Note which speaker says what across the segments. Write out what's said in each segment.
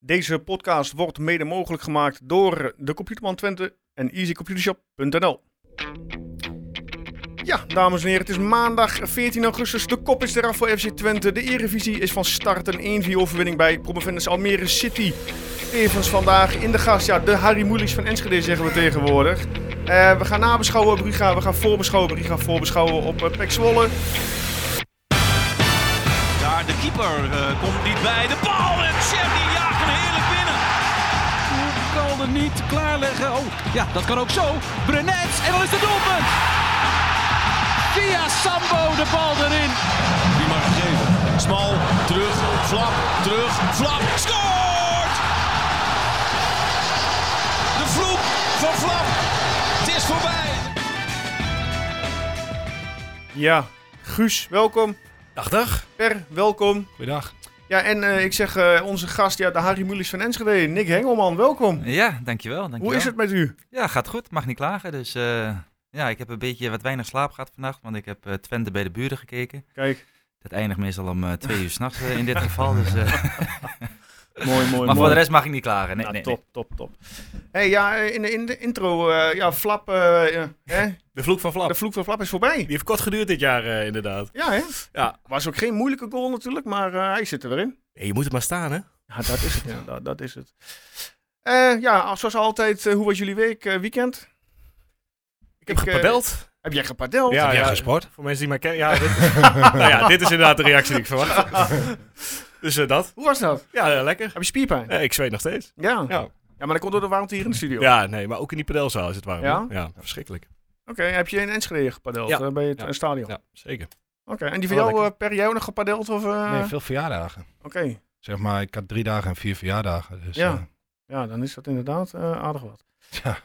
Speaker 1: Deze podcast wordt mede mogelijk gemaakt door de Computerman Twente en easycomputershop.nl. Ja, dames en heren, het is maandag 14 augustus. De kop is eraf voor FC Twente. De Eredivisie is van start een 1-4 overwinning bij promovendus Almere City. Evens vandaag in de gast, ja, de Harry Moelies van Enschede zeggen we tegenwoordig. Eh, we gaan nabeschouwen op Riga, we gaan voorbeschouwen op Riga, voorbeschouwen op eh, Pek Zwolle.
Speaker 2: Daar de keeper eh, komt niet bij. De bal en Chef die jaagt hem heerlijk binnen.
Speaker 3: kan er niet klaarleggen. Oh, ja, dat kan ook zo. Brenets en dan is het doelpunt. Via Sambo de bal erin.
Speaker 2: Die mag geven. Smal, terug, flap, terug, flap. Scoort! De vloek van flap. Het is voorbij.
Speaker 1: Ja, Guus, welkom.
Speaker 4: Dag, dag.
Speaker 1: Per, welkom.
Speaker 4: Goeiedag.
Speaker 1: Ja, en eh, ik zeg eh, onze gast, ja, de Harry Mulisch van Enschede, Nick Hengelman, welkom.
Speaker 5: Ja, dankjewel. dankjewel.
Speaker 1: Hoe is het met u?
Speaker 5: Ja, gaat goed. Mag niet klagen. Dus eh, ja, ik heb een beetje wat weinig slaap gehad vannacht, want ik heb eh, Twente bij de buren gekeken.
Speaker 1: Kijk,
Speaker 5: Dat eindigt meestal om eh, twee uur s'nachts nachts eh, in dit geval. Dus, eh,
Speaker 1: mooi, mooi,
Speaker 5: maar voor
Speaker 1: mooi.
Speaker 5: de rest mag ik niet klagen. Nee,
Speaker 1: Ja,
Speaker 5: nee,
Speaker 1: Nou, top, top, top. hey, ja, in de, in de intro, eh, ja, Flap, eh, ja, hè?
Speaker 4: De vloek van Flap.
Speaker 1: de vloek van Flap is voorbij.
Speaker 4: Die heeft kort geduurd dit jaar, eh, inderdaad.
Speaker 1: Ja, hè?
Speaker 4: Ja.
Speaker 1: Was ook geen moeilijke goal natuurlijk, maar eh, hij zit er weer in.
Speaker 4: Hey, je moet het maar staan, hè?
Speaker 1: Ja, dat is het inderdaad, dat is het. Eh, ja, als- zoals altijd, eh, hoe was jullie week, eh, weekend?
Speaker 4: Ik heb
Speaker 1: eh,
Speaker 4: gepadeld.
Speaker 1: heb jij gepadeld?
Speaker 4: Ja,
Speaker 6: Heb jij
Speaker 4: ja.
Speaker 6: gesport?
Speaker 4: Voor mensen die mij kennen. Ja, dit, nou ja, dit is inderdaad de reactie die ik verwacht. dus eh, dat.
Speaker 1: Hoe was dat?
Speaker 4: Ja, eh, lekker.
Speaker 1: Heb je spierpijn?
Speaker 4: Eh, ik zweet nog steeds.
Speaker 1: Ja. ja.
Speaker 4: Ja.
Speaker 1: maar dat komt door de warmte hier in de studio.
Speaker 4: Ja, nee, maar ook in die padelzaal is het warm.
Speaker 1: Ja?
Speaker 4: hè? ja verschrikkelijk.
Speaker 1: Oké, heb je in Enschede gepadeld
Speaker 4: Ja.
Speaker 1: eh, bij het
Speaker 4: Ja.
Speaker 1: eh, stadion?
Speaker 4: Ja, zeker.
Speaker 1: Oké, en die van
Speaker 4: Wel
Speaker 1: jou, eh, Per, jij ook nog gepadeld? Of, eh?
Speaker 6: Nee, veel verjaardagen.
Speaker 1: Oké,
Speaker 6: Zeg maar, ik had drie dagen en vier verjaardagen. Dus,
Speaker 1: Ja.
Speaker 6: eh,
Speaker 1: ja, dan is dat inderdaad eh, aardig wat.
Speaker 6: tja.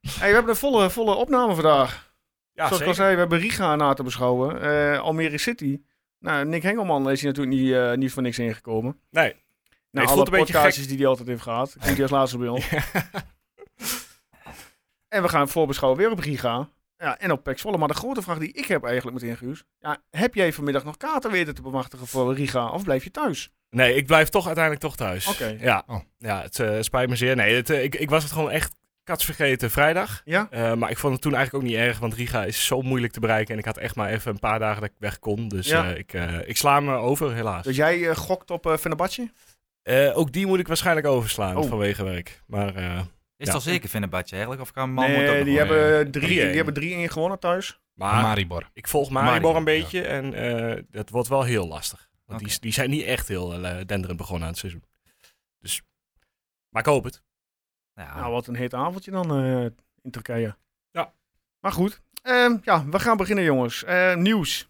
Speaker 1: Hey, we hebben een volle, volle opname vandaag.
Speaker 4: Ja,
Speaker 1: Zoals ik al
Speaker 4: zeker.
Speaker 1: zei, we hebben Riga na te beschouwen. Eh, Almere City. Nou, Nick Hengelman is hier natuurlijk niet, eh, niet voor niks ingekomen.
Speaker 4: Nee.
Speaker 1: Nou,
Speaker 4: het
Speaker 1: alle
Speaker 4: voelt een beetje
Speaker 1: podcastjes die hij altijd heeft gehad. Komt hij als laatste bij ons. En we gaan voorbeschouwen weer op Riga. Ja, en op Pax Volle. Maar de grote vraag die ik heb eigenlijk meteen, Guus. Ja, heb jij vanmiddag nog kaarten weten te bemachtigen voor Riga? Of blijf je thuis?
Speaker 4: Nee, ik blijf toch uiteindelijk toch thuis.
Speaker 1: Oké.
Speaker 4: Ja.
Speaker 6: Oh.
Speaker 4: ja, het eh, spijt me zeer. Nee, het, eh, ik, ik was het gewoon echt katsvergeten vrijdag.
Speaker 1: Ja?
Speaker 4: Eh, maar ik vond het toen eigenlijk ook niet erg, want Riga is zo moeilijk te bereiken. En ik had echt maar even een paar dagen dat ik weg kon. Dus
Speaker 1: Ja.
Speaker 4: eh, ik, eh, ik sla me over, helaas.
Speaker 1: Dus jij eh, gokt op eh Fenerbahce?
Speaker 4: Eh, ook die moet ik waarschijnlijk overslaan
Speaker 1: Oh.
Speaker 4: vanwege werk. Maar eh,
Speaker 5: Is
Speaker 4: Ja.
Speaker 5: het al zeker Fenerbahce eigenlijk? Of kan Malmo
Speaker 1: nee,
Speaker 5: ook
Speaker 1: die
Speaker 5: nog wel?
Speaker 1: hebben, eh, drie, die
Speaker 4: 3-1.
Speaker 1: hebben 3-1 gewonnen thuis.
Speaker 4: maar
Speaker 6: Maribor.
Speaker 4: ik volg Maribor een
Speaker 6: Maribor, ja.
Speaker 4: beetje en eh, dat wordt wel heel lastig. Want die,
Speaker 5: Oké.
Speaker 4: die zijn niet echt heel eh, denderend begonnen aan het seizoen. Dus, maar ik hoop het.
Speaker 5: Ja,
Speaker 1: Nou, wat een heet avondje dan eh, in Turkije.
Speaker 4: Ja.
Speaker 1: Maar goed, Ehm, ja, we gaan beginnen jongens. Eh, nieuws.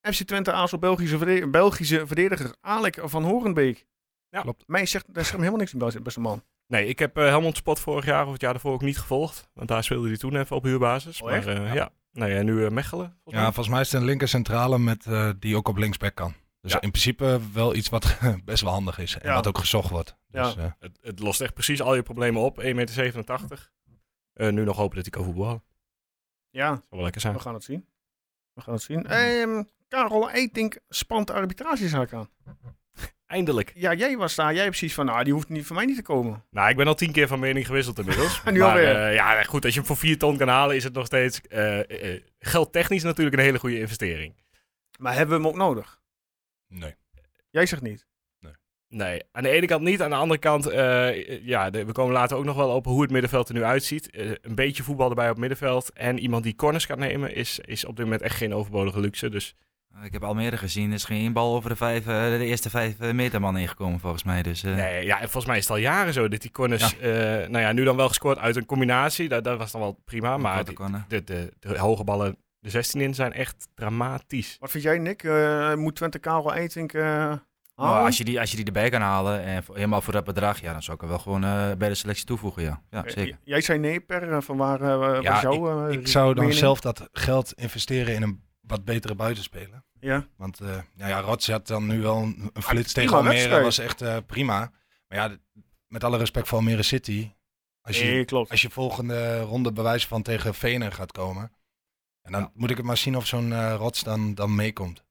Speaker 1: FC Twente aas op Belgische, verde- Belgische verdediger Alek van Horenbeek.
Speaker 4: Ja.
Speaker 6: Klopt.
Speaker 1: Mij zegt, daar zegt me helemaal niks meer, beste man.
Speaker 4: Nee, ik heb eh, Helmond Spot vorig jaar of het jaar daarvoor ook niet gevolgd. Want daar speelde hij toen even op huurbasis.
Speaker 1: Oh,
Speaker 4: maar eh, ja. Nee, en nu eh, Mechelen. volgens mij.
Speaker 6: Ja, volgens mij is het een linker centrale met, eh, die ook op linksback kan. Dus
Speaker 4: Ja.
Speaker 6: in principe wel iets wat best wel handig is. En
Speaker 1: Ja.
Speaker 6: wat ook gezocht wordt. Dus, eh,
Speaker 4: Het, het lost echt precies al je problemen op. 1,87 meter. Eh, nu nog hopen dat hij kan voetballen.
Speaker 1: Ja,
Speaker 4: Zou wel lekker
Speaker 1: we
Speaker 4: zijn.
Speaker 1: gaan het zien. We gaan het zien. Ehm, Karel Eitink spant de arbitragezaak aan.
Speaker 4: Eindelijk.
Speaker 1: Ja, jij was daar. Jij precies van, nou, die hoeft niet, van mij niet te komen.
Speaker 4: Nou, ik ben al tien keer van mening gewisseld inmiddels.
Speaker 1: Nu
Speaker 4: maar,
Speaker 1: alweer.
Speaker 4: eh, ja, goed. Als je hem voor 4 ton kan halen, is het nog steeds eh, eh, eh, geldtechnisch natuurlijk een hele goede investering.
Speaker 1: Maar hebben we hem ook nodig?
Speaker 6: nee.
Speaker 1: Jij zegt niet.
Speaker 4: Nee, aan de ene kant niet. Aan de andere kant, eh, ja, de- we komen later ook nog wel op hoe het middenveld er nu uitziet. Eh, een beetje voetbal erbij op middenveld. En iemand die corners kan nemen, is, is op dit moment echt geen overbodige luxe. Dus
Speaker 5: Ik heb Almere gezien. Er is geen één bal over de, vijf, eh, de eerste vijf eh, meter man ingekomen volgens mij. Dus, eh,
Speaker 4: Nee, ja, en volgens mij is het al jaren zo dat die corners, eh, nou ja, nu dan wel gescoord uit een combinatie. Dat, dat was dan wel prima,
Speaker 5: een
Speaker 4: maar
Speaker 5: korte
Speaker 4: die-
Speaker 5: corner.
Speaker 4: de, de, de hoge ballen de 16 in zijn echt dramatisch.
Speaker 1: Wat vind jij, Nick? Eh, moet Twente Karel Eitink eh halen?
Speaker 5: Maar als, je die, als je die erbij kan halen, en voor- helemaal voor dat bedrag, ja, dan zou ik hem wel gewoon eh, bij de selectie toevoegen. Ja, ja
Speaker 1: Eh,
Speaker 5: zeker.
Speaker 1: j- Jij zei nee, Per. eh, Van waar eh,
Speaker 6: Ja,
Speaker 1: was jouw eh,
Speaker 6: Ik zou dan
Speaker 1: mening?
Speaker 6: zelf dat geld investeren in een wat betere buitenspeler.
Speaker 1: Ja,
Speaker 6: Want eh ja, ja, Rots had dan nu wel een een flits tegen
Speaker 1: prima
Speaker 6: Almere.
Speaker 1: wedstrijd.
Speaker 6: was echt eh, prima. Maar ja, d- met alle respect voor Almere City. Als je,
Speaker 1: nee, klopt.
Speaker 6: als je volgende ronde bewijs van tegen Venen gaat komen. En dan moet ik het maar zien of zo'n eh, Rots dan, dan meekomt.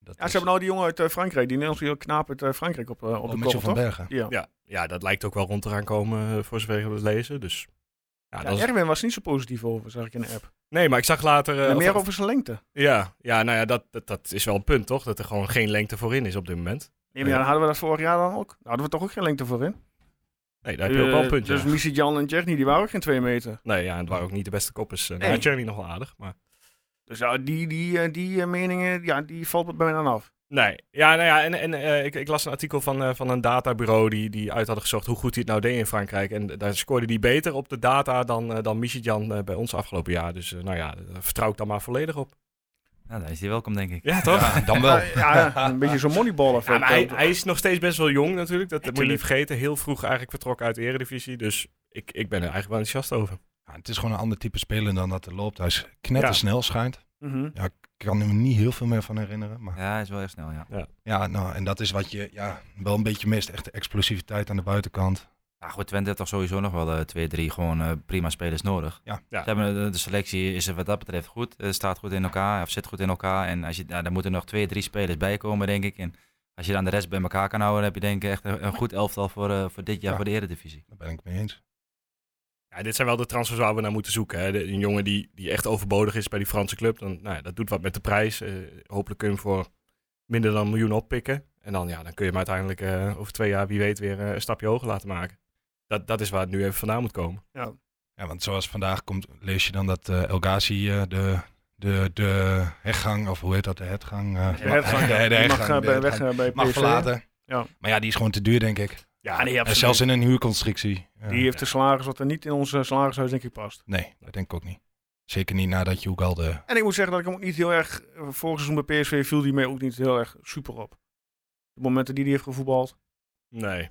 Speaker 6: Dat
Speaker 1: Ja, ze hebben nou die jongen uit eh, Frankrijk, die Nederlandse knaap uit eh, Frankrijk op, eh, op de
Speaker 6: Mitchell
Speaker 1: kop,
Speaker 6: Oh, van
Speaker 1: toch?
Speaker 6: Bergen.
Speaker 1: Ja.
Speaker 4: Ja, ja, dat lijkt ook wel rond te gaan komen eh, voor zover ik het lezen. Dus, ja,
Speaker 1: Ja,
Speaker 4: dat is-
Speaker 1: Erwin was niet zo positief over, zag ik in de app.
Speaker 4: Nee, maar ik zag later... eh,
Speaker 1: Maar
Speaker 4: of-
Speaker 1: meer over zijn lengte.
Speaker 4: Ja, ja, nou ja, dat, dat, dat is wel een punt, toch? Dat er gewoon geen lengte voorin is op dit moment.
Speaker 1: Nee, maar ja, dan hadden we dat vorig jaar dan ook. Daar hadden we toch ook geen lengte voor in.
Speaker 4: Nee, daar heb je ook wel een punt,
Speaker 1: Dus
Speaker 4: ja.
Speaker 1: Missy Jan en Jerny, die waren ook geen twee meter.
Speaker 4: Nee, ja, en het waren ook niet de beste koppers. Uh,
Speaker 1: Nee.
Speaker 4: nee. Jeremy nog wel aardig, maar...
Speaker 1: Dus ja, die, die, eh, die eh, meningen, ja, die valt bij mij dan af.
Speaker 4: Nee, ja, nou ja, en, en eh, ik, ik las een artikel van, eh, van een databureau die, die uit hadden gezocht hoe goed hij het nou deed in Frankrijk. En daar scoorde hij beter op de data dan, eh, dan Michijan bij ons afgelopen jaar. Dus eh, nou ja, daar vertrouw ik dan maar volledig op.
Speaker 5: Nou, dan is hij welkom, denk ik.
Speaker 4: Ja, toch?
Speaker 6: Ja, dan wel.
Speaker 1: Ja, ja, een beetje zo'n moneyball effect.
Speaker 4: Ja, maar hij, hij is nog steeds best wel jong natuurlijk. Dat moet je niet
Speaker 1: tuurlijk.
Speaker 4: vergeten. Heel vroeg eigenlijk vertrokken uit de eredivisie. Dus ik, ik ben er eigenlijk wel enthousiast over.
Speaker 6: Ja, het is gewoon een ander type speler dan dat er loopt. Hij is knettersnel schijnt.
Speaker 1: Mhm.
Speaker 6: Ja, ik kan er niet heel veel meer van herinneren. Maar
Speaker 5: Ja, hij is wel heel snel, ja.
Speaker 6: ja, nou, en dat is wat je ja, wel een beetje mist. Echt de explosiviteit aan de buitenkant.
Speaker 5: Nou goed, Twente heeft toch sowieso nog wel eh, twee, drie gewoon eh, prima spelers nodig.
Speaker 6: Ja.
Speaker 4: Ja.
Speaker 5: Ze hebben, eh, de selectie is er wat dat betreft goed, eh, staat goed in elkaar, of zit goed in elkaar. En als je, nou, daar moeten nog twee, drie spelers bij komen, denk ik. En als je dan de rest bij elkaar kan houden, dan heb je denk ik echt een, een goed elftal voor, eh, voor dit jaar
Speaker 6: Ja.
Speaker 5: voor de Eredivisie.
Speaker 6: Daar ben ik mee eens.
Speaker 4: Ja, dit zijn wel de transfers waar we naar moeten zoeken. Hè. De- een jongen die, die echt overbodig is bij die Franse club. Dan, nou ja, dat doet wat met de prijs. Eh, hopelijk kun je hem voor minder dan een miljoen oppikken. En dan, ja, dan kun je hem uiteindelijk eh, over twee jaar, wie weet, weer eh, een stapje hoger laten maken. Dat, dat is waar het nu even vandaan moet komen.
Speaker 6: Ja, want zoals vandaag komt, lees je dan dat eh El Ghazi eh, de, de, de heggang, of hoe heet dat, de hetgang? eh,
Speaker 1: De hertgang,
Speaker 6: de- de
Speaker 1: ja. Die
Speaker 6: heggang,
Speaker 1: mag eh,
Speaker 6: de
Speaker 1: bij-
Speaker 6: heggang,
Speaker 1: weg eh, bij
Speaker 6: mag
Speaker 1: PSV.
Speaker 6: verlaten.
Speaker 1: Ja.
Speaker 6: Maar ja, die is gewoon te duur, denk ik.
Speaker 1: Ja, nee,
Speaker 6: En
Speaker 1: absoluut.
Speaker 6: zelfs in een huurconstructie. Ja.
Speaker 1: Die heeft de salaris wat er niet in ons eh, salarishuis denk ik past.
Speaker 6: Nee, dat denk ik ook niet. Zeker niet nadat je ook al de...
Speaker 1: En ik moet zeggen dat ik hem ook niet heel erg... eh, Vorig seizoen bij PSV viel die mij ook niet heel erg super op. De momenten die hij heeft gevoetbald.
Speaker 4: Nee.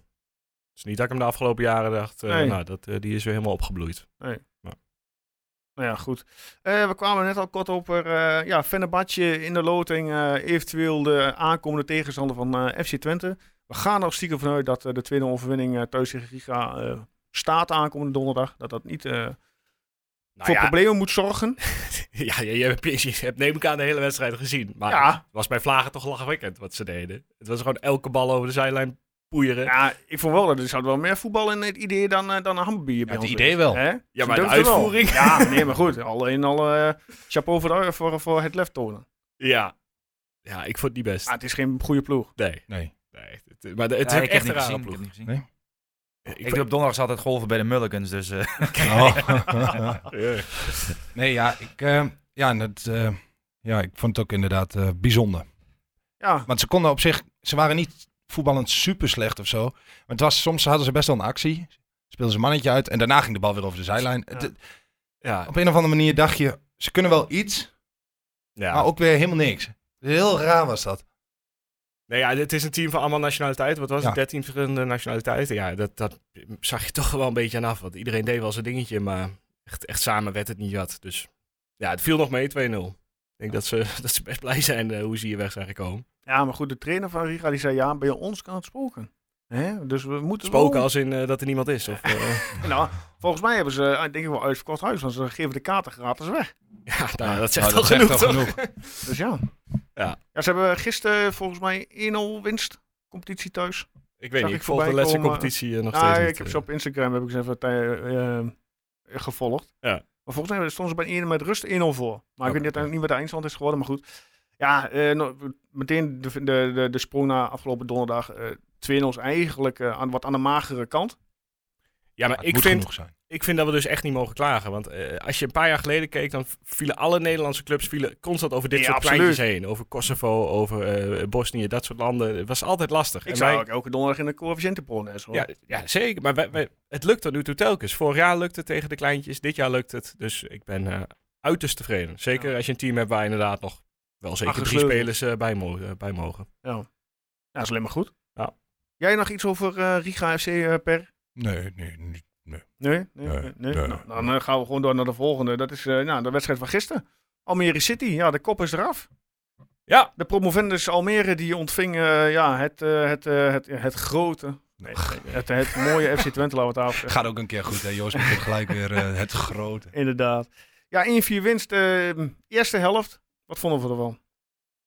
Speaker 4: Het is niet dat ik hem de afgelopen jaren dacht, eh,
Speaker 1: Nee.
Speaker 4: nou, dat, eh, die is weer helemaal opgebloeid.
Speaker 1: Nou ja, goed. Eh, we kwamen net al kort op. eh ja, Fenerbahce in de loting. eh, eventueel de aankomende tegenstander van eh, FC Twente. We gaan er stiekem vanuit dat eh, de tweede overwinning eh, thuis tegen Riga eh, staat aankomende donderdag. Dat dat niet eh,
Speaker 4: Nou
Speaker 1: voor
Speaker 4: ja,
Speaker 1: problemen moet zorgen.
Speaker 4: ja, je, je hebt, je hebt neem ik aan de hele wedstrijd gezien. Maar
Speaker 1: ja,
Speaker 4: het was bij Vlagen toch lachwekkend wat ze deden. Het was gewoon elke bal over de zijlijn poeieren.
Speaker 1: ja, ik vond wel dat er zat wel meer voetbal in het idee dan, eh, dan een hamburger bij
Speaker 6: het
Speaker 1: ons
Speaker 6: idee
Speaker 1: is.
Speaker 4: Oh.
Speaker 6: wel.
Speaker 1: Hè? Ze
Speaker 4: maar de
Speaker 1: durfden wel.
Speaker 4: uitvoering.
Speaker 1: Ja, nee, maar goed. Alleen al eh, chapeau voor, de- voor, voor het lef tonen.
Speaker 4: Ja. Ja, ik vond die best.
Speaker 1: Ah, het is geen goede ploeg.
Speaker 4: Nee.
Speaker 6: Nee.
Speaker 4: nee. Het, maar de- het
Speaker 5: Ja,
Speaker 4: is ook
Speaker 5: ik heb
Speaker 4: echt
Speaker 5: het
Speaker 4: een
Speaker 5: niet gezien, ik heb
Speaker 4: rare ploeg.
Speaker 5: het niet gezien.
Speaker 6: Nee.
Speaker 4: Ik,
Speaker 5: Ik doe op donderdags altijd golven bij de Mulligans, dus eh,
Speaker 6: Oh.
Speaker 4: Ja.
Speaker 6: nee, ja, ik, eh, ja, en het, eh, ja, ik vond het ook inderdaad eh, bijzonder.
Speaker 1: Ja,
Speaker 6: Want ze konden op zich, ze waren niet voetballend super slecht of zo. Maar het was, soms hadden ze best wel een actie. Speelden ze een mannetje uit en daarna ging de bal weer over de zijlijn.
Speaker 1: Ja.
Speaker 6: Het-
Speaker 4: Ja.
Speaker 6: op een of andere manier dacht je, ze kunnen wel iets, maar ook weer helemaal niks. Heel raar was dat.
Speaker 4: Nee, ja, het is een team van allemaal nationaliteiten. Wat was
Speaker 6: Ja.
Speaker 4: het? 13 verschillende nationaliteiten. Ja, dat, dat zag je toch wel een beetje aan af. Want iedereen deed wel zijn dingetje, maar echt, echt samen werd het niet wat. Dus ja, het viel nog mee, 2-0. Ik denk dat, ze, dat ze best blij zijn eh, hoe ze hier weg zijn gekomen.
Speaker 1: ja, maar goed, de trainer van Riga die zei ja, bij ons kan het spoken. Hè? Dus we moeten
Speaker 4: Spoken
Speaker 1: wel-
Speaker 4: als in eh, dat er niemand is. Of, eh,
Speaker 1: Nou, volgens mij hebben ze eh, denk ik wel uitverkocht huis, want ze geven de kaarten gratis weg.
Speaker 4: ja, nou, dat
Speaker 6: Nou,
Speaker 4: zegt al genoeg, toch?
Speaker 1: Dus ja.
Speaker 4: Ja.
Speaker 1: ze hebben gisteren volgens mij 1-0 winst, competitie thuis.
Speaker 4: Ik weet
Speaker 1: Zag
Speaker 4: niet,
Speaker 1: ik
Speaker 4: ik volg de
Speaker 1: voorbij
Speaker 4: laatste
Speaker 1: komen.
Speaker 4: competitie eh, nog
Speaker 1: Ah,
Speaker 4: steeds
Speaker 1: ik
Speaker 4: niet,
Speaker 1: heb
Speaker 4: eh.
Speaker 1: ze op Instagram heb ik ze even eh, eh, gevolgd.
Speaker 4: Ja.
Speaker 1: Maar volgens mij stonden ze bij één met rust 1-0 voor. Maar ik
Speaker 4: Oh, Oké.
Speaker 1: weet net niet wat de eindstand is geworden, maar goed. Ja, eh, nou, meteen de, de, de, de sprong na afgelopen donderdag. eh 2-0 is eigenlijk eh, aan, wat aan de magere kant.
Speaker 4: Ja, maar
Speaker 6: Het
Speaker 4: ik
Speaker 6: moet
Speaker 4: vind,
Speaker 6: genoeg zijn.
Speaker 4: ik vind dat we dus echt niet mogen klagen. Want eh, als je een paar jaar geleden keek, dan vielen alle Nederlandse clubs vielen constant over dit
Speaker 1: Ja,
Speaker 4: soort
Speaker 1: absoluut.
Speaker 4: kleintjes heen. Over Kosovo, over eh, Bosnië, dat soort landen. Het was altijd lastig.
Speaker 1: Ik
Speaker 4: En
Speaker 1: zou
Speaker 4: wij-
Speaker 1: ook elke donderdag in de coëfficiëntenbron is. hoor.
Speaker 4: ja, ja, zeker. Maar wij, wij- het lukt tot nu toe telkens. Vorig jaar lukte het tegen de kleintjes, dit jaar lukt het. Dus ik ben eh, uiterst tevreden. Zeker als je een team hebt waar inderdaad nog wel zeker drie
Speaker 1: gesleuveld.
Speaker 4: spelers eh, bij, mo- eh, bij mogen.
Speaker 1: Ja, is alleen maar goed.
Speaker 4: Ja.
Speaker 1: Jij nog iets over eh, Riga FC eh, per?
Speaker 6: Nee, nee, nee.
Speaker 1: Nee? Nee? nee,
Speaker 6: Nee,
Speaker 1: nee?
Speaker 6: nee.
Speaker 1: Nou, dan eh, gaan we gewoon door naar de volgende. Dat is eh, nou, de wedstrijd van gisteren. Almere City, ja, de kop is eraf.
Speaker 4: Ja.
Speaker 1: De promovendus Almere die ontving eh, ja, het, eh, het, eh, het, het grote,
Speaker 6: Nee,
Speaker 1: het, het mooie FC Twente, laten we het af.
Speaker 6: Gaat ook een keer goed, hè? Joost begint gelijk weer eh, het grote.
Speaker 1: ehm, Inderdaad. Ja, 1-4 winst. eh, eerste helft. Wat vonden we ervan?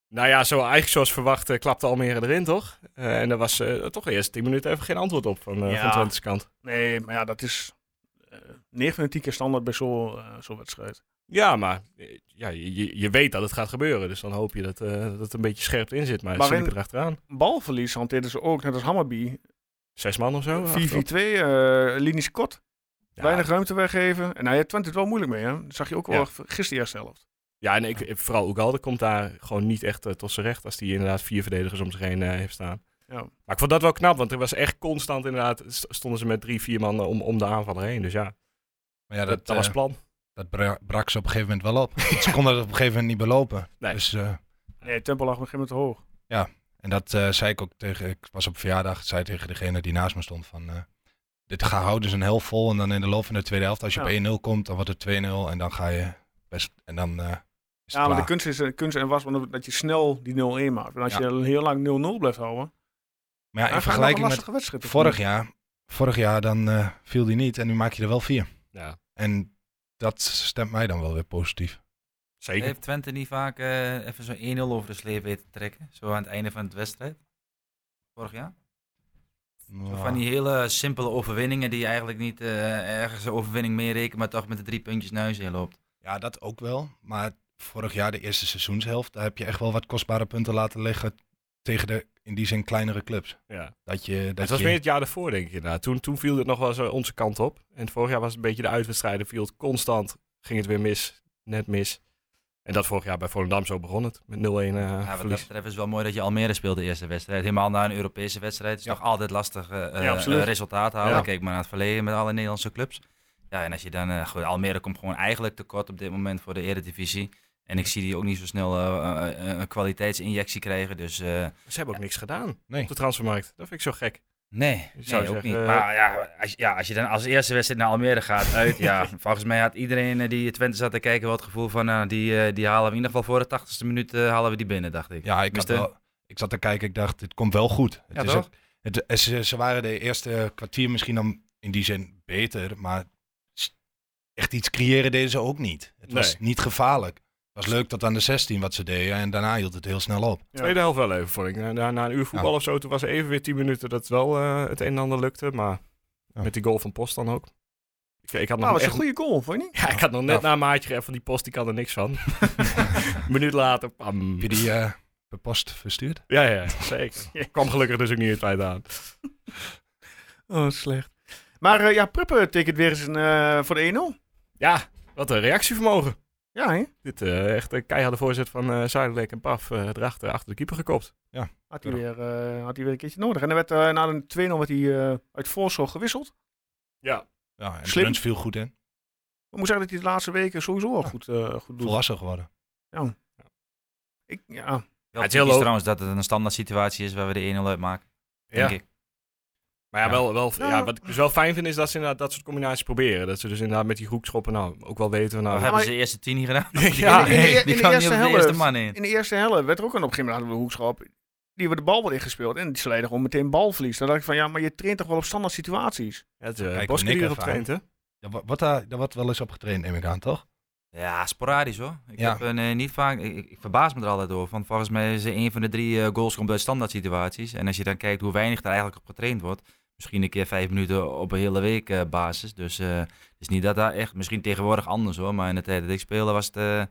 Speaker 4: Nou ja, zo, eigenlijk zoals verwacht eh, klapte Almere erin, toch? Eh, en daar was eh, toch eerst 10 minuten even geen antwoord op van, eh
Speaker 1: Ja.
Speaker 4: van Twente's kant.
Speaker 1: Nee, maar ja, dat is eh 9 van de 10 keer standaard bij zo'n eh, zo'n wedstrijd.
Speaker 4: Ja, maar eh, ja, je, je- je weet dat het gaat gebeuren. Dus dan hoop je dat, eh, dat het een beetje scherp in zit. Maar,
Speaker 1: Maar
Speaker 4: ze liepen
Speaker 1: in-
Speaker 4: erachteraan.
Speaker 1: Balverlies hanteerden ze ook, net als Hammerby. 4-4-2,
Speaker 4: Zes man of zo. achterop.
Speaker 1: eh linies kort.
Speaker 4: Ja.
Speaker 1: Weinig ruimte weggeven. En hij heeft Twente het wel moeilijk mee, hè? Dat zag je ook wel
Speaker 4: Ja.
Speaker 1: gisteren eerste helft.
Speaker 4: Ja, en ik, vooral Ugalde komt daar gewoon niet echt eh, tot zijn recht als hij inderdaad vier verdedigers om zich heen eh, heeft staan.
Speaker 1: Ja.
Speaker 4: Maar ik vond dat wel knap, want er was echt constant inderdaad, st- stonden ze met drie, vier man eh, om, om de aanvaller heen. Dus ja, dat,
Speaker 6: Maar ja, dat,
Speaker 4: dat was
Speaker 6: eh,
Speaker 4: plan.
Speaker 6: dat bra- brak ze op een gegeven moment wel op. Want ze konden het op een gegeven moment niet belopen.
Speaker 4: Nee.
Speaker 6: Dus, eh,
Speaker 1: Nee, het tempo lag op een gegeven moment te hoog.
Speaker 6: en dat eh, zei ik ook tegen, ik was op verjaardag, zei tegen degene die naast me stond van... eh, dit gaan houden ze een helft vol en dan in de loop van de tweede helft, als je
Speaker 1: Ja.
Speaker 6: op 1-0 komt, dan wordt het 2-0 en dan ga je best... En dan eh, is
Speaker 1: Ja,
Speaker 6: het
Speaker 1: maar de
Speaker 6: klaar.
Speaker 1: kunst, is, de kunst en was dat je snel die 0-1 maakt. En als
Speaker 6: Ja.
Speaker 1: je heel lang 0-0 blijft houden,
Speaker 6: Maar
Speaker 1: dan
Speaker 6: ja,
Speaker 1: gaat het
Speaker 6: in
Speaker 1: nog een
Speaker 6: vergelijking met
Speaker 1: lastige wedstrijd.
Speaker 6: vorig jaar, vorig jaar dan eh, viel die niet en nu maak je er wel vier.
Speaker 4: Ja,
Speaker 6: En dat stemt mij dan wel weer positief.
Speaker 4: zeker.
Speaker 5: Heeft Twente niet vaak eh, even zo'n 1-0 over de sleep weten te trekken? Zo aan het einde van het wedstrijd? Vorig jaar? Zo Van die hele simpele overwinningen die je eigenlijk niet eh, ergens een overwinning mee rekent, maar toch met de drie puntjes naar huis heen loopt.
Speaker 6: Ja, dat ook wel. Maar vorig jaar, de eerste seizoenshelft, daar heb je echt wel wat kostbare punten laten liggen tegen de, in die zin, kleinere clubs.
Speaker 4: Ja.
Speaker 6: Dat je, dat
Speaker 4: Het was
Speaker 6: je,
Speaker 4: meer het jaar daarvoor, denk ik. inderdaad. Toen, toen viel het nog wel eens eh, onze kant op. En vorig jaar was het een beetje de uitwedstrijden, viel het constant, ging het weer mis, net mis. En dat vorig jaar bij Volendam, zo begon het, met 0-1 eh
Speaker 5: Ja, wat dat
Speaker 4: verlies.
Speaker 5: betreft is het wel mooi dat je Almere speelt de eerste wedstrijd. Helemaal na een Europese wedstrijd. Het is
Speaker 6: Ja.
Speaker 5: toch altijd lastig eh, eh,
Speaker 1: Ja, absoluut.
Speaker 5: resultaat halen.
Speaker 4: Ja.
Speaker 5: Kijk maar naar het verleden met alle Nederlandse clubs. Ja, en als je dan... eh, goed, Almere komt gewoon eigenlijk tekort op dit moment voor de Eredivisie. En ik zie die ook niet zo snel eh, eh, eh, een kwaliteitsinjectie krijgen. Dus eh,
Speaker 4: Ze hebben ook niks gedaan
Speaker 6: Nee.
Speaker 4: op de transfermarkt. Dat vind ik zo gek.
Speaker 5: nee, nee
Speaker 4: zou
Speaker 5: ook
Speaker 4: zeggen,
Speaker 5: niet.
Speaker 4: eh,
Speaker 5: Maar ja als, je- ja, als je dan als eerste wedstrijd naar Almere gaat uit... ja, volgens mij had iedereen eh, die Twente zat te kijken wel het gevoel van... nou, die, eh, die halen we in ieder geval voor de tachtigste minuut eh, halen we die binnen, dacht ik. Dus
Speaker 6: Ja, ik, had
Speaker 5: Mister?
Speaker 6: wel- ik zat te kijken, ik dacht, dit komt wel goed. Het
Speaker 5: Ja,
Speaker 6: is
Speaker 5: toch?
Speaker 6: ook- het, eh, ze, ze waren de eerste kwartier misschien dan in die zin beter, maar s- echt iets creëren deden ze ook niet. Het was
Speaker 4: Nee.
Speaker 6: niet gevaarlijk. Het was leuk tot aan de 16 wat ze deden en daarna hield het heel snel op.
Speaker 1: Ja.
Speaker 4: Tweede helft wel even, vond ik. Na, na, na een uur voetbal
Speaker 6: Ja.
Speaker 4: of zo, toen was er even weer 10 minuten dat het wel eh, het een en ander lukte. Maar
Speaker 6: Ja.
Speaker 4: met die goal van Post dan ook. Ik, ik had nog
Speaker 1: Nou, dat is
Speaker 4: echt...
Speaker 1: een goede goal, vond je niet?
Speaker 4: Ja, ik had nog net
Speaker 6: Ja.
Speaker 4: na een maatje gegeven van die Post, die kan er niks van. een minuut later, pam.
Speaker 6: Heb je die eh, per post verstuurd?
Speaker 4: Ja, ja, zeker. Kwam gelukkig dus ook niet in tijd aan.
Speaker 1: Oh, slecht. Maar eh, ja, Pruppen tekent weer eens een, eh, voor de 1-0.
Speaker 4: Ja, wat een reactievermogen.
Speaker 1: Ja, hè?
Speaker 4: Dit eh, echt een keiharde voorzet van eh Zuidelijk en Paf eh, erachter, achter de keeper gekopt.
Speaker 1: Had hij, weer, eh, had hij weer een keertje nodig. En dan werd eh, na een 2-0 werd hij eh, uit voorzorg gewisseld.
Speaker 4: Ja.
Speaker 6: Ja, en
Speaker 1: Slim.
Speaker 6: Bruns viel goed in.
Speaker 1: Ik moet zeggen dat hij de laatste weken sowieso al goed, eh, goed doet.
Speaker 6: Volwassen geworden.
Speaker 1: Ik, ja.
Speaker 5: Wel
Speaker 4: Ja, het is
Speaker 5: typisch
Speaker 4: heel lo-
Speaker 5: trouwens dat het een standaard situatie is waar we de 1-0 uitmaken.
Speaker 4: ja.
Speaker 5: Denk ik.
Speaker 4: Maar ja,
Speaker 5: Ja.
Speaker 4: Wel, wel, ja.
Speaker 1: Ja.
Speaker 4: wat ik dus wel fijn vind is dat ze inderdaad dat soort combinaties proberen. Dat ze dus inderdaad met die groepschoppen nou ook wel weten van
Speaker 5: We
Speaker 4: nou...
Speaker 5: hebben
Speaker 1: maar-
Speaker 5: ze de eerste tien hier gedaan.
Speaker 4: Ja,
Speaker 1: in de- in de
Speaker 5: die kan niet
Speaker 1: eerste
Speaker 5: op de
Speaker 1: helft.
Speaker 5: eerste man in.
Speaker 1: In de eerste helft werd er ook een, op een gegeven moment hadden we een hoekschap. Die we de bal wel ingespeeld. En die sleden gewoon meteen balverlies. Dan dacht ik van, ja, maar je traint toch wel op standaard situaties?
Speaker 4: Ja, het eh, is
Speaker 6: Kijk,
Speaker 4: Boske die
Speaker 6: Nick
Speaker 4: erop
Speaker 6: ervaren.
Speaker 4: traint, hè?
Speaker 6: Ja, wa- wat daar, daar wordt wel eens op getraind, neem ik aan, toch?
Speaker 5: Ja, sporadisch hoor. Ik,
Speaker 6: Ja.
Speaker 5: heb, eh, nee, niet vaak, ik, ik- ik verbaas me er altijd over. Want volgens mij is een van de drie eh, goals komt uit standaard situaties. En als je dan kijkt hoe weinig daar eigenlijk op getraind wordt. Misschien een keer vijf minuten op een hele week eh, basis. Dus eh, het is niet dat daar echt, misschien tegenwoordig anders hoor. Maar in de tijd dat ik speelde was het, eh,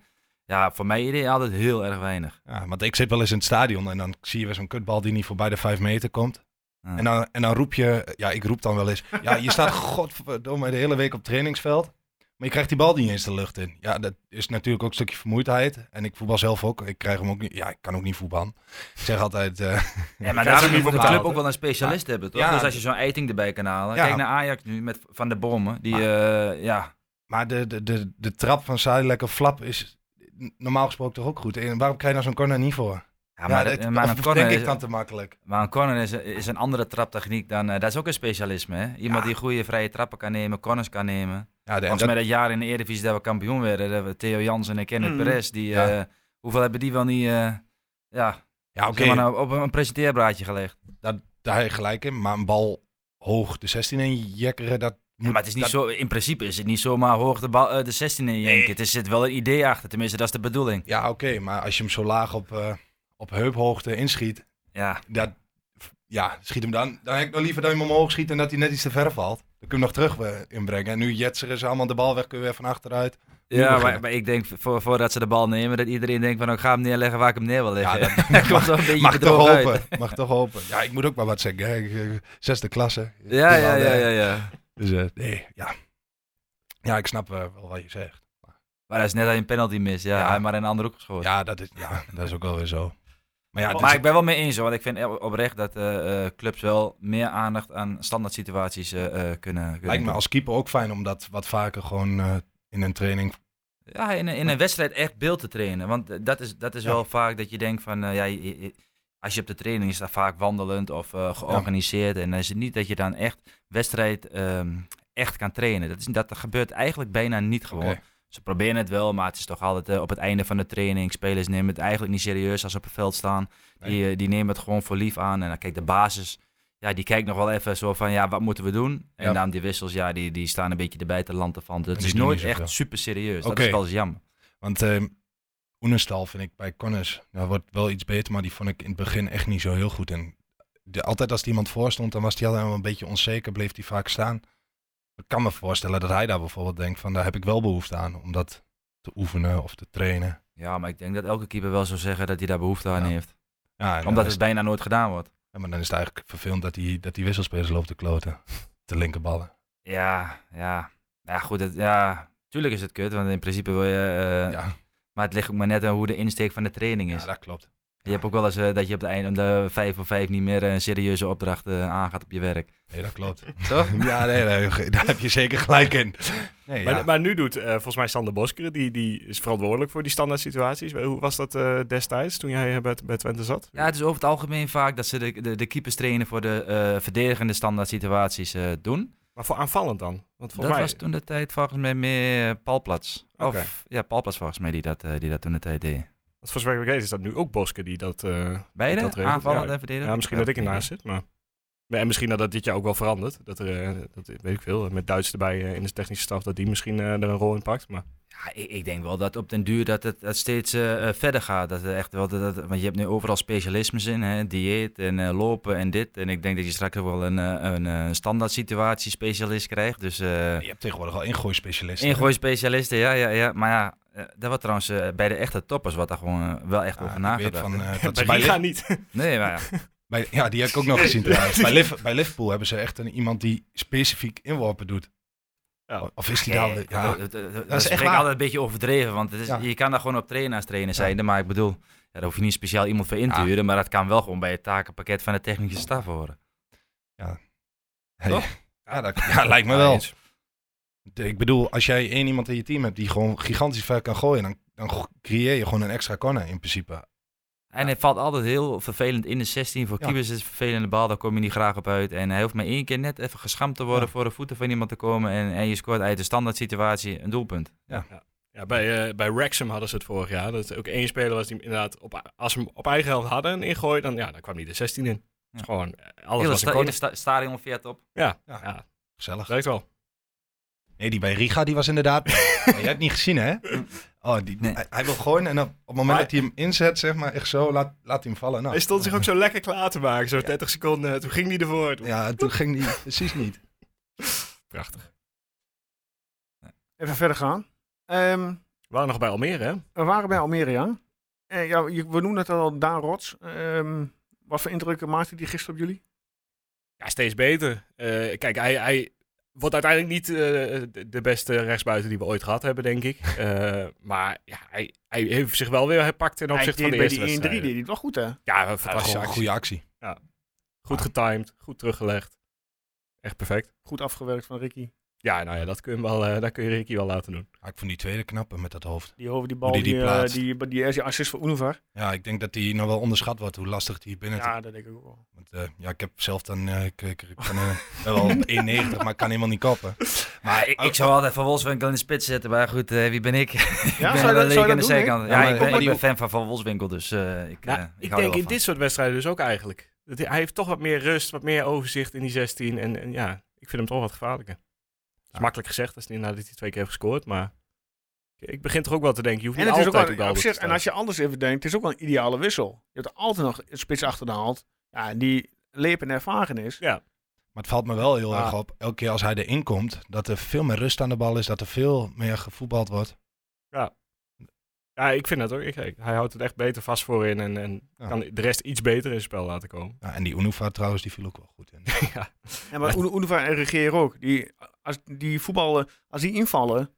Speaker 5: ja, voor mij idee altijd heel erg weinig.
Speaker 6: Ja, want ik zit wel eens in het stadion en dan zie je weer zo'n kutbal die niet voorbij de vijf meter komt.
Speaker 5: Ja.
Speaker 6: En, dan, en dan roep je, ja, ik roep dan wel eens, ja, je staat godverdomme de hele week op trainingsveld, maar je krijgt die bal niet eens de lucht in. Ja, dat is natuurlijk ook een stukje vermoeidheid. En ik voetbal zelf ook, ik krijg hem ook niet, ja, ik kan ook niet voetballen. Ik zeg altijd, eh,
Speaker 5: Ja, maar
Speaker 4: Krijgen ze
Speaker 5: daarom
Speaker 4: niet
Speaker 5: moet
Speaker 4: voor
Speaker 5: de
Speaker 4: betaald,
Speaker 5: club ook wel een specialist hebben, toch?
Speaker 6: Ja.
Speaker 5: dus als je zo'n eiting erbij kan halen.
Speaker 6: Ja. Ah.
Speaker 5: Kijk naar Ajax nu met Van der Bommen. Die, eh, ja,
Speaker 6: maar de, de, de, de trap van Zuidelijk of Flap is normaal gesproken toch ook goed. En waarom krijg je nou zo'n corner niet voor?
Speaker 5: ja, maar,
Speaker 6: dat,
Speaker 5: dat- maar, een
Speaker 6: of
Speaker 5: corner
Speaker 6: denk
Speaker 5: is,
Speaker 6: ik dan te makkelijk.
Speaker 5: maar een corner is, is een andere traptechniek dan... eh, dat is ook een specialisme, hè? Iemand die goede vrije trappen kan nemen, corners kan nemen.
Speaker 6: Ja, de- en
Speaker 5: Volgens mij dat jaar in de Eredivisie dat we kampioen werden. Dat we Theo Jansen en Kenneth
Speaker 1: Mm.
Speaker 5: Perez. Die,
Speaker 6: Ja.
Speaker 5: eh, hoeveel hebben die wel niet... eh, ja,
Speaker 6: ja, oké.
Speaker 5: zeg maar nou, op een presenteerbraadje gelegd.
Speaker 6: daar heb je gelijk in. Maar een bal hoog de 16 in jekkeren, dat moet...
Speaker 5: Ja, maar het is niet
Speaker 6: dat-
Speaker 5: zo, in principe is het niet zomaar hoog de, bal, eh, de 16 in je Er zit wel een idee achter, tenminste dat is de bedoeling.
Speaker 6: Ja, oké, maar als je hem zo laag op, eh, op heuphoogte inschiet,
Speaker 5: Ja,
Speaker 6: dat, ja, schiet hem dan. Dan heb ik nog liever dat hij hem omhoog schiet en dat hij net iets te ver valt. Dan kun je hem nog terug eh, inbrengen. En nu jetsen ze allemaal de bal weg, kun je weer van achteruit.
Speaker 5: ja maar,
Speaker 6: beginnen.
Speaker 5: maar ik denk voor, voordat ze de bal nemen, dat iedereen denkt van, nou, ik ga hem neerleggen waar ik hem neer wil leggen.
Speaker 6: Ja,
Speaker 5: dat komt wel een beetje
Speaker 6: Mag toch
Speaker 5: bedrogen uit.
Speaker 6: hopen, mag toch hopen. Ja, ik moet ook maar wat zeggen. Hè. Ik, eh, Zesde klasse.
Speaker 5: Ja,
Speaker 6: Die
Speaker 5: ja,
Speaker 6: wel,
Speaker 5: ja,
Speaker 6: eh,
Speaker 5: ja, ja.
Speaker 6: Dus eh, nee, ja. Ja, ik snap eh, wel wat je zegt.
Speaker 5: Maar hij is net aan een penalty mis. Ja,
Speaker 6: Ja.
Speaker 5: hij heeft maar in een andere hoek geschoten.
Speaker 6: Ja, dus dat is, ja, dat is ook wel weer zo. Maar ja, dit
Speaker 5: Oh, maar
Speaker 6: is-
Speaker 5: ik ben wel mee eens, hoor, want ik vind eh, oprecht dat eh, eh, clubs wel meer aandacht aan standaard situaties eh, eh, kunnen, kunnen
Speaker 6: lijkt me
Speaker 5: doen.
Speaker 6: als keeper ook fijn om dat wat vaker gewoon eh, in een training...
Speaker 5: Ja, in, een- in een wedstrijd echt beeld te trainen. Want eh, dat is, dat is
Speaker 6: Ja.
Speaker 5: wel vaak dat je denkt van, eh, ja, je- je- als je op de training is, dat vaak wandelend of eh, georganiseerd. En dan is het niet dat je dan echt wedstrijd ehm, echt kan trainen. Dat, is, dat gebeurt eigenlijk bijna niet gewoon.
Speaker 6: Oké.
Speaker 5: Ze proberen het wel, maar het is toch altijd eh, op het einde van de training. Spelers nemen het eigenlijk niet serieus als ze op het veld staan. Die, eh, die nemen het gewoon voor lief aan. En dan kijk de basis. Ja, die kijkt nog wel even zo van, ja, wat moeten we doen? En
Speaker 6: Ja.
Speaker 5: dan die wissels, ja, die, die staan een beetje erbij te landen van. Het
Speaker 6: die
Speaker 5: is
Speaker 6: doen
Speaker 5: nooit
Speaker 6: niet zoveel.
Speaker 5: echt super serieus. Dat
Speaker 6: Oké.
Speaker 5: is wel eens jammer.
Speaker 6: Want eh Oenestal vind ik bij Connors, nou wordt wel iets beter, maar die vond ik in het begin echt niet zo heel goed. En de, altijd als er iemand voor stond, dan was hij altijd wel een beetje onzeker, bleef hij vaak staan. Ik kan me voorstellen dat hij daar bijvoorbeeld denkt van, daar heb ik wel behoefte aan om dat te oefenen of te trainen.
Speaker 5: Ja, maar ik denk dat elke keeper wel zou zeggen dat hij daar behoefte aan
Speaker 6: Ja.
Speaker 5: heeft.
Speaker 6: Ja, en dan
Speaker 5: Omdat
Speaker 6: is
Speaker 5: het bijna nooit gedaan wordt.
Speaker 6: Ja, maar dan is het eigenlijk vervelend dat die, dat die wisselspelers loopt te kloten. De linkerballen.
Speaker 5: Ja, ja. Ja, goed. Het, ja, tuurlijk is het kut, want in principe wil je... eh,
Speaker 6: ja,
Speaker 5: Maar het ligt ook maar net aan hoe de insteek van de training is.
Speaker 6: ja, dat klopt.
Speaker 5: Je hebt ook wel eens eh, dat je op het einde om de vijf voor vijf niet meer eh, een serieuze opdracht eh, aangaat op je werk.
Speaker 6: Nee, dat klopt.
Speaker 5: Toch?
Speaker 6: ja, nee, nee, daar heb je zeker gelijk in. Nee,
Speaker 4: Maar,
Speaker 6: ja.
Speaker 4: maar nu doet eh, volgens mij Sander Bosker, die, die is verantwoordelijk voor die standaard situaties. Hoe was dat eh, destijds toen jij eh, bij, bij Twente zat?
Speaker 5: Ja, het is over het algemeen vaak dat ze de, de, de keepers trainen voor de eh, verdedigende standaard situaties eh, doen.
Speaker 4: Maar voor aanvallend dan? Want volgens
Speaker 5: dat
Speaker 4: mij...
Speaker 5: was toen de tijd volgens mij meer eh, Palplats.
Speaker 4: Oké.
Speaker 5: Of ja, Palplats volgens mij die dat, eh, die dat toen de tijd deed.
Speaker 4: Want volgens mij is dat nu ook Bosker die dat... eh,
Speaker 5: Beide?
Speaker 4: Dat regelt-
Speaker 5: Aanvallend
Speaker 4: ja.
Speaker 5: en verdedigend?
Speaker 4: ja, misschien dat ik ernaast zit, maar... En misschien dat dat dit jaar ook wel verandert. Dat er, eh, dat weet ik veel, met Duits erbij eh, in de technische staf, dat die misschien eh, er een rol in pakt. Maar
Speaker 5: Ja, ik, ik denk wel dat op den duur dat het, dat steeds eh, eh, verder gaat. Dat het echt wel, dat, dat- want je hebt nu overal specialismes in, hè? dieet en eh, lopen en dit. En ik denk dat je straks ook wel een, eh, een eh, standaard situatie specialist krijgt. Dus eh
Speaker 6: Je hebt tegenwoordig al ingooispecialisten.
Speaker 5: ingooi specialisten, ja, ja, ja. Maar ja, eh, dat wordt trouwens eh, bij de echte toppers wat daar gewoon eh, wel echt
Speaker 6: Ja,
Speaker 5: over
Speaker 6: ik weet
Speaker 5: nagedacht.
Speaker 6: van,
Speaker 5: hè.
Speaker 6: eh, dat
Speaker 4: bij
Speaker 6: ze bij,
Speaker 4: Riga
Speaker 6: Liv-
Speaker 4: niet.
Speaker 5: Nee, maar ja.
Speaker 6: bij- ja, die heb ik ook nog gezien trouwens. Bij, Liv- bij Liverpool hebben ze echt een, iemand die specifiek inworpen doet.
Speaker 4: Ja.
Speaker 6: Of is die
Speaker 5: Ja,
Speaker 6: daar...
Speaker 5: dat-
Speaker 6: Ja,
Speaker 5: dat-
Speaker 6: ja,
Speaker 5: dat- dat-
Speaker 6: is echt
Speaker 5: Dat vind ik
Speaker 6: waar.
Speaker 5: altijd een beetje overdreven, want het is,
Speaker 6: Ja.
Speaker 5: je kan daar gewoon op trainen als trainer zijn. Maar ik bedoel, ja, daar hoef je niet speciaal iemand voor in te
Speaker 6: Ja.
Speaker 5: huren. Maar dat kan wel gewoon bij het takenpakket van de technische staf horen.
Speaker 6: dat ja, lijkt me wel.
Speaker 5: eens.
Speaker 6: De- Ik bedoel, als jij één iemand in je team hebt die gewoon gigantisch ver kan gooien, dan, dan go- creëer je gewoon een extra corner in principe.
Speaker 5: En het valt altijd heel vervelend in de 16. Voor
Speaker 6: Ja.
Speaker 5: keepers is het een vervelende bal, daar kom je niet graag op uit. En hij hoeft maar één keer net even geschampt te worden
Speaker 6: Ja.
Speaker 5: voor de voeten van iemand te komen. En, en je scoort uit de standaard situatie een doelpunt.
Speaker 4: Ja, bij, eh bij Wrexham hadden ze het vorig jaar. Dat ook één speler was die hem inderdaad, op, als ze hem op eigen helft hadden en ingooien, dan, ja, dan kwam hij de 16 in. Dus gewoon, eh, alles
Speaker 5: Hele
Speaker 4: was
Speaker 5: sta
Speaker 4: een
Speaker 5: hele
Speaker 4: corner.
Speaker 5: sta stadion veert op.
Speaker 4: Ja,
Speaker 6: Ja.
Speaker 4: ja.
Speaker 6: Gezellig.
Speaker 4: dat werkt wel.
Speaker 6: Nee, die bij Riga, die was inderdaad... Ja, jij hebt niet gezien, hè? Oh, die,
Speaker 5: Nee.
Speaker 6: hij, hij wil gooien en op, op het moment
Speaker 4: Maar-
Speaker 6: dat hij hem inzet, zeg maar, echt zo, laat, laat hij hem vallen. Nou,
Speaker 4: Hij stond zich ook zo lekker klaar te maken, zo 30 seconden. Toen ging hij ervoor. Toen-
Speaker 6: Ja, toen ging hij precies niet.
Speaker 4: Prachtig.
Speaker 1: Even verder gaan. Ehm,
Speaker 4: We waren nog bij Almere, hè?
Speaker 1: we waren bij Almere, ja. Eh, ja je- we noemen het al, Daan Rots. Ehm, wat voor indrukken maakte die gisteren op jullie?
Speaker 4: Ja, steeds beter. Eh, kijk, hij, hij wordt uiteindelijk niet eh, de- de beste rechtsbuiten die we ooit gehad hebben, denk ik. Eh, maar ja, hij, hij heeft zich wel weer herpakt in opzicht van
Speaker 1: Hij
Speaker 4: de
Speaker 1: deed bij
Speaker 4: eerste
Speaker 1: die 1-3 deed
Speaker 4: wedstrijden.
Speaker 1: hij het wel goed, hè?
Speaker 4: Ja,
Speaker 6: Dat was
Speaker 4: fantastische
Speaker 6: een
Speaker 4: actie.
Speaker 6: goede actie.
Speaker 4: Goed getimed, goed teruggelegd. Echt perfect.
Speaker 1: Goed afgewerkt van Ricky.
Speaker 4: Ja, nou ja, dat kun je, hem wel, eh, dat kun je Ricky wel laten doen.
Speaker 6: Ah, ik vond die tweede knappen met dat hoofd.
Speaker 1: Die over die bal,
Speaker 6: die
Speaker 1: die,
Speaker 6: die
Speaker 1: eh,
Speaker 6: plaatst.
Speaker 1: die, die, die assist van Univar.
Speaker 6: Ja, ik denk dat die nog wel onderschat wordt hoe lastig die binnen te-
Speaker 1: Ja, dat denk ik ook wel.
Speaker 6: Want, eh, ja, ik heb zelf dan, eh, ik, ik, ik kan eh, wel 1,90, maar ik kan helemaal niet kappen.
Speaker 5: Maar ik, ik zou altijd Van Wolfswinkel in de spits zetten. Maar goed, eh, wie ben ik? ik
Speaker 1: Ja,
Speaker 5: ben
Speaker 1: zou je
Speaker 5: wel
Speaker 1: dat, zou
Speaker 5: leek
Speaker 1: je
Speaker 5: aan
Speaker 1: dat
Speaker 5: de
Speaker 1: doen, Henk?
Speaker 5: zijkant.
Speaker 6: Ja,
Speaker 5: Ja,
Speaker 6: maar-
Speaker 5: ik ben,
Speaker 6: maar
Speaker 5: ik
Speaker 6: die-
Speaker 5: ben fan van Van Wolfswinkel, dus eh, ik, eh,
Speaker 4: Nou,
Speaker 5: ik,
Speaker 4: ik
Speaker 5: hou er
Speaker 4: denk
Speaker 5: wel
Speaker 4: in
Speaker 5: van.
Speaker 4: dit soort wedstrijden dus ook eigenlijk. Dat hij, hij heeft toch wat meer rust, wat meer overzicht in die 16. En, en nou ja, ik vind hem toch wat gevaarlijker. Het is makkelijk gezegd, dat is niet nadat hij twee keer heeft gescoord, maar... Ik begin toch ook wel te denken, je hoeft
Speaker 1: En
Speaker 4: niet
Speaker 1: het is ook
Speaker 4: altijd
Speaker 1: wel
Speaker 4: op de
Speaker 1: op
Speaker 4: helft
Speaker 1: zich, en
Speaker 4: te staan.
Speaker 1: als je anders even denkt, het is ook wel een ideale wissel. Je hebt er altijd nog een spits achter de hand. Ja, en die leep en ervaren is.
Speaker 6: Maar het valt me wel heel
Speaker 1: Ah.
Speaker 6: erg op, elke keer als hij erin komt, dat er veel meer rust aan de bal is, dat er veel meer gevoetbald wordt.
Speaker 4: Ja, ik vind dat ook. Ik, ik- hij houdt het echt beter vast voorin en, en
Speaker 6: Ja.
Speaker 4: kan de rest iets beter in het spel laten komen.
Speaker 6: Ja, en die Unuva trouwens, die viel ook wel goed in.
Speaker 4: ja.
Speaker 1: En maar Oen- Oeneva en Regeer ook. Die, als die voetballen, als die invallen,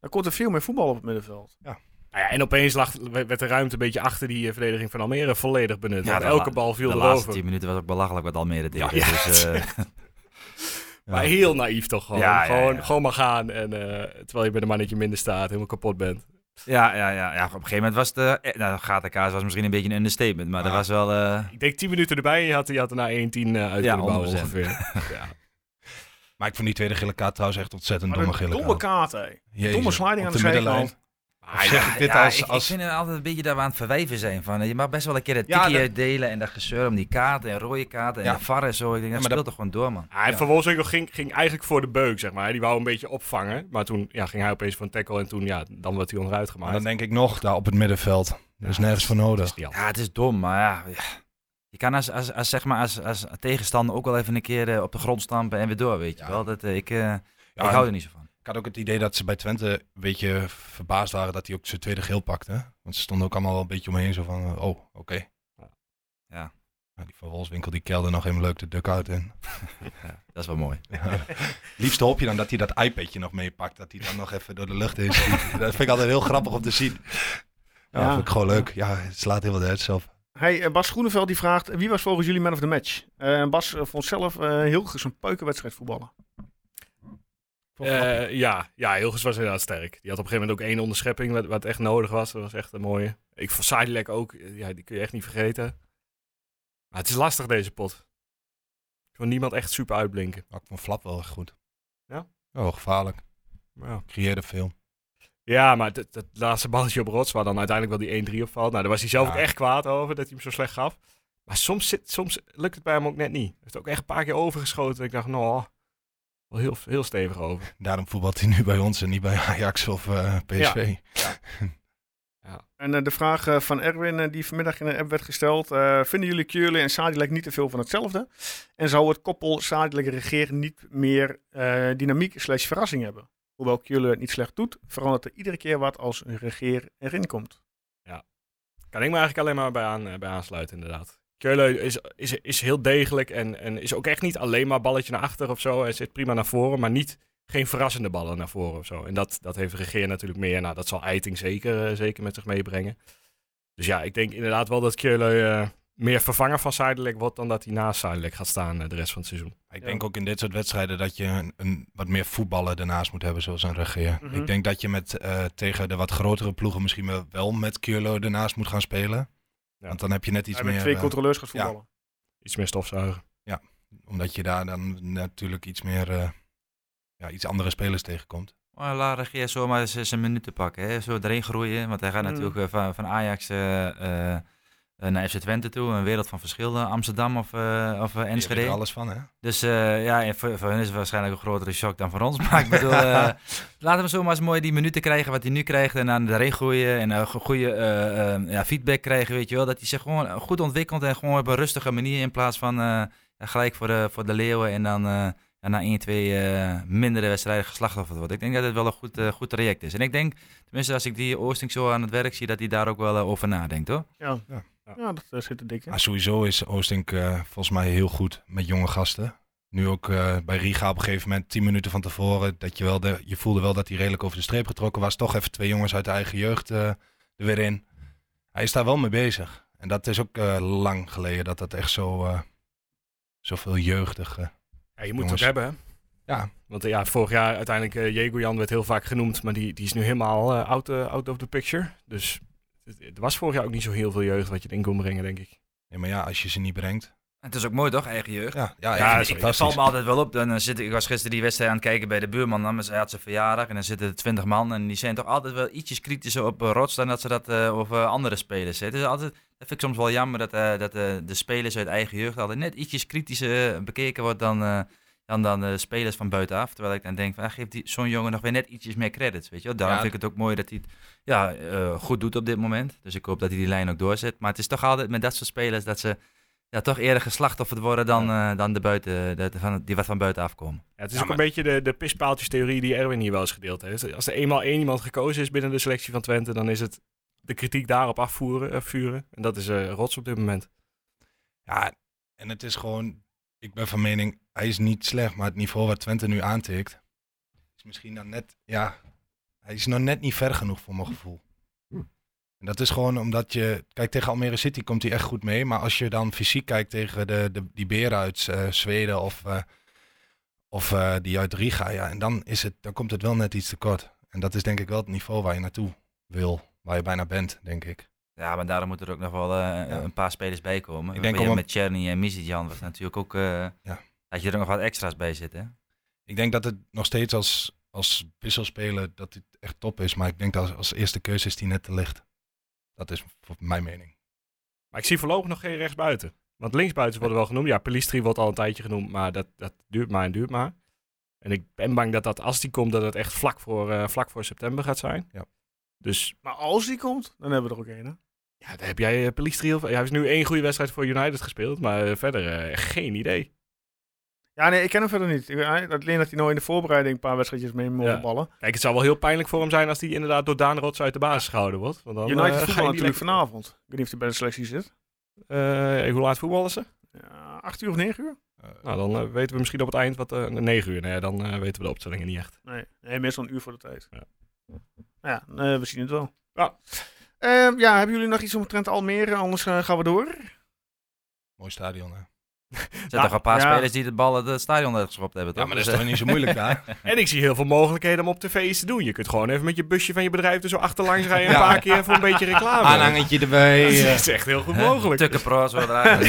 Speaker 1: dan komt er veel meer voetbal op het middenveld.
Speaker 4: Nou ja, en opeens lag, werd de ruimte een beetje achter die eh, verdediging van Almere volledig benut.
Speaker 5: Ja,
Speaker 4: Want
Speaker 5: de
Speaker 4: elke
Speaker 5: la-
Speaker 4: bal viel
Speaker 5: De laatste
Speaker 4: erover.
Speaker 5: 10 minuten was ook belachelijk wat Almere deed.
Speaker 4: Ja,
Speaker 5: dus,
Speaker 4: ja,
Speaker 5: eh,
Speaker 4: Maar heel naïef toch gewoon.
Speaker 5: Ja, ja, ja.
Speaker 4: gewoon, gewoon maar gaan. En, eh, terwijl je bij een mannetje minder staat, helemaal kapot bent.
Speaker 5: ja, ja, ja, ja, op een gegeven moment was de... eh, Nou, gatenkaas was misschien een beetje een understatement, maar dat was wel... eh,
Speaker 4: Ik denk 10 minuten erbij en je had, je had er na 1-10 eh, uit
Speaker 5: Ja,
Speaker 4: kunnen bouwen
Speaker 5: 100%.
Speaker 4: ongeveer. ja.
Speaker 6: Maar ik vond die tweede gele kaart trouwens echt ontzettend
Speaker 1: Maar
Speaker 6: domme
Speaker 1: een
Speaker 6: gele
Speaker 1: domme
Speaker 6: kaart.
Speaker 1: kaart, hè.
Speaker 6: Jezus,
Speaker 1: domme sliding
Speaker 6: op
Speaker 1: aan de zijkant.
Speaker 5: Ah,
Speaker 6: Zeg ik dit als-
Speaker 5: ik, ik
Speaker 6: als-
Speaker 5: vind het altijd een beetje daar we aan het verwijven zijn. Van, eh, je mag best wel een keer het
Speaker 6: Ja,
Speaker 5: tikje
Speaker 6: dat-
Speaker 5: delen en dat gezeur om die kaarten en rode kaarten en
Speaker 6: Ja.
Speaker 5: de VAR en zo. Ik denk, dat
Speaker 6: maar dat-
Speaker 5: speelt toch gewoon door, man.
Speaker 4: Ah, en Van Wolfswinkel ging, ging eigenlijk voor de beuk, zeg maar. Die wou een beetje opvangen. Maar toen ja, ging hij opeens voor een tackle en toen, ja, dan werd hij onderuit
Speaker 6: Maar
Speaker 4: gemaakt.
Speaker 6: dan denk ik nog, daar op het middenveld. Er is nergens voor nodig.
Speaker 4: die al.
Speaker 5: Ja, het is dom, maar ja. ja. Je kan als, als, als, zeg maar als, als tegenstander ook wel even een keer eh, op de grond stampen en weer door, weet je
Speaker 6: Ja.
Speaker 5: wel. Dat, eh, ik, eh,
Speaker 6: Ja,
Speaker 5: ik hou er niet zo van.
Speaker 6: Ik had ook het idee dat ze bij Twente een beetje verbaasd waren dat hij ook zijn tweede geel pakte. Want ze stonden ook allemaal wel een beetje omheen zo van, eh, oh, oké.
Speaker 5: Ja.
Speaker 6: Nou, die van Wolfswinkel die kelde nog even leuk de duck-out in.
Speaker 5: Dat is wel mooi.
Speaker 6: Ja. Liefst hoop je dan dat hij dat iPadje nog meepakt. Dat hij dan nog even door de lucht is. dat vind ik altijd heel grappig om te zien. Ja,
Speaker 1: Ja.
Speaker 6: vind ik gewoon leuk. Ja, het slaat heel wat hersen op.
Speaker 1: Hey, eh, Bas Groeneveld die vraagt, wie was volgens jullie man of the match? Eh, Bas eh, vond zelf eh heel goed een peukenwedstrijd voetballen.
Speaker 4: Eh, ja, ja, Hilgers was inderdaad sterk. Die had op een gegeven moment ook één onderschepping, wat, wat echt nodig was. Dat was echt een mooie. Ik vond Sidelek ook, eh, ja, die kun je echt niet vergeten. Maar het is lastig deze pot. Ik wil niemand echt super uitblinken.
Speaker 6: Maar ik vond Flap wel echt goed.
Speaker 4: Ja?
Speaker 6: Oh, gevaarlijk.
Speaker 4: Ja,
Speaker 6: Creëerde veel.
Speaker 4: maar dat, dat laatste balletje op Rots, waar dan uiteindelijk wel die 1-3 op valt. Nou, daar was hij zelf
Speaker 6: Ja.
Speaker 4: ook echt kwaad over, dat hij hem zo slecht gaf. Maar soms, zit, soms lukt het bij hem ook net niet. Hij heeft ook echt een paar keer overgeschoten. Ik dacht, nou, wel heel, heel stevig over.
Speaker 6: Daarom voetbalt hij nu bij ons en niet bij Ajax of eh, PSV.
Speaker 1: En eh, de vraag eh, van Erwin, eh, die vanmiddag in de app werd gesteld. eh, vinden jullie Keurle en Sadilek niet te veel van hetzelfde? En zou het koppel Sadilek-regeer niet meer eh, dynamiek slash verrassing hebben? Hoewel Keurle het niet slecht doet, verandert er iedere keer wat als een regeer erin komt.
Speaker 4: Kan ik me eigenlijk alleen maar bij, aan, eh, bij aansluiten, inderdaad. Keulen is, is, is heel degelijk en, en is ook echt niet alleen maar balletje naar achter of zo. Hij zit prima naar voren, maar niet, geen verrassende ballen naar voren of zo. En dat, dat heeft de regeer natuurlijk meer. Nou, dat zal Eiting zeker, eh, zeker met zich meebrengen. Dus ja, ik denk inderdaad wel dat Keulen eh, meer vervanger van Zuidelijk wordt dan dat hij naast Zuidelijk gaat staan eh, de rest van het seizoen.
Speaker 6: Ik denk ook in dit soort wedstrijden dat je een, een wat meer voetballen ernaast moet hebben, zoals een regeer.
Speaker 1: Mhm.
Speaker 6: Ik denk dat je met, eh, tegen de wat grotere ploegen misschien wel- wel met Curlo ernaast moet gaan spelen.
Speaker 4: Ja.
Speaker 6: Want dan heb je net iets
Speaker 1: Hij
Speaker 6: meer...
Speaker 1: met twee
Speaker 6: eh,
Speaker 1: controleurs gaat
Speaker 6: ja.
Speaker 1: voetballen.
Speaker 4: Iets meer stofzuigen.
Speaker 6: Omdat je daar dan natuurlijk iets meer, eh, ja, iets andere spelers tegenkomt.
Speaker 5: Maar laat Regeer zomaar z- zijn minuten pakken. Hè. Zo erin groeien. Want hij gaat
Speaker 1: Mm.
Speaker 5: natuurlijk eh, van, van Ajax eh, eh, eh, naar FC Twente toe. Een wereld van verschil. eh, Amsterdam of, eh, of eh,
Speaker 6: Je weet er
Speaker 5: Enschede.
Speaker 6: alles van, hè?
Speaker 5: Dus eh, ja, en voor, voor hen is het waarschijnlijk een grotere shock dan voor ons. Maar ik bedoel, eh laten we zomaar eens mooi die minuten krijgen wat hij nu krijgt. En dan daarin groeien en eh, go- goede eh, eh, ja, feedback krijgen, weet je wel. Dat hij zich gewoon goed ontwikkelt en gewoon op een rustige manier. In plaats van eh, gelijk voor de, voor de leeuwen en dan eh, ja, na 1, 2 eh, mindere wedstrijden geslachtofferd wordt. Ik denk dat het wel een goed, eh, goed traject is. En ik denk, tenminste als ik die Oosting zo aan het werk zie, dat hij daar ook wel eh, over nadenkt hoor.
Speaker 1: Ja, ja.
Speaker 6: Ja.
Speaker 1: dat eh, zit er dik in.
Speaker 6: Maar Ah, sowieso is Oostink eh, volgens mij heel goed met jonge gasten. Nu ook eh, bij Riga op een gegeven moment, tien minuten van tevoren, dat je, wel de, je voelde wel dat hij redelijk over de streep getrokken was. Toch even twee jongens uit de eigen jeugd eh, er weer in. Hij is daar wel mee bezig. En dat is ook eh, lang geleden dat dat echt zo, eh zoveel jeugdig... eh,
Speaker 4: Ja, je moet
Speaker 6: Jongens.
Speaker 4: het ook hebben, hè?
Speaker 6: Ja.
Speaker 4: Want eh, ja, vorig jaar uiteindelijk, eh Jegoyan werd heel vaak genoemd, maar die, die is nu helemaal eh, out, eh, out of the picture. Dus het- het was vorig jaar ook niet zo heel veel jeugd wat je erin kon brengen, denk ik.
Speaker 6: ja, maar ja, als je ze niet brengt.
Speaker 5: Het is ook mooi toch, eigen jeugd?
Speaker 6: Ja,
Speaker 4: Ja,
Speaker 6: ja, ja,
Speaker 4: is
Speaker 5: Ik- ik val
Speaker 6: fantastisch.
Speaker 5: me altijd wel op. Dan eh, zit, ik ik was gisteren die wedstrijd aan het kijken bij de buurman. Dan hij had zijn verjaardag en dan zitten er twintig man. En die zijn toch altijd wel ietsjes kritischer op eh, Rots dan dat ze dat eh, over andere spelers zijn. Het is altijd, dat vind ik soms wel jammer dat, eh, dat eh, de spelers uit eigen jeugd altijd net ietsjes kritischer eh, bekeken wordt dan, eh, dan, dan eh, spelers van buitenaf. Terwijl ik dan denk van, ah, geef die- zo'n jongen nog weer net ietsjes meer credits, weet je wel. Daarom
Speaker 6: Ja.
Speaker 5: vind ik het ook mooi dat hij het ja, eh, goed doet op dit moment. Dus ik hoop dat hij die lijn ook doorzet. Maar het is toch altijd met dat soort spelers dat ze ja, toch eerder geslachtofferd worden dan, eh, dan de buiten, de, de- van, die wat van buitenaf komen.
Speaker 4: Ja, het is ook een beetje de, de pispaaltjestheorie die Erwin hier wel eens gedeeld heeft. Als er eenmaal één iemand gekozen is binnen de selectie van Twente, dan is het de kritiek daarop afvoeren, eh, vuren. En dat is eh, rots op dit moment.
Speaker 6: Ja, en het is gewoon, ik ben van mening, hij is niet slecht, maar het niveau wat Twente nu aantikt, is misschien dan net, ja, hij is nog net niet ver genoeg voor mijn gevoel. En dat is gewoon omdat je, kijk tegen Almere City komt hij echt goed mee, maar als je dan fysiek kijkt tegen de, de, die beren uit eh, Zweden of, eh, of eh, die uit Riga, ja, en dan, is het, dan komt het wel net iets tekort. En dat is denk ik wel het niveau waar je naartoe wil, waar je bijna bent, denk ik.
Speaker 5: Ja, maar daarom moeten er ook nog wel eh, een paar spelers bij komen.
Speaker 6: Ik
Speaker 5: Ik
Speaker 6: denk
Speaker 5: denk
Speaker 6: om-
Speaker 5: met Cherny en Mizidjan was natuurlijk ook... eh
Speaker 6: Ja.
Speaker 5: Dat je er nog wat extra's bij zit, hè?
Speaker 6: Ik denk dat het nog steeds als, als wisselspeler dat het echt top is. Maar ik denk dat als eerste keuze is die net te licht. Dat is voor mijn mening.
Speaker 4: Maar ik zie voorlopig nog geen rechtsbuiten. Want linksbuiten worden wel genoemd. Ja, Pelistri wordt al een tijdje genoemd, maar dat, dat duurt maar en duurt maar. En ik ben bang dat dat, als die komt, dat het echt vlak voor, eh, vlak voor september gaat zijn.
Speaker 6: Ja.
Speaker 4: Dus
Speaker 1: Maar als die komt, dan hebben we er ook één. hè?
Speaker 4: ja, daar heb jij eh, Pelistri of... Hij heeft nu één goede wedstrijd voor United gespeeld, maar eh, verder eh, geen idee.
Speaker 1: Ja, nee, ik ken hem verder niet. Ik, hij- alleen dat hij nou in de voorbereiding een paar wedstrijdjes mee mocht
Speaker 4: Ja.
Speaker 1: ballen.
Speaker 4: Kijk, het zou wel heel pijnlijk voor hem zijn als hij inderdaad door Daan Rots uit de basis gehouden wordt. Want dan, eh,
Speaker 1: United
Speaker 4: ga je
Speaker 1: voetbal
Speaker 4: niet
Speaker 1: natuurlijk
Speaker 4: lekker-
Speaker 1: vanavond. Ik weet niet of hij bij de selectie zit.
Speaker 4: Eh, hoe laat voetballen ze?
Speaker 1: Ja, acht uur of negen uur?
Speaker 4: Nou, dan eh, weten we misschien op het eind wat... eh 9 uur, nou ja, dan eh, weten we de opstellingen niet echt.
Speaker 1: Nee, nee meestal een uur voor de tijd.
Speaker 4: Ja.
Speaker 1: Nou ja, eh, we zien het wel.
Speaker 4: Ja.
Speaker 1: Ehm, ja, hebben jullie nog iets omtrent Almere? Anders eh, gaan we door.
Speaker 6: Mooi stadion, hè?
Speaker 5: Er zijn
Speaker 4: Nou,
Speaker 5: toch een paar
Speaker 1: ja.
Speaker 5: spelers die de ballen het stadion uitgeschopt hebben, toch?
Speaker 6: Ja, maar dat is
Speaker 5: Dus,
Speaker 6: toch niet zo moeilijk daar?
Speaker 4: En ik zie heel veel mogelijkheden om op tv iets te doen. Je kunt gewoon even met je busje van je bedrijf er zo achterlangs rijden... een
Speaker 6: Ja.
Speaker 4: paar keer voor een beetje reclame.
Speaker 6: Aanhangetje erbij.
Speaker 4: Dat
Speaker 6: eh.
Speaker 4: is echt heel goed
Speaker 5: eh,
Speaker 4: mogelijk.
Speaker 5: Tukkenpro's worden eruit.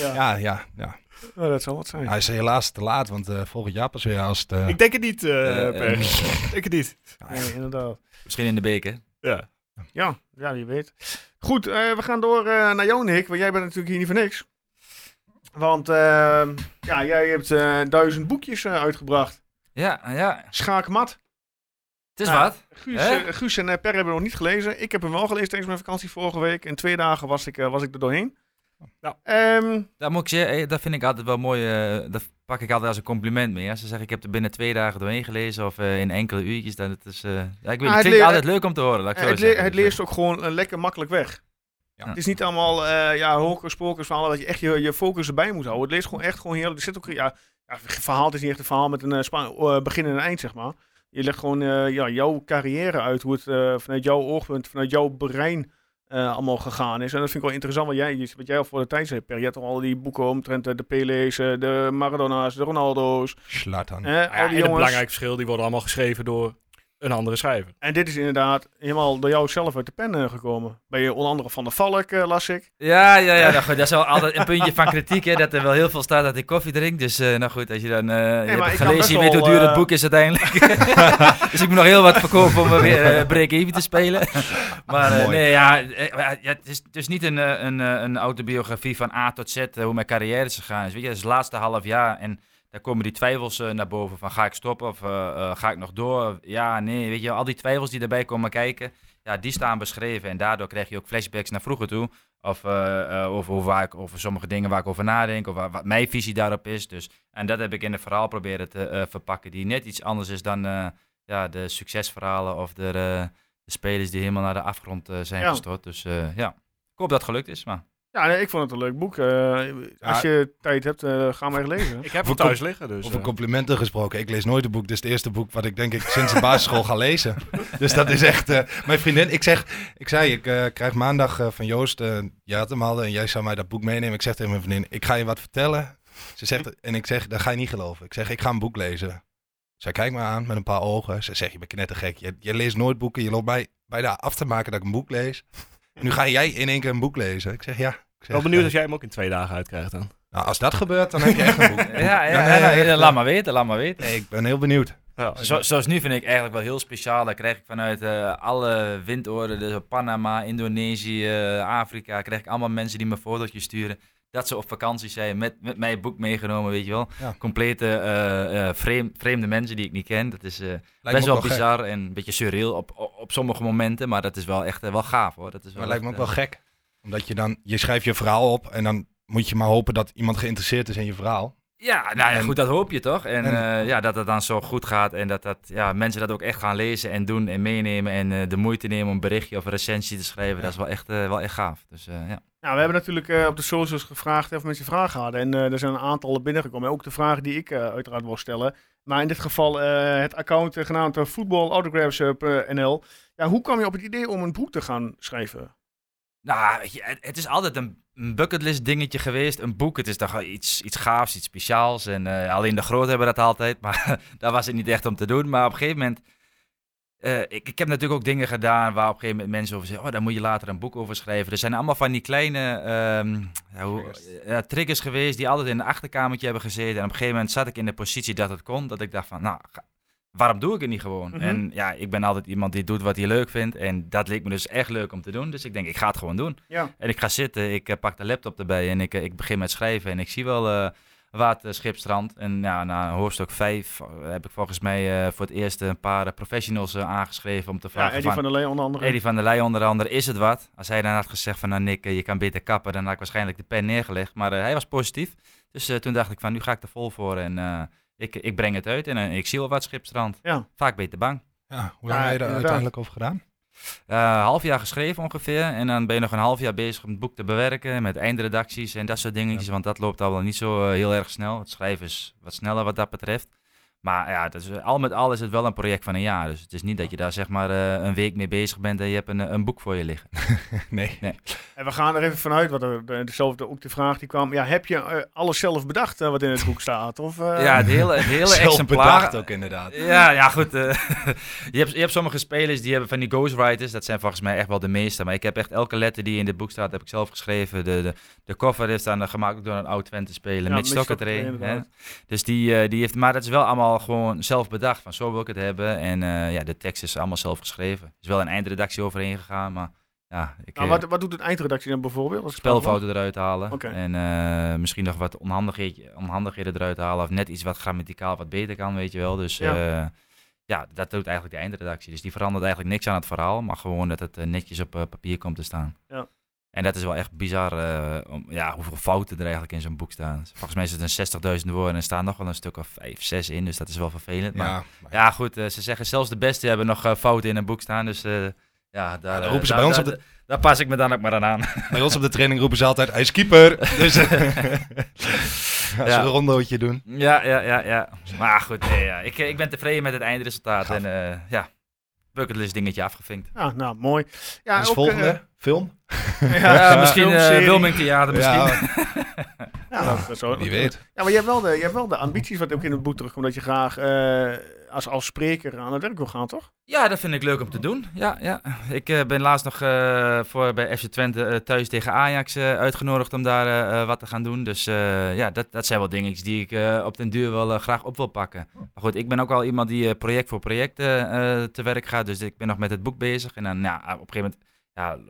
Speaker 6: Ja, ja, ja.
Speaker 1: Nou, dat zal wat zijn.
Speaker 6: Hij is helaas te laat, want eh, volgend jaar pas weer als het... eh,
Speaker 4: Ik denk het niet, eh
Speaker 5: Eh,
Speaker 4: Berg. Ik denk het niet.
Speaker 1: Nee, inderdaad.
Speaker 5: Misschien in de beker.
Speaker 4: Ja.
Speaker 1: Ja, ja, je weet. Goed, eh, we gaan door eh, naar jou, Nick. Want jij bent natuurlijk hier niet voor niks. Want eh, ja, jij hebt eh, duizend boekjes eh, uitgebracht.
Speaker 5: Ja, ja.
Speaker 1: Schaakmat.
Speaker 5: Het is
Speaker 1: Ja.
Speaker 5: wat.
Speaker 1: Guus,
Speaker 5: Hè?
Speaker 1: eh, Guus en eh, Per hebben hem nog niet gelezen. Ik heb hem wel gelezen tijdens mijn vakantie vorige week. In twee dagen was ik, eh, was ik er doorheen.
Speaker 4: Ja.
Speaker 1: Ehm,
Speaker 5: Dat, moet ik zeggen, eh, dat vind ik altijd wel mooi. eh, dat pak ik altijd als een compliment mee. Als ze zeggen, ik heb er binnen twee dagen doorheen gelezen of eh, in enkele uurtjes. Dan het is, eh, ja, ik weet,
Speaker 1: het
Speaker 5: niet, het
Speaker 1: leer-
Speaker 5: klinkt altijd leuk om te horen. laat ik
Speaker 1: eh,
Speaker 5: zo
Speaker 1: het, le-
Speaker 5: zeggen.
Speaker 1: het
Speaker 5: Dus, eh,
Speaker 1: leest ook gewoon eh, lekker makkelijk weg.
Speaker 6: Ja.
Speaker 1: Het is niet allemaal eh ja, hocus-pocus verhalen dat je echt je, je focus erbij moet houden. Het leest gewoon echt gewoon heel... Er zit ook, ja, ja, verhaal het is niet echt een verhaal met een eh, spa- eh, begin en een eind, zeg maar. Je legt gewoon eh, ja, jouw carrière uit, hoe het eh, vanuit jouw oogpunt, vanuit jouw brein eh, allemaal gegaan is. En dat vind ik wel interessant, wat jij, wat jij al voor de tijd zei, Per. Je hebt toch al die boeken omtrent eh, de Pele's, eh, de Maradona's, de Ronaldo's, eh,
Speaker 6: Zlatan.
Speaker 4: Nou ja,
Speaker 1: al
Speaker 4: en
Speaker 1: die
Speaker 4: het
Speaker 1: jongens.
Speaker 4: belangrijk verschil, die worden allemaal geschreven door een andere schrijver.
Speaker 1: En dit is inderdaad helemaal door jou zelf uit de pen eh, gekomen. Bij je onder andere Van der Valk, eh, las ik.
Speaker 5: Ja, ja, ja. Nou goed, dat is wel altijd een puntje van kritiek. Hè, dat er wel heel veel staat dat ik koffie drink. Dus eh, nou goed, als je dan eh je
Speaker 1: maar
Speaker 5: hebt
Speaker 1: ik kan best
Speaker 5: gelezen, je weet hoe
Speaker 1: wel,
Speaker 5: duur het
Speaker 1: eh,
Speaker 5: boek is uiteindelijk. dus ik moet nog heel wat verkopen om er weer eh, break-even te spelen. maar eh,
Speaker 6: Mooi.
Speaker 5: nee, ja, eh, ja, het is dus niet een, eh, een, eh, een autobiografie van A tot Z eh, hoe mijn carrière is gegaan. Dus weet je, dat is het laatste half jaar en daar komen die twijfels eh, naar boven van ga ik stoppen of eh, eh, ga ik nog door? Ja, nee, weet je, al die twijfels die daarbij komen kijken, ja, die staan beschreven en daardoor krijg je ook flashbacks naar vroeger toe. Of eh, eh, over, hoe waar ik, over sommige dingen waar ik over nadenk. Of waar- wat mijn visie daarop is. Dus, en dat heb ik in een verhaal proberen te eh, verpakken. Die net iets anders is dan eh, ja, de succesverhalen. Of de, eh, de spelers die helemaal naar de afgrond eh, zijn
Speaker 1: Ja.
Speaker 5: gestort. Dus eh, ja, ik hoop dat het gelukt is. Maar
Speaker 1: Ja, nee, ik vond het een leuk boek. Eh, als je tijd hebt, eh, ga maar even lezen.
Speaker 4: Ik heb
Speaker 6: hem
Speaker 4: hem
Speaker 6: thuis eh.
Speaker 4: thuis liggen, dus...
Speaker 6: Over complimenten gesproken. Ik lees nooit een boek. Dit is het eerste boek wat ik denk ik sinds de basisschool ga lezen. Dus dat is echt... eh, mijn vriendin, ik zeg... Ik zei, ik eh, krijg maandag eh, van Joost... eh jij had hem al en jij zou mij dat boek meenemen. Ik zeg tegen mijn vriendin, ik ga je wat vertellen. Ze zegt, en ik zeg, dat ga je niet geloven. Ik zeg, ik ga een boek lezen. Zij kijkt me aan met een paar ogen. Ze zegt, je bent knettergek. Je, je leest nooit boeken. Je loopt mij bijna af te maken dat ik een boek lees. Nu ga jij in één keer een boek lezen. Ik zeg, ja. Ik
Speaker 4: Ik
Speaker 6: zeg,
Speaker 4: ben wel benieuwd
Speaker 6: eh,
Speaker 4: als jij hem ook in twee dagen uitkrijgt dan.
Speaker 6: nou, als dat gebeurt, dan heb je echt een boek.
Speaker 5: ja, ja,
Speaker 6: Dan,
Speaker 5: ja,
Speaker 6: eh, echt, eh,
Speaker 5: laat maar weten, laat maar weten.
Speaker 6: nee, ik ben heel benieuwd.
Speaker 5: Zo, zoals nu vind ik eigenlijk wel heel speciaal. Daar krijg ik vanuit eh, alle windoorden, dus Panama, Indonesië, eh, Afrika, krijg ik allemaal mensen die me fotootjes sturen. dat ze op vakantie zijn met, met mijn boek meegenomen, weet je wel.
Speaker 6: Ja.
Speaker 5: Complete eh, eh, vreem- vreemde mensen die ik niet ken. Dat is eh,
Speaker 6: me
Speaker 5: best
Speaker 6: ook
Speaker 5: wel
Speaker 6: wel gek.
Speaker 5: bizar en een beetje surreal op, op, op sommige momenten. Maar dat is wel echt eh, wel gaaf hoor. Dat is wel
Speaker 6: Maar lijkt me ook
Speaker 5: echt,
Speaker 6: wel
Speaker 5: eh,
Speaker 6: gek. Omdat je dan, je schrijft je verhaal op en dan moet je maar hopen dat iemand geïnteresseerd is in je verhaal.
Speaker 5: Ja, nou ja,
Speaker 6: En-
Speaker 5: goed, dat hoop je toch? En,
Speaker 6: en-
Speaker 5: eh, ja, dat het dan zo goed gaat en dat, dat ja, mensen dat ook echt gaan lezen en doen en meenemen en eh, de moeite nemen om een berichtje of een recensie te schrijven, dat is wel echt, eh, wel echt gaaf. Dus eh, ja.
Speaker 1: Nou, we hebben natuurlijk eh, op de socials gevraagd of mensen vragen hadden. En eh, er zijn een aantal binnengekomen. Ook de vragen die ik eh, uiteraard wil stellen. Maar in dit geval eh, het account eh, genaamd eh, Football Autographs eh, per NL. Ja, hoe kwam je op het idee om een boek te gaan schrijven?
Speaker 5: Nou, weet je, het, het is altijd een, een bucketlist dingetje geweest. Een boek, het is toch wel iets, iets gaafs, iets speciaals. En eh, alleen de groot hebben dat altijd, maar daar was het niet echt om te doen. Maar op een gegeven moment, eh, ik, ik heb natuurlijk ook dingen gedaan waar op een gegeven moment mensen over zeggen, oh, daar moet je later een boek over schrijven. Er zijn allemaal van die kleine ehm, ja, hoe- ja, triggers geweest die altijd in een achterkamertje hebben gezeten. En op een gegeven moment zat ik in de positie dat het kon, dat ik dacht van, nou, ga- waarom doe ik het niet gewoon?
Speaker 1: Mhm.
Speaker 5: En ja, ik ben altijd iemand die doet wat hij leuk vindt. En dat leek me dus echt leuk om te doen. Dus ik denk, ik ga het gewoon doen.
Speaker 1: Ja.
Speaker 5: En ik ga zitten, ik eh, pak de laptop erbij en ik, eh, ik begin met schrijven. En ik zie wel eh waterschipstrand. En ja, na hoofdstuk 5 heb ik volgens mij eh, voor het eerst een paar eh, professionals eh, aangeschreven om te
Speaker 1: Ja,
Speaker 5: vragen
Speaker 1: Eddie van der
Speaker 5: van...
Speaker 1: Lee onder andere.
Speaker 5: Eddie van der Leij onder andere, is het wat? Als hij dan had gezegd van, nou Nick, eh, je kan beter kappen, dan had ik waarschijnlijk de pen neergelegd. Maar eh, hij was positief. Dus eh, toen dacht ik van, nu ga ik er vol voor en eh, ik, ik breng het uit. En eh, ik zie wel wat schipstrand.
Speaker 1: Ja.
Speaker 5: Vaak beter bang.
Speaker 6: Ja, hoe
Speaker 1: Ja,
Speaker 6: lang heb je daar
Speaker 1: inderdaad.
Speaker 6: uiteindelijk over gedaan?
Speaker 5: Eh, half jaar geschreven ongeveer. En dan ben je nog een half jaar bezig om het boek te bewerken. Met eindredacties en dat soort dingetjes. Want dat loopt al wel niet zo eh, heel erg snel. Het schrijven is wat sneller wat dat betreft. Maar ja, dat is, eh, al met al is het wel een project van een jaar. Dus het is niet dat je daar zeg maar eh, een week mee bezig bent en je hebt een, eh, een boek voor je liggen.
Speaker 6: Nee.
Speaker 1: En we gaan er even vanuit, wat er de- dezelfde ook de vraag die kwam. Ja, heb je eh, alles zelf bedacht eh, wat in het boek staat? Of, eh,
Speaker 5: ja, het hele, het hele
Speaker 6: Zelf
Speaker 5: exemplaar.
Speaker 6: bedacht ook inderdaad.
Speaker 5: Ja, ja, goed. eh, je, hebt, je hebt sommige spelers die hebben van die ghostwriters. Dat zijn volgens mij echt wel de meeste. Maar ik heb echt elke letter die in dit boek staat, heb ik zelf geschreven. De, de, de cover is dan eh, gemaakt door een oud Twente speler,
Speaker 1: Ja,
Speaker 5: Mitch
Speaker 1: Mitch
Speaker 5: Stocketray.
Speaker 1: Stocketray,
Speaker 5: hè.
Speaker 1: inderdaad.
Speaker 5: Dus die, eh, die heeft, maar dat is wel allemaal gewoon zelf bedacht. Van zo wil ik het hebben. En eh, ja, de tekst is allemaal zelf geschreven. Er is wel een eindredactie overheen gegaan, maar ja, ik
Speaker 1: Nou,
Speaker 5: eh,
Speaker 1: wat, wat doet een eindredactie dan bijvoorbeeld? Als ik
Speaker 5: spelfouten eruit halen.
Speaker 1: Oké.
Speaker 5: En eh, misschien nog wat onhandigheden, onhandigheden eruit halen. Of net iets wat grammaticaal wat beter kan, weet je wel. Dus
Speaker 1: Ja.
Speaker 5: ja, ja dat doet eigenlijk de eindredactie. Dus die verandert eigenlijk niks aan het verhaal. Maar gewoon dat het eh, netjes op eh, papier komt te staan.
Speaker 1: Ja.
Speaker 5: En dat is wel echt bizar eh, om, ja, hoeveel fouten er eigenlijk in zo'n boek staan. Volgens mij is het een 60.000 woorden en er staan nog wel een stuk of 5, 6 in. Dus dat is wel vervelend. Maar
Speaker 6: Ja, maar
Speaker 5: ja, goed. eh, ze zeggen zelfs de beste hebben nog eh, fouten in een boek staan. Dus eh, ja, daar,
Speaker 6: dan
Speaker 5: eh,
Speaker 6: roepen ze
Speaker 5: daar-
Speaker 6: bij ons
Speaker 5: daar-
Speaker 6: op de-
Speaker 5: daar pas ik me dan ook maar aan aan.
Speaker 6: Bij ons op de training roepen ze altijd, hij is keeper. Dus als
Speaker 5: Ja.
Speaker 6: we een rondootje doen.
Speaker 5: Ja, ja, ja, ja. Maar goed, nee, ja. Ik, eh, ik ben tevreden met het eindresultaat. En eh ja, bucketlist dingetje afgevinkt.
Speaker 1: Ja, nou, mooi. Ja,
Speaker 6: dus
Speaker 1: ook,
Speaker 6: volgende,
Speaker 1: eh,
Speaker 6: film?
Speaker 5: Ja, misschien eh
Speaker 1: filmserie.
Speaker 5: Wilming Theater, misschien. Ja,
Speaker 6: Ja,
Speaker 1: Ja, dat is zo.
Speaker 6: wie weet.
Speaker 1: Ja, maar je hebt wel de, je hebt wel de ambities wat ook in het boek terugkomt. Dat je graag eh, als, als spreker aan het werk wil gaan, toch?
Speaker 5: dat vind ik leuk om te doen. Ja, ja. Ik eh, ben laatst nog eh, voor bij FC Twente eh, thuis tegen Ajax eh, uitgenodigd om daar eh, eh, wat te gaan doen. Dus eh, ja, dat, dat zijn wel dingetjes die ik eh, op den duur wel eh, graag op wil pakken. Maar goed, ik ben ook al iemand die eh, project voor project eh, eh, te werk gaat. Dus ik ben nog met het boek bezig. En dan ja, op een gegeven moment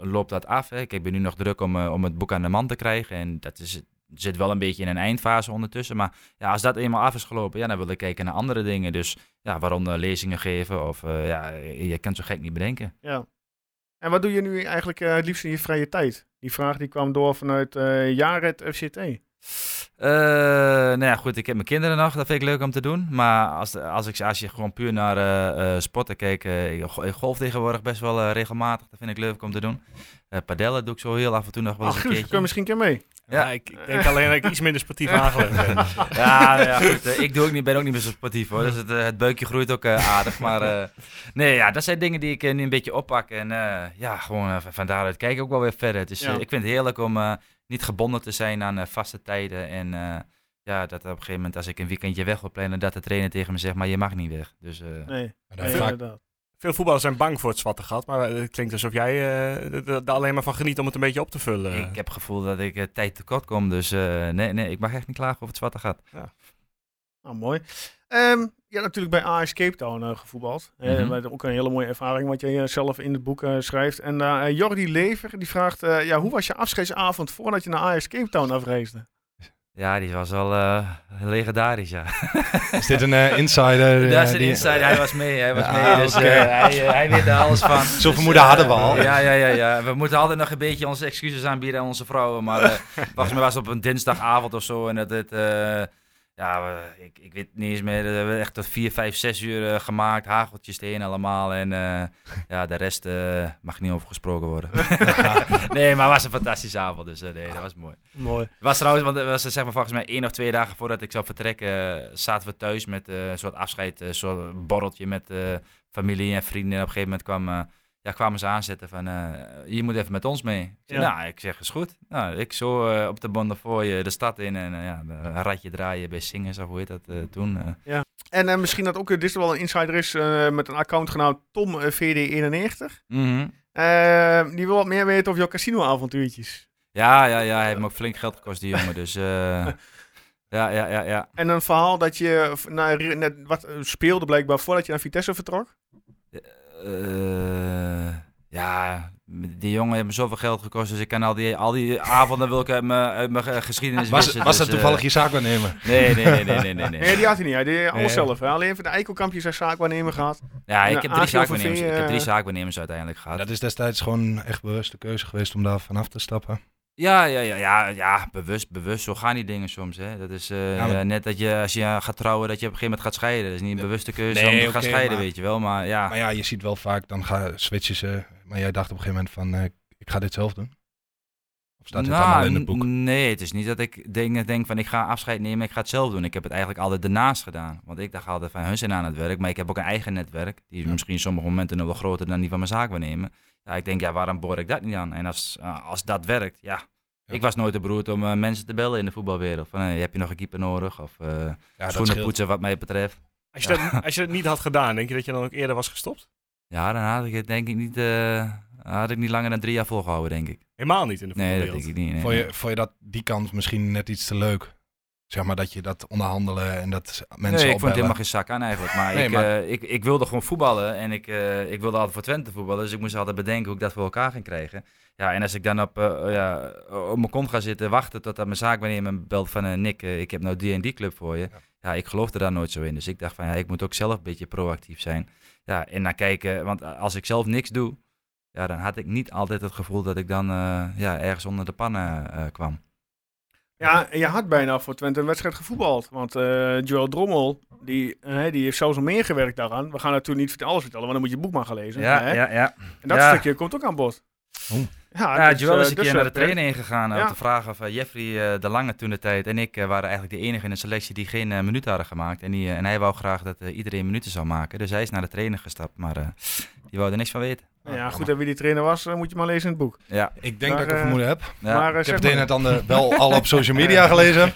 Speaker 5: ja, loopt dat af. Hè. Ik ben nu nog druk om, eh, om het boek aan de man te krijgen. En dat is, zit wel een beetje in een eindfase ondertussen. Maar ja, als dat eenmaal af is gelopen, ja, dan wil ik kijken naar andere dingen. Dus ja, waaronder lezingen geven of eh, ja, je kan het zo gek niet bedenken.
Speaker 1: Ja. En wat doe je nu eigenlijk eh, het liefst in je vrije tijd? Die vraag die kwam door vanuit eh Jared FCT.
Speaker 5: Eh, nou ja, goed, ik heb mijn kinderen nog. Dat vind ik leuk om te doen. Maar als, als, ik, als je gewoon puur naar eh, eh, sporten kijkt, eh, ik go- ik golf tegenwoordig best wel eh, regelmatig. Dat vind ik leuk om te doen. Eh padellen doe ik zo heel af en toe nog wel eens
Speaker 1: Ach,
Speaker 5: een
Speaker 1: Guus,
Speaker 5: keertje.
Speaker 1: kun je misschien een keer mee?
Speaker 5: Ja.
Speaker 4: Ja, ik, ik denk alleen dat ik iets minder sportief aangelegd ben.
Speaker 5: Ja, nou ja goed, eh, ik doe ook niet, ben ook niet meer zo sportief hoor. Dus het, eh, het beukje groeit ook eh, aardig. Maar eh, nee, ja, dat zijn dingen die ik eh, nu een beetje oppak. En eh, ja, gewoon eh, van daaruit kijk ik ook wel weer verder. Het is, eh,
Speaker 1: Ja.
Speaker 5: ik vind het heerlijk om eh, niet gebonden te zijn aan eh, vaste tijden. En eh, ja, dat op een gegeven moment als ik een weekendje weg wil plannen, dat de trainer tegen me zegt, maar je mag niet weg. Dus eh,
Speaker 1: Nee,
Speaker 6: Dan
Speaker 1: nee,
Speaker 6: vaak-
Speaker 1: inderdaad.
Speaker 4: Veel voetballers zijn bang voor het zwarte gat, maar het klinkt alsof jij eh, d- d- daar alleen maar van geniet om het een beetje op te vullen.
Speaker 5: ik heb het gevoel dat ik eh, tijd tekort kom. Dus eh, nee, nee, ik mag echt niet klagen over het zwarte gat.
Speaker 1: Nou, mooi. Ehm, ja, natuurlijk bij AS Cape Town eh, gevoetbald. Eh,
Speaker 5: Mhm.
Speaker 1: maar Ook een hele mooie ervaring, wat je eh, zelf in het boek eh, schrijft. En eh, Jordi Lever, die vraagt, eh, ja, hoe was je afscheidsavond voordat je naar AS Cape Town afreisde?
Speaker 5: Ja, die was wel eh, legendarisch, ja.
Speaker 6: Is dit een eh, insider? eh,
Speaker 5: Daar is een
Speaker 6: die-
Speaker 5: insider, hij was mee, hij was
Speaker 6: Ja,
Speaker 5: mee, dus eh,
Speaker 6: oké.
Speaker 5: hij, eh, hij weet daar alles van.
Speaker 6: Zo'n vermoeden hadden we al.
Speaker 5: Ja, ja, ja, ja. We moeten altijd nog een beetje onze excuses aanbieden aan onze vrouwen, maar eh, volgens mij was het op een dinsdagavond of zo en dat het, eh, ja, we- ik, ik weet niet eens meer, eh, we hebben echt tot 4, 5, 6 uur eh, gemaakt, hageltjes tegen allemaal en eh, ja, de rest eh, mag niet over gesproken worden. nee, maar het was een fantastische avond, dus eh, nee, dat was mooi.
Speaker 1: Mooi.
Speaker 5: Het was trouwens, want het was eh, zeg maar volgens mij één of twee dagen voordat ik zou vertrekken, eh, zaten we thuis met eh, een soort afscheid, eh, een soort borreltje met eh, familie en vrienden. En op een gegeven moment kwam, eh, ja, kwamen ze aanzetten van, eh, je moet even met ons mee. Ik zei,
Speaker 1: Ja.
Speaker 5: Nou, ik zeg, is goed. Nou, ik zo eh, op de Bonnefoy eh de stad in en eh, ja, een ratje draaien bij Singers of hoe heet dat eh, toen. eh.
Speaker 1: En eh, misschien dat ook, eh, dit is wel een insider is, eh, met een account genaamd eh, TomVD91.
Speaker 5: Mhm.
Speaker 1: Eh, die wil wat meer weten over jouw casino-avontuurtjes.
Speaker 5: Ja, ja, ja, hij heeft me ook flink geld gekost, die jongen, dus... eh, Ja, ja, ja, ja.
Speaker 1: En een verhaal dat je eh, naar, net wat eh, speelde blijkbaar voordat je naar Vitesse vertrok.
Speaker 5: Eh, ja, die jongen heeft me zoveel geld gekost, dus ik kan al die, al die avonden wil ik uit mijn, uit mijn ge- geschiedenis
Speaker 6: Was,
Speaker 5: wissen,
Speaker 6: was
Speaker 5: dus,
Speaker 6: dat toevallig
Speaker 5: eh,
Speaker 6: je zaakwaarnemer?
Speaker 5: nee, nee, nee, nee, nee, nee, nee.
Speaker 1: Nee, die had hij niet. Hij deed alles
Speaker 6: Nee.
Speaker 1: zelf. Hè? Alleen van de eikelkampjes zijn zaakwaarnemer gehad.
Speaker 5: Ja,
Speaker 1: Ja,
Speaker 5: ik heb drie
Speaker 1: AGOVV,
Speaker 5: zaakwaarnemers, ik heb drie
Speaker 1: eh,
Speaker 5: zaakwaarnemers uiteindelijk gehad.
Speaker 6: Dat is destijds gewoon echt bewust de keuze geweest om daar vanaf te stappen.
Speaker 5: Ja, ja, ja, ja, ja, bewust, bewust, zo gaan die dingen soms, hè. Dat is eh,
Speaker 6: Ja, maar-
Speaker 5: eh, net dat je, als je eh, gaat trouwen, dat je op een gegeven moment gaat scheiden. Dat is niet een bewuste keuze
Speaker 6: Nee,
Speaker 5: om te
Speaker 6: oké,
Speaker 5: gaan scheiden,
Speaker 6: maar-
Speaker 5: weet je wel, maar ja.
Speaker 6: Maar ja, je ziet wel vaak, dan ga, switchen ze. Maar jij dacht op een gegeven moment van, eh, ik ga dit zelf doen. Of staat dit allemaal in het boek?
Speaker 5: Nou, n- Nee, het is niet dat ik dingen denk van ik ga afscheid nemen, ik ga het zelf doen. Ik heb het eigenlijk altijd daarnaast gedaan. Want ik dacht altijd van hun zijn aan het werk, maar ik heb ook een eigen netwerk. Die is
Speaker 6: Ja.
Speaker 5: misschien sommige momenten nog wel groter dan die van mijn zaak waarnemen. Ja, ik denk, ja, waarom boor ik dat niet aan? En als, eh, als dat werkt, ja.
Speaker 6: Ja.
Speaker 5: Ik was nooit de beroerd om eh, mensen te bellen in de voetbalwereld. Van, hey, heb je nog een keeper nodig? Of eh,
Speaker 6: Ja, dat
Speaker 5: schoenen
Speaker 6: scheelt.
Speaker 5: poetsen, wat mij betreft.
Speaker 4: Als je, dat, als je dat niet had gedaan, denk je dat je dan ook eerder was gestopt?
Speaker 5: Ja, dan had ik het denk ik niet, eh, had ik niet langer dan drie jaar volgehouden, denk ik.
Speaker 4: Helemaal niet in de
Speaker 5: Nee, dat
Speaker 4: voetbalwereld.
Speaker 5: denk ik niet. nee.
Speaker 6: Vond je, vond je dat die kant misschien net iets te leuk? Zeg maar dat je dat onderhandelen en dat mensen
Speaker 5: nee, ik vond het
Speaker 6: opbellen.
Speaker 5: helemaal geen zak aan eigenlijk. Maar,
Speaker 6: Nee,
Speaker 5: ik,
Speaker 6: maar-
Speaker 5: eh, ik, ik wilde gewoon voetballen en ik, eh, ik wilde altijd voor Twente voetballen. Dus ik moest altijd bedenken hoe ik dat voor elkaar ging krijgen. Ja, en als ik dan op, eh, ja, op mijn kont ga zitten wachten totdat mijn zaak wanneer me belt van eh, Nick, eh, ik heb nou die en die club voor je.
Speaker 6: Ja.
Speaker 5: Ja. ik geloofde daar nooit zo in. Dus ik dacht van ja, ik moet ook zelf een beetje proactief zijn. Ja, en naar kijken, want als ik zelf niks doe, ja, dan had ik niet altijd het gevoel dat ik dan eh, ja, ergens onder de pannen eh, kwam.
Speaker 1: Ja, en je had bijna voor Twente een wedstrijd gevoetbald. Want eh, Joel Drommel, die, eh, die heeft zelfs al meegewerkt daaraan. We gaan natuurlijk niet vertellen- alles vertellen, want dan moet je het boek maar gaan lezen. hè?
Speaker 5: ja.
Speaker 1: En dat
Speaker 5: ja.
Speaker 1: stukje komt ook aan bod.
Speaker 6: Oeh.
Speaker 1: Ja,
Speaker 5: Ja,
Speaker 1: dus,
Speaker 5: Joel is
Speaker 1: eh,
Speaker 5: een
Speaker 1: dus,
Speaker 5: keer
Speaker 1: eh,
Speaker 5: naar de training ingegaan
Speaker 1: Ja.
Speaker 5: om te vragen of eh, Jeffrey eh, de Lange toen de tijd en ik eh, waren eigenlijk de enige in de selectie die geen eh, minuten hadden gemaakt. En, die, eh, en hij wou graag dat eh, iedereen minuten zou maken. Dus hij is naar de trainer gestapt, maar eh, die wou er niks van weten.
Speaker 1: Nou Ja, goed, en wie die trainer was, eh, moet je maar lezen in het boek.
Speaker 5: Ja,
Speaker 6: Ik denk
Speaker 1: Maar,
Speaker 6: dat ik een
Speaker 1: eh,
Speaker 6: vermoeden heb.
Speaker 5: ja.
Speaker 1: maar eh,
Speaker 6: Ik heb
Speaker 1: zeg
Speaker 6: het een en
Speaker 1: maar.
Speaker 6: het ander wel al op social media gelezen.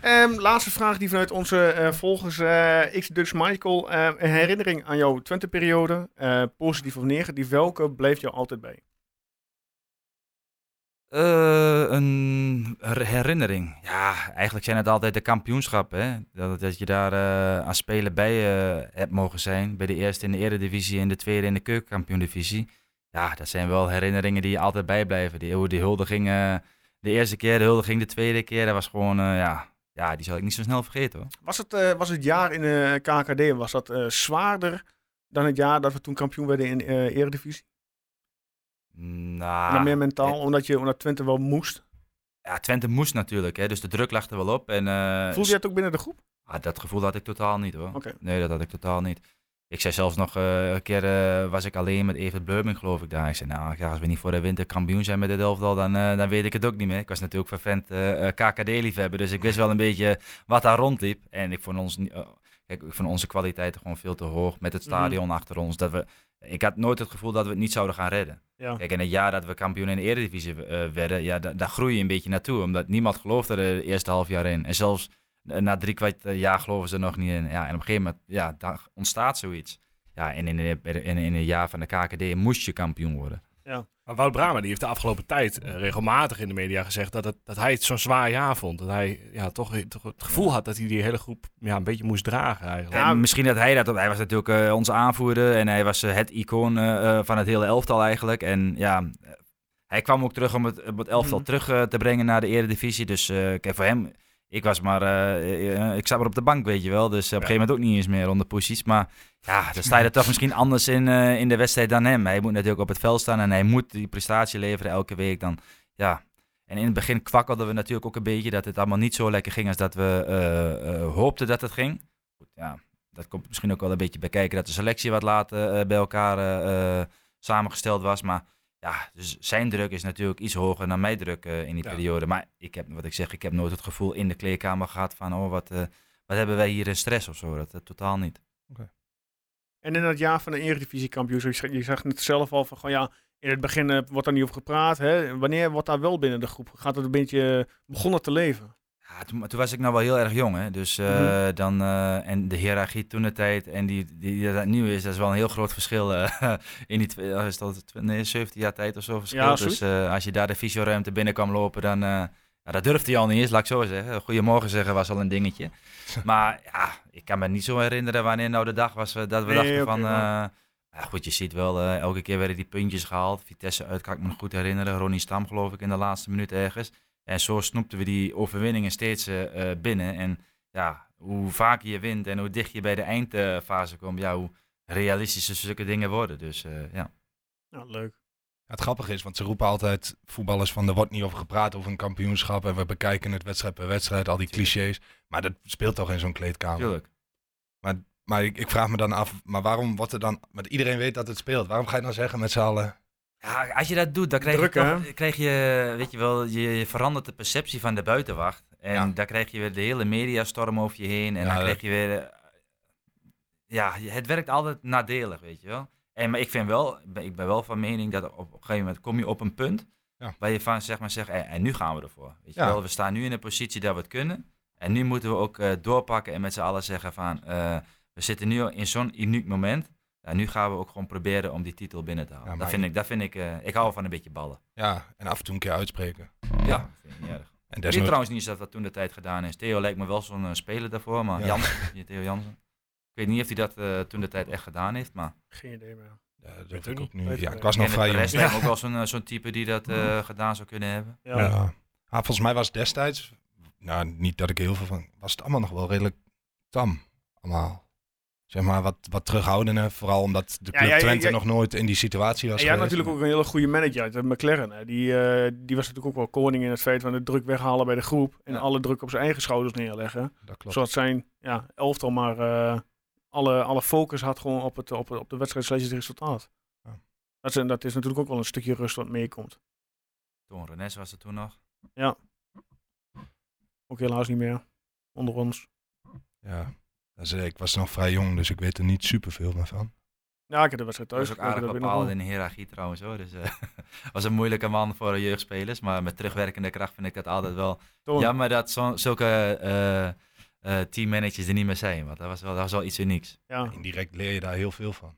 Speaker 1: Ehm, laatste vraag die vanuit onze eh, volgers eh X-Dux Michael. eh, een herinnering aan jouw Twente-periode, eh, positief of negatief, welke bleef jou altijd bij?
Speaker 5: Eh, een her- herinnering. Ja, eigenlijk zijn het altijd de kampioenschappen. Hè? Dat, dat je daar eh aan spelen bij eh, hebt mogen zijn. Bij de eerste in de eredivisie en de tweede in de keukenkampioendivisie. Ja, dat zijn wel herinneringen die je altijd bijblijven. Die, hoe die huldiging, eh, de eerste keer, de huldiging de tweede keer. Dat was gewoon, eh, ja, ja, die zal ik niet zo snel vergeten hoor.
Speaker 1: Was het, eh, was het jaar in de KKD, was dat eh, zwaarder dan het jaar dat we toen kampioen werden in eh Eredivisie?
Speaker 5: Nou, Ah,
Speaker 1: Maar meer mentaal, omdat, je, omdat Twente wel moest.
Speaker 5: Ja, Twente moest natuurlijk, hè, dus de druk lag er wel op. En, eh,
Speaker 1: Voelde je het ook binnen de groep?
Speaker 5: Ah, dat gevoel had ik totaal niet hoor.
Speaker 1: Oké.
Speaker 5: Nee, dat had ik totaal niet. Ik zei zelfs nog eh, een keer, eh, was ik alleen met Evert Bleuming geloof ik daar. Ik zei, nou ja, als we niet voor de winter kampioen zijn met dit elftal, dan, eh, dan weet ik het ook niet meer. Ik was natuurlijk vervent eh, eh, KKD-liefhebber, dus ik wist wel een beetje wat daar rondliep. En ik vond, ons, ni- eh, kijk, ik vond onze kwaliteiten gewoon veel te hoog met het stadion achter ons. Dat we, ik had nooit het gevoel dat we het niet zouden gaan redden.
Speaker 1: Ja.
Speaker 5: Kijk, in het jaar dat we kampioen in de Eredivisie eh, werden, ja, da- daar groei je een beetje naartoe. Omdat niemand geloofde er de eerste half jaar in. En zelfs eh, na drie kwart eh, jaar geloven ze er nog niet in. Ja, en op een gegeven moment ja, daar ontstaat zoiets. Ja, en in, de- in, in het jaar van de KKD moest je kampioen worden.
Speaker 4: Maar Wout Brama die heeft de afgelopen tijd eh, regelmatig in de media gezegd dat, het, dat hij het zo'n zwaar jaar vond. Dat hij ja, toch, toch het gevoel had dat hij die hele groep ja, een beetje moest dragen eigenlijk.
Speaker 5: En misschien dat hij dat... Hij was natuurlijk eh, onze aanvoerder en hij was eh, het icoon eh, eh, van het hele elftal eigenlijk. En ja, eh, hij kwam ook terug om het, om het elftal terug eh, te brengen naar de eredivisie. Dus eh, kijk, voor hem... Ik was maar... eh, eh, ik zat maar op de bank, weet je wel. Dus op een gegeven moment ook niet eens meer onder posities. Maar ja, dan sta je er toch misschien anders in, eh, in de wedstrijd dan hem. Hij moet natuurlijk op het veld staan en hij moet die prestatie leveren elke week. Dan, ja. En in het begin kwakkelden we natuurlijk ook een beetje dat het allemaal niet zo lekker ging als dat we eh, eh, hoopten dat het ging. Goed, ja, dat komt misschien ook wel een beetje bekijken dat de selectie wat later eh, bij elkaar eh, eh, samengesteld was. Maar ja, dus zijn druk is natuurlijk iets hoger dan mijn druk eh, in die
Speaker 4: Ja.
Speaker 5: periode. Maar ik heb, wat ik zeg, ik heb nooit het gevoel in de kleedkamer gehad van, oh, wat, eh, wat hebben wij hier in stress of zo. Dat, dat totaal niet.
Speaker 1: En in dat jaar van de Eredivisie kampioen, je, zag- je zag het zelf al van gewoon ja, in het begin eh, wordt daar niet over gepraat. Hè? Wanneer wordt daar wel binnen de groep? Gaat het een beetje eh, begonnen te leven?
Speaker 5: Ja, toen, maar toen was ik nog wel heel erg jong, hè. Dus eh,
Speaker 1: Mhm.
Speaker 5: dan, eh, en de hiërarchie toen de tijd en die, die, die dat nu is, dat is wel een heel groot verschil. eh, in die twee, eh, is dat, tw- nee, 17 jaar tijd of zo verschil.
Speaker 1: Ja, zoiets.
Speaker 5: dus eh, als je daar de fysioruimte binnen kwam lopen, dan... eh, ja, dat durfde hij al niet eens, laat ik zo zeggen. Goedemorgen zeggen was al een dingetje. Maar ja, ik kan me niet zo herinneren wanneer nou de dag was eh, dat we
Speaker 1: Nee,
Speaker 5: dachten
Speaker 1: oké,
Speaker 5: van...
Speaker 1: maar-
Speaker 5: eh, ja, goed, je ziet wel, eh, elke keer werden die puntjes gehaald. Vitesse uit, kan ik me nog goed herinneren. Ronnie Stam geloof ik in de laatste minuut ergens. En zo snoepten we die overwinningen steeds eh, eh, binnen. En ja, hoe vaker je wint en hoe dicht je bij de eindfase komt, ja, hoe realistische zulke dingen worden. Dus eh, ja.
Speaker 1: Ja, leuk.
Speaker 6: Ja, het grappige is, want ze roepen altijd voetballers van er wordt niet over gepraat over een kampioenschap en we bekijken het wedstrijd per wedstrijd, al die clichés. Maar dat speelt toch in zo'n kleedkamer.
Speaker 5: Tuurlijk.
Speaker 6: Maar ik, ik vraag me dan af, maar waarom wordt er dan, want iedereen weet dat het speelt, waarom ga je dan zeggen met z'n allen,
Speaker 5: Ja, als je dat doet, dan krijg,
Speaker 1: Druk,
Speaker 5: je,
Speaker 1: hè?
Speaker 5: toch- krijg je, weet je wel, je, je verandert de perceptie van de buitenwacht. En
Speaker 6: Ja.
Speaker 5: daar krijg je weer de hele mediastorm over je heen. En
Speaker 6: Ja,
Speaker 5: dan
Speaker 6: dat-
Speaker 5: krijg je weer... eh, ja, je- het werkt altijd nadelig, weet je wel. En, maar ik, vind wel, ik ben- ik ben wel van mening dat op een gegeven moment kom je op een punt...
Speaker 6: Ja.
Speaker 5: waar je van zeg maar zegt, en, en nu gaan we ervoor. Weet je
Speaker 6: Ja.
Speaker 5: wel, we staan nu in een positie dat we het kunnen. En nu moeten we ook eh, doorpakken en met z'n allen zeggen van... eh, we zitten nu in zo'n uniek moment. Ja, nu gaan we ook gewoon proberen om die titel binnen te halen.
Speaker 6: Ja,
Speaker 5: dat
Speaker 6: maar-
Speaker 5: vind ik, dat vind ik, eh, ik hou van een beetje ballen.
Speaker 6: ja, en af en toe een keer uitspreken.
Speaker 5: Ja, dat vind ik niet erg.
Speaker 6: En
Speaker 5: Ik weet
Speaker 6: desnoods,
Speaker 5: trouwens niet eens dat dat toen de tijd gedaan is. Theo lijkt me wel zo'n eh, speler daarvoor, maar
Speaker 6: Ja.
Speaker 5: Jansen, die Theo Jansen. Ik weet niet of hij dat eh, toen de tijd echt gedaan heeft, maar
Speaker 1: Geen idee meer.
Speaker 6: Ja, dat
Speaker 4: Weet
Speaker 6: weet
Speaker 4: ik
Speaker 6: ik ook
Speaker 1: Weet
Speaker 6: niet.
Speaker 1: ik
Speaker 6: Ja,
Speaker 1: niet.
Speaker 6: ik was nog
Speaker 5: en de
Speaker 6: vrij jong.
Speaker 5: rest
Speaker 6: Ja.
Speaker 5: lijkt me ook wel zo'n eh, zo'n type die dat eh, gedaan zou kunnen hebben.
Speaker 1: Ja.
Speaker 6: Ah, volgens mij was destijds, nou niet dat ik heel veel van, was het allemaal nog wel redelijk tam, allemaal. Zeg maar wat, wat terughoudender, vooral omdat de
Speaker 1: Ja,
Speaker 6: club
Speaker 1: jij-
Speaker 6: Twente
Speaker 1: jij-
Speaker 6: nog nooit in die situatie was
Speaker 1: En jij had
Speaker 6: geweest.
Speaker 1: natuurlijk ook een hele goede manager uit, eh, McLaren. Hè? Die, eh, die was natuurlijk ook wel koning in het feit van de druk weghalen bij de groep. En
Speaker 5: Ja.
Speaker 1: alle druk op zijn eigen schouders neerleggen.
Speaker 6: Dat klopt.
Speaker 1: Zodat zijn ja, elftal maar eh, alle, alle focus had gewoon op, het, op, op de wedstrijd slechts het resultaat.
Speaker 6: Ja.
Speaker 1: Dat, is, dat is natuurlijk ook wel een stukje rust wat meekomt.
Speaker 5: Toen Renes was er toen nog.
Speaker 1: Ook helaas niet meer onder ons.
Speaker 6: Ja, dus, eh, ik was nog vrij jong, dus ik weet er niet superveel meer van.
Speaker 1: Ja, ik heb de wedstrijd
Speaker 5: Dat
Speaker 1: thuis
Speaker 5: was ook
Speaker 1: gekeken, dat weet ik
Speaker 5: aardig
Speaker 1: nog
Speaker 5: bepaald in de hiërarchie trouwens hoor. Dus eh, was een moeilijke man voor de jeugdspelers, maar met terugwerkende kracht vind ik dat altijd wel
Speaker 1: wel. Toon,
Speaker 5: Ja, maar dat zo, zulke eh, eh, teammanagers er niet meer zijn. Want dat was wel, dat was wel iets unieks.
Speaker 1: ja.
Speaker 6: Indirect leer je daar heel veel van.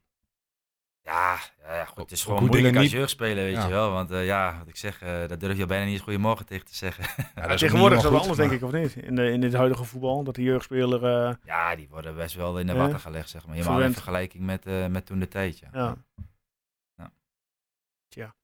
Speaker 5: Ja, ja, ja, goed, het is gewoon
Speaker 6: hoe
Speaker 5: moeilijk
Speaker 6: dingen
Speaker 5: als
Speaker 6: niet-
Speaker 5: jeugdspeler, weet
Speaker 6: Ja.
Speaker 5: je wel. Want eh, ja, wat ik zeg, eh dat durf je bijna niet eens goedemorgen tegen te zeggen.
Speaker 6: Ja,
Speaker 1: Ja, tegenwoordig is dat wel anders, denk ik, of niet? In, de, in dit huidige voetbal, dat de jeugdspeler... eh,
Speaker 5: ja, die worden best wel in de
Speaker 1: Ja.
Speaker 5: watten gelegd, zeg maar. Helemaal in
Speaker 1: Verwend.
Speaker 5: vergelijking met, eh, met toen de tijd, ja.
Speaker 1: ja.
Speaker 5: Ja.
Speaker 1: Tja.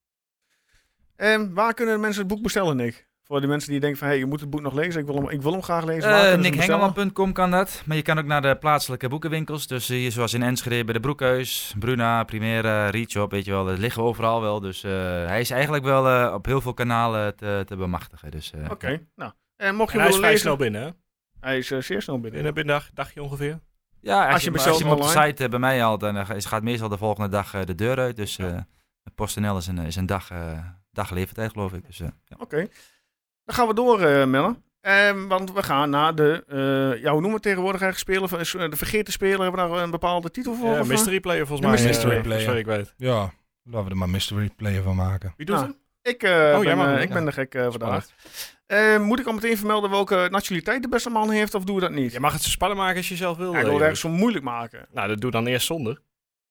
Speaker 1: En waar kunnen mensen het boek bestellen, Nick? Voor de mensen die denken van, hé, hey, je moet het boek nog lezen. Ik wil hem, ik wil hem graag lezen. Waar
Speaker 5: Eh,
Speaker 1: kunnen ze hem bestellen?
Speaker 5: NickHengelman.com kan dat. Maar je kan ook naar de plaatselijke boekenwinkels. Dus eh, hier zoals in Enschede bij de Broekhuis, Bruna, Primera, Reachop, weet je wel. Dat liggen overal wel. Dus eh, hij is eigenlijk wel eh, op heel veel kanalen te, te bemachtigen. Dus, eh,
Speaker 1: Oké, nou. En mocht je
Speaker 4: En hij
Speaker 1: hem willen
Speaker 4: is vrij
Speaker 1: lezen...
Speaker 4: snel binnen, hè?
Speaker 1: Hij is eh, zeer snel binnen.
Speaker 4: Binnen, binnen een dag, dagje ongeveer.
Speaker 5: Ja, als,
Speaker 1: Als
Speaker 5: je,
Speaker 1: je
Speaker 5: hem- als je hem op de
Speaker 1: bestelt online.
Speaker 5: site eh, bij mij haalt, dan eh, is- gaat meestal de volgende dag eh, de deur uit. Dus eh PostNL is een, is een dag, eh, dag levertijd, geloof ik. Dus, eh, ja.
Speaker 1: Oké. Dan gaan we door, eh Melle. Ehm, want we gaan naar de, eh, ja, hoe noemen we het tegenwoordig eigenlijk? Spelen van, is, eh, de vergeten speler, hebben we daar een bepaalde titel voor?
Speaker 4: Ja,
Speaker 1: of, eh?
Speaker 4: mystery player volgens
Speaker 1: Ja,
Speaker 4: mij.
Speaker 1: mystery
Speaker 4: eh,
Speaker 6: player.
Speaker 4: Sorry, ik weet het.
Speaker 6: Ja, laten we er maar mystery player van maken.
Speaker 4: Wie doet
Speaker 1: Nou,
Speaker 4: het?
Speaker 1: Ik, eh, ben,
Speaker 4: jij mag
Speaker 1: eh,
Speaker 4: hem,
Speaker 1: ik
Speaker 4: Oh, ja.
Speaker 1: ben de gek eh, vandaag. Eh, moet ik al meteen vermelden welke nationaliteit de beste man heeft, of doen we dat niet?
Speaker 4: Je mag het zo spannend maken als je zelf wil.
Speaker 1: Ja, ik
Speaker 4: eh,
Speaker 1: wil het
Speaker 4: Joris.
Speaker 1: ergens zo moeilijk maken.
Speaker 4: Nou, dat doe dan eerst zonder.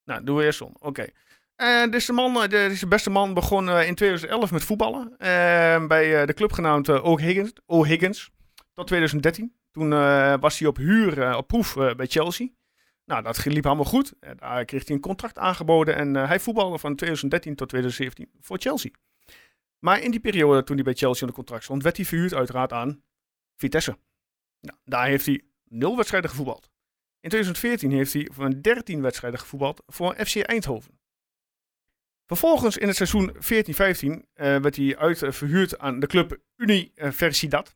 Speaker 1: Nou, doen we eerst om. Oké. En dus de, man, eh, de, dus de beste man begon eh, in 2011 met voetballen. eh, bij eh, de club genaamd eh, O'Higgins, O'Higgins. Tot 2013. Toen eh, was hij op huur, eh, op proef eh, bij Chelsea. Nou, dat liep allemaal goed. Eh, daar kreeg hij een contract aangeboden. En eh, hij voetbalde van 2013 tot 2017 voor Chelsea. Maar in die periode toen hij bij Chelsea onder contract stond, werd hij verhuurd uiteraard aan Vitesse. Nou, daar heeft hij nul wedstrijden gevoetbald. In 2014 heeft hij van 13 wedstrijden gevoetbald voor FC Eindhoven. Vervolgens in het seizoen 14-15 eh, werd hij uit, eh, verhuurd aan de club Universidad.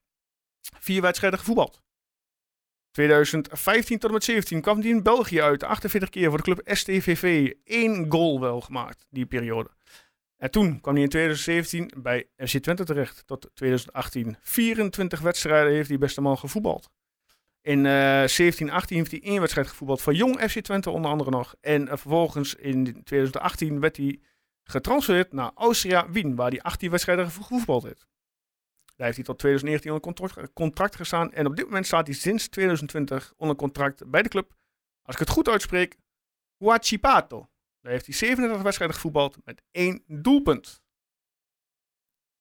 Speaker 1: Vier wedstrijden gevoetbald. 2015 tot en met 17 kwam hij in België uit. 48 keer voor de club STVV. Eén goal wel gemaakt die periode. En toen kwam hij in 2017 bij FC Twente terecht. Tot 2018. 24 wedstrijden heeft die beste man gevoetbald. In eh 17, 18 heeft hij één wedstrijd gevoetbald voor jong FC Twente onder andere nog. En eh, vervolgens in 2018 werd hij getransfereerd naar Austria Wien, waar hij 18 wedstrijden voor gevoetbald heeft. Daar heeft hij tot 2019 onder contract, contract gestaan. En op dit moment staat hij sinds 2020 onder contract bij de club. Als ik het goed uitspreek, Huachipato. Daar heeft hij 37 wedstrijden gevoetbald met één doelpunt.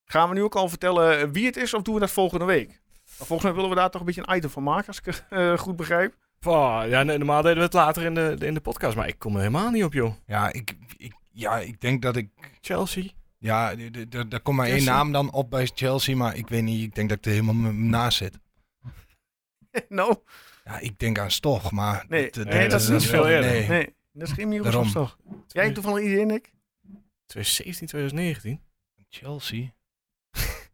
Speaker 1: Gaan we nu ook al vertellen eh, wie het is of doen we dat volgende week? Maar volgens mij willen we daar toch een beetje een item van maken, als ik het eh, goed begrijp.
Speaker 4: Pah, ja, nee, normaal deden we het later in de, in de podcast, maar ik kom er helemaal niet op, joh.
Speaker 6: Ja, ik, ik, ja, ik denk dat ik...
Speaker 4: Chelsea.
Speaker 6: Ja, d- d- d- daar komt maar één
Speaker 4: Chelsea.
Speaker 6: naam dan op bij Chelsea, maar ik weet niet, ik denk dat ik er helemaal m- naast zit.
Speaker 1: nou,
Speaker 6: Ja, ik denk aan Stoch, maar...
Speaker 1: Nee,
Speaker 6: dat-
Speaker 1: nee, dat is niet
Speaker 4: veel eerder.
Speaker 6: Nee.
Speaker 1: nee, dat is geen Miroslav
Speaker 6: Daarom.
Speaker 1: toch? Jij toevallig iedereen, ik?
Speaker 4: 2017, 2019.
Speaker 6: Chelsea?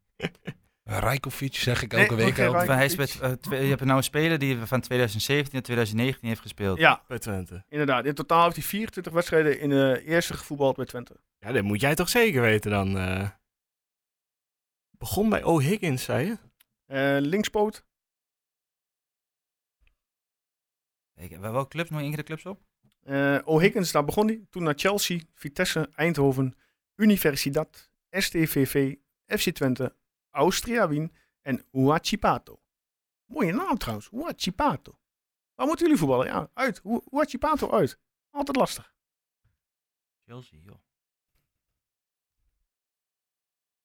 Speaker 6: Rijkovic zeg ik
Speaker 1: Nee,
Speaker 6: elke
Speaker 1: ook
Speaker 6: week.
Speaker 1: geen
Speaker 6: elke-
Speaker 1: Raj-
Speaker 5: Hij is met, eh, twee- je hebt nou een speler die van 2017 naar 2019 heeft gespeeld.
Speaker 1: Ja,
Speaker 4: Bij Twente.
Speaker 1: inderdaad. In totaal heeft hij 24 wedstrijden in de eerste gevoetbald bij Twente.
Speaker 4: Ja, dat moet jij toch zeker weten dan. eh. Begon bij O'Higgins, zei je?
Speaker 1: Eh, linkspoot,
Speaker 5: Ik, wel- welke clubs, nog enkele clubs op?
Speaker 1: eh O'Higgins, daar begon hij. Toen naar Chelsea, Vitesse, Eindhoven, Universidad, STVV, FC Twente, Austria Wien en Huachipato. Mooie naam trouwens, Huachipato. Waar moeten jullie voetballen? Ja, uit. Hu- Huachipato uit. Altijd lastig.
Speaker 5: Chelsea, joh.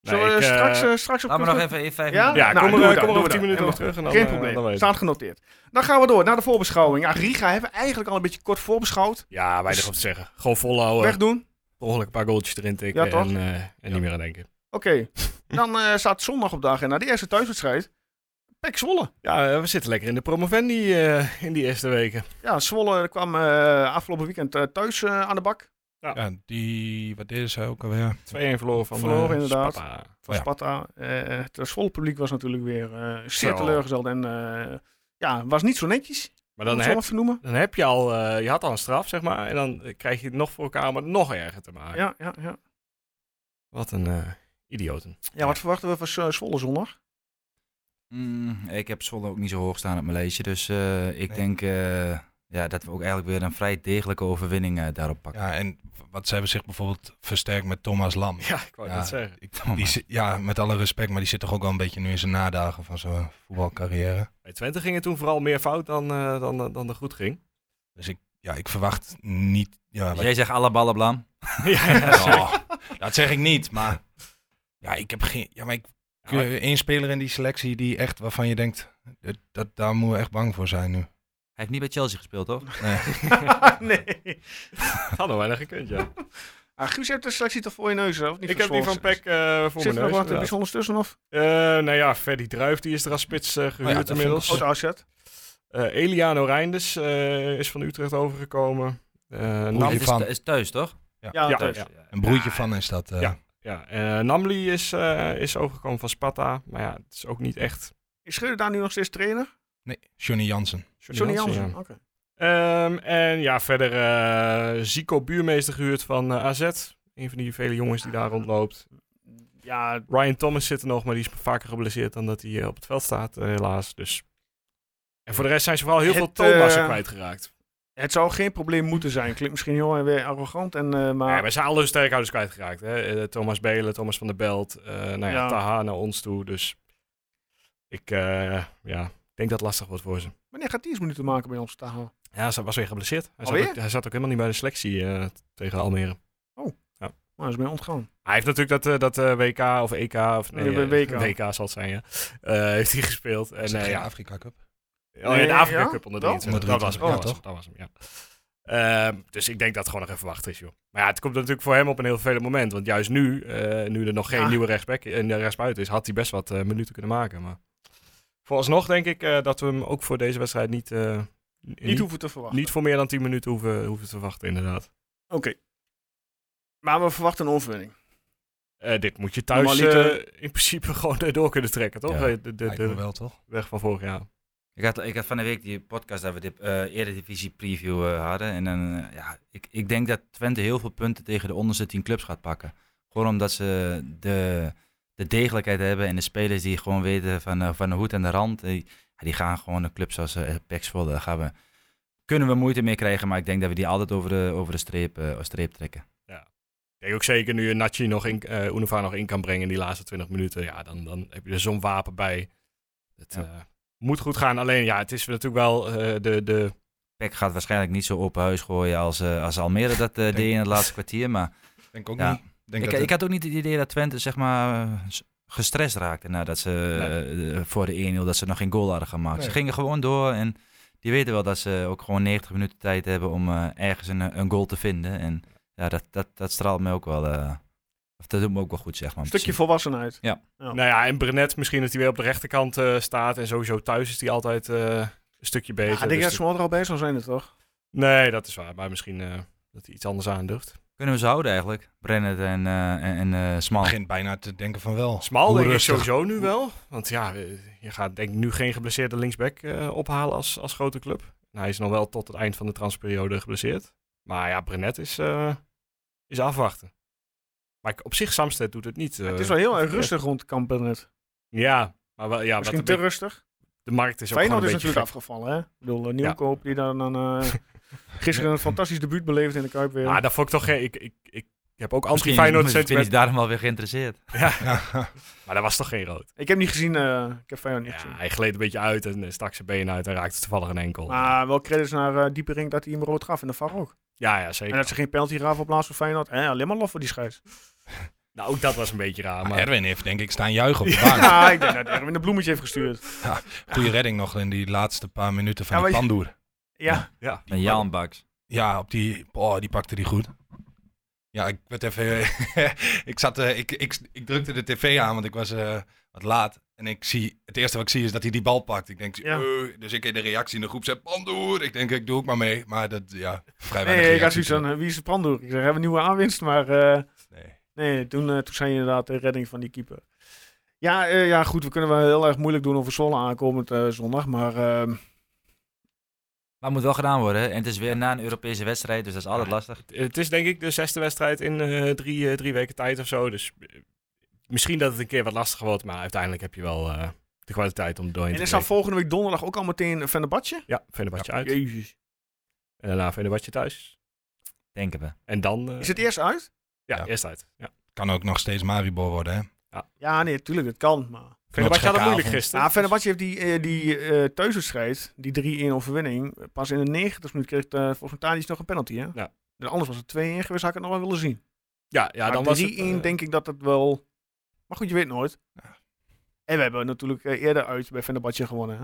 Speaker 1: Zullen we
Speaker 4: ik, eh,
Speaker 1: straks, eh, straks op
Speaker 5: Laat me nog
Speaker 1: terug-
Speaker 5: even in vijf
Speaker 1: Ja?
Speaker 5: minuten.
Speaker 4: Ja,
Speaker 1: Nou,
Speaker 4: kom
Speaker 1: doe
Speaker 4: er,
Speaker 1: dat,
Speaker 4: kom er
Speaker 1: doe
Speaker 4: over 10
Speaker 1: dat. Helemaal
Speaker 4: minuten nog terug. En dan,
Speaker 1: Geen
Speaker 4: eh,
Speaker 1: probleem,
Speaker 4: dan weet ik.
Speaker 1: staat genoteerd. Dan gaan we door naar de voorbeschouwing. Ja, Riga hebben we eigenlijk al een beetje kort voorbeschouwd.
Speaker 4: Ja, weinig op te zeggen. Gewoon volhouden.
Speaker 1: Wegdoen.
Speaker 4: Per ongeluk een paar goaltjes erin tikken.
Speaker 1: Ja, toch?
Speaker 4: En, eh, en niet meer aan denken.
Speaker 1: Oké, dan eh, staat zondag op de agenda. De eerste thuiswedstrijd. Pek Zwolle.
Speaker 4: Ja, eh, we zitten lekker in de promovendi eh, in die eerste weken.
Speaker 1: Ja, Zwolle kwam eh, afgelopen weekend eh, thuis eh, aan de bak.
Speaker 6: Ja, die, wat deden zij ook alweer?
Speaker 4: 2-1 verloren van
Speaker 1: Verloren,
Speaker 4: eh,
Speaker 1: inderdaad.
Speaker 4: Sparta.
Speaker 1: Van
Speaker 6: Ja.
Speaker 1: Sparta. Eh, het Zwolle publiek was natuurlijk weer eh, zeer
Speaker 4: Zo.
Speaker 1: teleurgesteld. En eh, ja, was niet zo netjes.
Speaker 4: Maar
Speaker 1: Dan
Speaker 4: dan
Speaker 1: om het zo maar
Speaker 4: heb,
Speaker 1: te noemen.
Speaker 4: dan heb je al, eh, je had al een straf, zeg maar. En dan eh, krijg je het nog voor elkaar om het nog erger te maken.
Speaker 1: Ja, ja, ja.
Speaker 4: Wat een eh, idioten.
Speaker 1: ja, wat verwachten we van eh, Zwolle zondag?
Speaker 5: Mm, ik heb Zwolle ook niet zo hoog staan op mijn lijstje. Dus eh, ik
Speaker 6: Nee.
Speaker 5: denk eh, ja, dat we ook eigenlijk weer een vrij degelijke overwinning eh, daarop pakken.
Speaker 6: Ja, en wat ze hebben zich bijvoorbeeld versterkt met Thomas Lam.
Speaker 4: Ja, ik wou
Speaker 6: Ja.
Speaker 4: net zeggen.
Speaker 6: Die zit- ja, met alle respect, maar die zit toch ook al een beetje nu in zijn nadagen van zijn voetbalcarrière.
Speaker 4: Bij Twente ging het toen vooral meer fout dan, eh dan, dan, dan er goed ging.
Speaker 6: Ja, ik verwacht niet... Ja, wat-
Speaker 5: Dus Jij zegt alle ballen blam.
Speaker 4: ja,
Speaker 6: Oh, dat zeg ik niet, maar... Ja, ik heb geen... Ja, maar ik...
Speaker 4: Ja, maar-
Speaker 6: één speler in die selectie die echt, waarvan je denkt, dat, dat- daar moeten we echt bang voor zijn nu.
Speaker 5: Hij heeft niet bij Chelsea gespeeld, toch?
Speaker 1: nee.
Speaker 4: hadden we weinig gekund, ja.
Speaker 1: Ah, Guus, je hebt de selectie toch voor je neus, hè? of niet?
Speaker 4: Ik heb die
Speaker 1: Zwolle?
Speaker 4: van Peck eh voor
Speaker 1: Zit er nog
Speaker 4: mijn neus.
Speaker 1: wat
Speaker 4: inderdaad.
Speaker 1: bijzonders tussen of?
Speaker 4: Eh, nou ja, Ferdy Druif die is er als spits eh,
Speaker 6: Oh ja, dat
Speaker 4: gehuurd
Speaker 6: vind ik
Speaker 4: inmiddels.
Speaker 1: Oud Asset.
Speaker 4: Eh, Eliano Reinders eh, is van Utrecht overgekomen. Eh, Nam-
Speaker 6: Oei.
Speaker 5: Het is,
Speaker 6: van.
Speaker 5: thu- is thuis, toch?
Speaker 1: Ja,
Speaker 4: Ja,
Speaker 1: thuis.
Speaker 4: ja.
Speaker 6: Een broertje van is dat. eh,
Speaker 4: Ja. Ja, eh, Namli is, eh, is overgekomen van Sparta. Maar ja, het is ook niet echt
Speaker 1: Is Schreuder daar nu nog steeds trainer?
Speaker 6: Nee, Johnny Jansen.
Speaker 1: Johnny Jansen.
Speaker 4: ja.
Speaker 1: Oké.
Speaker 4: Ehm, en ja, verder eh, Zico Buurmeester gehuurd van eh, AZ. Een van die vele jongens die daar rondloopt.
Speaker 1: Ja,
Speaker 4: Ryan Thomas zit er nog, maar die is vaker geblesseerd dan dat hij eh, op het veld staat, eh, helaas. Dus. En voor de rest zijn ze vooral heel
Speaker 1: Het,
Speaker 4: veel Thomassen
Speaker 1: eh,
Speaker 4: kwijtgeraakt.
Speaker 1: het zou geen probleem moeten zijn. Klinkt misschien heel weer arrogant, en, eh, maar...
Speaker 4: Ja, we zijn alle sterkhouders kwijtgeraakt. Hè? Eh, Thomas Belen, Thomas van der Belt, eh nou ja,
Speaker 1: Ja.
Speaker 4: Taha naar ons toe. Dus ik eh, ja, denk dat het lastig wordt voor ze.
Speaker 1: Wanneer gaat 10 minuten maken bij ons, Taha?
Speaker 4: Ja, ze was weer geblesseerd. Hij, zat
Speaker 1: Alweer?
Speaker 4: ook, hij zat ook helemaal niet bij de selectie eh, t- tegen Almere.
Speaker 1: Oh. Maar is mij ontgaan.
Speaker 4: Hij heeft natuurlijk dat, eh, dat eh, WK of EK of nee,
Speaker 1: Ja, bij WK.
Speaker 4: eh, WK zal het zijn, ja. Eh, heeft hij gespeeld. En, eh,
Speaker 6: de
Speaker 4: ja.
Speaker 6: Afrika Cup.
Speaker 4: Oh ja,
Speaker 1: Nee,
Speaker 4: de Afrika
Speaker 1: ja?
Speaker 4: Cup onder
Speaker 1: Dat?
Speaker 4: 23.
Speaker 6: Onder
Speaker 4: Dat was hem,
Speaker 6: 23,
Speaker 4: dat was hem, dat was hem, ja. Ehm, dus ik denk dat het gewoon nog even wachten is, joh. Maar ja, het komt natuurlijk voor hem op een heel vervelend moment. Want juist nu, eh, nu er nog geen
Speaker 1: Ja.
Speaker 4: nieuwe rechtsback en rechtsbuiten is, had hij best wat eh, minuten kunnen maken. Maar vooralsnog denk ik eh, dat we hem ook voor deze wedstrijd niet, eh, n-
Speaker 1: Niet hoeven te verwachten.
Speaker 4: niet voor meer dan 10 minuten hoeven, hoeven te wachten, inderdaad.
Speaker 1: Oké. Maar we verwachten een overwinning.
Speaker 4: Eh, dit moet je thuis
Speaker 1: Normaliter-
Speaker 4: eh, in principe gewoon eh, door kunnen trekken, toch?
Speaker 5: Ja,
Speaker 4: Eh, de, de,
Speaker 6: Lijkt me
Speaker 4: de
Speaker 6: wel, toch?
Speaker 4: weg van vorig jaar.
Speaker 5: Ik had, ik had van de week die podcast dat we de eh Eredivisie preview eh, hadden. En dan, eh, ja, ik, ik denk dat Twente heel veel punten tegen de onderste tien clubs gaat pakken. Gewoon omdat ze de, de degelijkheid hebben en de spelers die gewoon weten van, eh, van de hoed en de rand. eh, ja, die gaan gewoon naar clubs als eh Pax Zwolle. Daar gaan we, kunnen we moeite mee krijgen, maar ik denk dat we die altijd over de, over de streep, eh, streep trekken.
Speaker 4: Ik denk ook zeker nu je Nachi nog in, eh Unova nog in kan brengen in die laatste 20 minuten. Ja, dan, dan heb je er zo'n wapen bij. Het
Speaker 5: Ja.
Speaker 4: eh, moet goed gaan. Alleen ja, het is natuurlijk wel eh, de, de...
Speaker 5: Pax gaat waarschijnlijk niet zo open huis gooien als, eh, als Almere dat eh, deed in het laatste kwartier. Maar
Speaker 6: Denk ook
Speaker 5: Ja.
Speaker 6: niet. Denk
Speaker 5: Ik,
Speaker 6: dat
Speaker 5: ik had ook niet het idee dat Twente zeg maar, eh, s- gestrest raakte nadat ze eh, voor de 1-0 dat ze nog geen goal hadden gemaakt.
Speaker 6: Nee.
Speaker 5: Ze gingen gewoon door en die weten wel dat ze ook gewoon 90 minuten tijd hebben om eh, ergens een, een goal te vinden. En ja, dat, dat, dat straalt me ook wel. eh, of dat doet me ook wel goed, zeg maar. om te
Speaker 1: Stukje
Speaker 5: zien.
Speaker 1: volwassenheid. Ja.
Speaker 4: Nou ja, en Brenet misschien dat hij weer op de rechterkant eh, staat. En sowieso thuis is hij altijd eh, een stukje beter.
Speaker 1: Ja, ik denk
Speaker 4: Dus
Speaker 1: dat
Speaker 4: dat-
Speaker 1: Smal er al bij zou zijn, het, toch?
Speaker 4: Nee, dat is waar. Maar misschien eh, dat hij iets anders aandurft.
Speaker 5: Kunnen we ze houden eigenlijk? Brennet en, eh, en, en eh, Smal.
Speaker 6: begint bijna te denken van wel.
Speaker 4: Smal
Speaker 6: Hoe
Speaker 4: denk ik
Speaker 6: rustig.
Speaker 4: sowieso nu wel. Want ja, eh, je gaat denk ik nu geen geblesseerde linksback eh, ophalen als, als grote club. En hij is nog wel tot het eind van de transperiode geblesseerd. Maar ja, Brenet is, eh, is afwachten. Maar ik- op zich, Samsted doet het niet. eh,
Speaker 1: het is wel heel erg
Speaker 4: verkeerd.
Speaker 1: rustig rond Kampen net.
Speaker 4: Ja, maar wel, ja, wat
Speaker 1: Misschien
Speaker 4: een
Speaker 1: te
Speaker 4: beetje-
Speaker 1: rustig.
Speaker 4: de markt is ook gewoon
Speaker 1: Feyenoord
Speaker 4: een
Speaker 1: is
Speaker 4: beetje
Speaker 1: natuurlijk afgevallen, hè? Ik bedoel, eh, Nieuwkoop die dan dan, eh, gisteren een fantastisch debuut beleefd in de Kuip weer.
Speaker 4: gek. Ah, dat vond ik toch geen... Ik, ik, ik, ik heb ook
Speaker 5: Misschien is-
Speaker 4: anti-Feyenoord
Speaker 5: misschien is
Speaker 4: sentiment.
Speaker 5: hij daarom wel weer geïnteresseerd.
Speaker 6: Ja.
Speaker 4: Maar dat was toch geen rood?
Speaker 1: ik heb niet gezien, eh, ik heb Feyenoord niet
Speaker 4: Ja,
Speaker 1: gezien.
Speaker 4: hij gleed een beetje uit en eh, stak zijn benen uit en raakte toevallig een enkel.
Speaker 1: Maar wel credits naar eh, Diepering dat hij hem rood gaf en de VAR ook.
Speaker 4: ja, ja, zeker.
Speaker 1: En dat ze geen penalty gaven op laatst voor Feyenoord. Eh, alleen maar lof voor die scheids.
Speaker 4: Nou, ook dat was een beetje raar.
Speaker 6: Maar
Speaker 4: Maar...
Speaker 6: Erwin heeft denk ik staan juichen op de
Speaker 1: Ja,
Speaker 6: bank.
Speaker 1: ik denk dat Erwin een bloemetje heeft gestuurd.
Speaker 6: Goede redding nog in die laatste paar minuten van
Speaker 1: Ja,
Speaker 6: die
Speaker 1: maar je-
Speaker 6: pandoer.
Speaker 1: Ja,
Speaker 4: Ja,
Speaker 5: En Jan Baks.
Speaker 6: Ja, op die, oh, die pakte die goed. Ja, ik werd even. ik, zat, eh, ik, ik, ik drukte de tv aan, want ik was eh, wat laat. En ik zie, het eerste wat ik zie is dat hij die bal pakt. Ik denk,
Speaker 1: Ja.
Speaker 6: eh, dus ik in de reactie in de groep zet, pandoer. Ik denk, ik doe ook maar mee. Maar dat, ja, vrij weinig
Speaker 1: nee, ik had
Speaker 6: reacties.
Speaker 1: zoiets van, eh, wie is de brandoer? Ik zeg, hebben we een nieuwe aanwinst, maar... eh,
Speaker 6: Nee.
Speaker 1: Nee, toen, eh, toen zei je inderdaad de redding van die keeper. Ja, eh, ja, goed, we kunnen wel heel erg moeilijk doen over Zwolle aankomend eh, zondag, maar... ehm,
Speaker 5: Maar het moet wel gedaan worden. hè. En het is weer na een Europese wedstrijd, dus dat is altijd lastig.
Speaker 4: Het is denk ik de zesde wedstrijd in eh, drie, eh, drie weken tijd of zo. Dus eh, misschien dat het een keer wat lastiger wordt. Maar uiteindelijk heb je wel eh, de kwaliteit om er doorheen
Speaker 1: en is
Speaker 4: te
Speaker 1: dan
Speaker 4: breken.
Speaker 1: volgende week donderdag ook al meteen Van de Badje?
Speaker 4: Ja, Venebatje uit.
Speaker 1: Jezus.
Speaker 4: En daarna Venebatje thuis.
Speaker 5: Denken we.
Speaker 4: En dan... eh,
Speaker 1: Is het eerst uit?
Speaker 4: ja,
Speaker 6: Ja.
Speaker 4: eerst uit. Ja.
Speaker 6: Kan ook nog steeds Maribor worden, hè?
Speaker 1: Ja, nee, tuurlijk, dat kan, maar...
Speaker 4: Venebatje had het
Speaker 6: gekke
Speaker 4: moeilijk
Speaker 6: avond.
Speaker 4: gisteren.
Speaker 1: Ja, Nou, Fenerbahce heeft die, eh, die eh thuiswedstrijd, die 3-1 overwinning, eh, pas in de 90 minuut kreeg eh, volgens mij Tadic nog een penalty, hè?
Speaker 4: Ja.
Speaker 1: En anders was het 2-1 geweest, had ik het nog wel willen zien.
Speaker 4: ja, ja,
Speaker 1: Maar
Speaker 4: dan
Speaker 1: 3-1
Speaker 4: was het... eh,
Speaker 1: denk ik dat het wel... Maar goed, je weet nooit. En we hebben natuurlijk eh, eerder uit bij Fenerbahce gewonnen, hè?